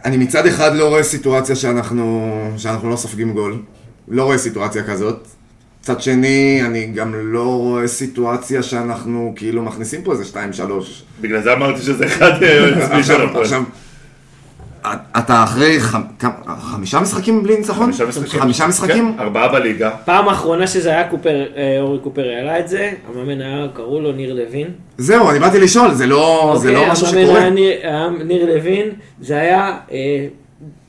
S5: אני מצד אחד לא רואה סיטואציה שאנחנו, שאנחנו לא סופגים גול. לא רואה סיטואציה כזאת. מצד שני, אני גם לא רואה סיטואציה שאנחנו כאילו מכניסים פה איזה 2-3.
S7: בגלל זה אמרתי שזה אחד אה, עצמי של
S5: עכשיו,
S7: הפועל.
S5: עכשיו, אתה אחרי חמ- כמה- חמישה משחקים בלי ניצחון?
S7: חמישה משחקים.
S5: נכון? חמישה משחקים?
S7: כן, ארבעה בליגה.
S6: פעם האחרונה שזה היה קופר, אה, אורי קופר העלה את זה, המאמן היה, קראו לו ניר לוין.
S5: זהו, אני באתי לשאול, זה לא זה
S6: אוקיי,
S5: לא משהו
S6: המאמן
S5: שקורה.
S6: היה ניר- היה ניר לוין, זה היה אה,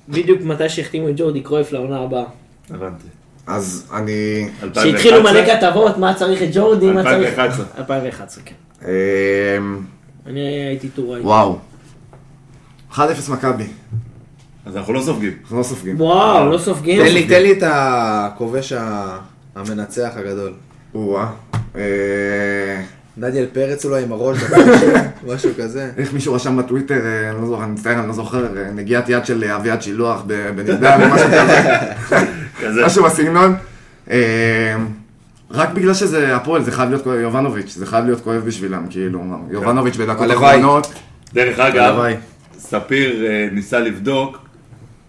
S6: בדיוק מתי שהחתימו את ג'ורדי קרויף לעונה הבאה.
S7: הבנתי.
S5: אז אני...
S6: שהתחילו מלא כתבות, מה צריך את ג'ורדי, מה צריך...
S7: 2011.
S6: 2011, כן.
S5: אמ,
S6: אני הייתי טוראי.
S5: וואו. 1-0 מכבי,
S7: אז אנחנו לא סופגים.
S5: אנחנו לא סופגים.
S6: וואו, לא סופגים.
S1: תן לי, תן לי את הכובש ה- המנצח הגדול.
S5: או-אה. אה,
S1: דניאל פרץ אולי עם הראש, משהו כזה.
S5: איך מישהו רשם בטוויטר, אה, אני לא זוכר, אני מצטער, אני לא זוכר, אה, נגיעת יד של אה, אביעד שילוח ב- בנרדם, או משהו כזה,
S7: כזה.
S5: משהו בסגנון. אה, רק בגלל שזה הפועל, זה חייב להיות כואב, יובנוביץ', זה חייב להיות כואב בשבילם, כאילו, יובנוביץ' בדקות
S1: כן. הלוואי.
S5: האחרונות.
S7: דרך אגב,
S1: הלוואי.
S7: ספיר אה, ניסה לבדוק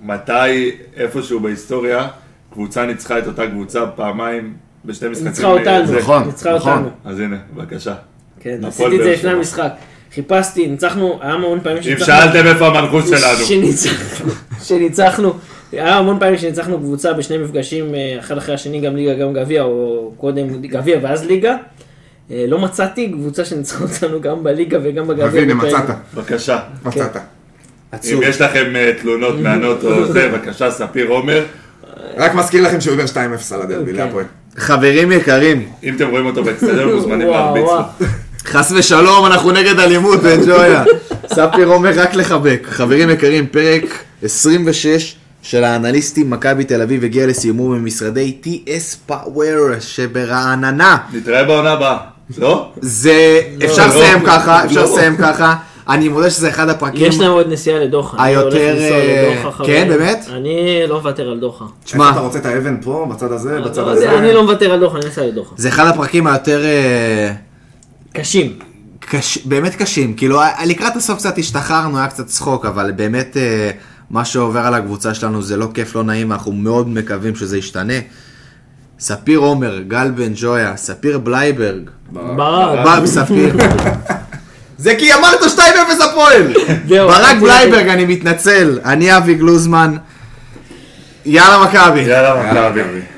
S7: מתי איפשהו בהיסטוריה קבוצה ניצחה את אותה קבוצה פעמיים בשתי משחקים.
S6: ניצחה אותנו.
S7: זה-
S5: נכון,
S6: ניצחה
S5: נכון.
S6: אותנו.
S7: אז הנה, בבקשה.
S6: כן,
S7: הפועל
S6: עשיתי את זה
S7: באר
S6: לפני
S7: שבע.
S6: המשחק. חיפשתי, ניצחנו, היה המון פעמים
S7: אם שאלתם איפה המנחוס שלנו.
S6: שניצחנו, שניצחנו, היה המון פעמים שניצחנו קבוצה בשני מפגשים, אה, אחד אחרי השני, גם ליגה, גם גביע, או קודם גביע ואז ליגה. אה, לא מצאתי קבוצה שניצחה אותנו גם בליגה וגם בגביע.
S5: הנה,
S6: בפרק.
S5: מצאת,
S7: כן. בבקשה.
S5: מצאת.
S7: אם
S1: עצוב.
S7: יש לכם אה, תלונות מהנות או זה, בבקשה, ספיר עומר.
S5: רק מזכיר לכם שהוא עובר 2-0 על הדרבי,
S6: אוקיי.
S5: להפועל.
S1: חברים יקרים,
S7: אם אתם רואים אותו באצטדיון, מוזמנים
S6: וואו,
S7: להרביץ לו.
S6: וואו.
S1: חס ושלום, אנחנו נגד אלימות, בן ג'ויה. ספיר אומר רק לחבק. חברים יקרים, פרק 26 של האנליסטים מכבי תל אביב הגיע לסיומו ממשרדי TS Power שברעננה.
S7: נתראה בעונה הבאה. לא?
S1: זה, אפשר
S7: לא,
S1: לסיים
S7: לא,
S1: ככה,
S7: לא.
S1: אפשר לסיים ככה. אני מודה שזה אחד הפרקים.
S6: יש להם עוד נסיעה לדוחה. אני
S1: היותר,
S6: הולך לנסוע
S1: אה,
S6: לדוחה, חברים.
S1: כן, באמת?
S6: אני לא מוותר על דוחה.
S1: שמע,
S5: איפה אתה רוצה את האבן פה, בצד הזה, בצד
S6: לא
S5: הזה?
S6: יודע, אני לא מוותר על דוחה, אני נוסע לדוחה.
S1: זה אחד הפרקים היותר... אה,
S6: קשים.
S1: קש... באמת קשים, כאילו ה- לקראת הסוף קצת השתחררנו, היה קצת צחוק, אבל באמת אה, מה שעובר על הקבוצה שלנו זה לא כיף, לא נעים, אנחנו מאוד מקווים שזה ישתנה. ספיר עומר, גל בן ג'ויה, ספיר בלייברג,
S6: ברק.
S1: בב
S7: אה.
S1: ספיר. זה כי אמרת 2-0 הפועל!
S6: זהו,
S1: ברק
S6: רציתי-
S1: בלייברג, אני מתנצל, אני אבי גלוזמן. יאללה מכבי.
S9: יאללה מכבי.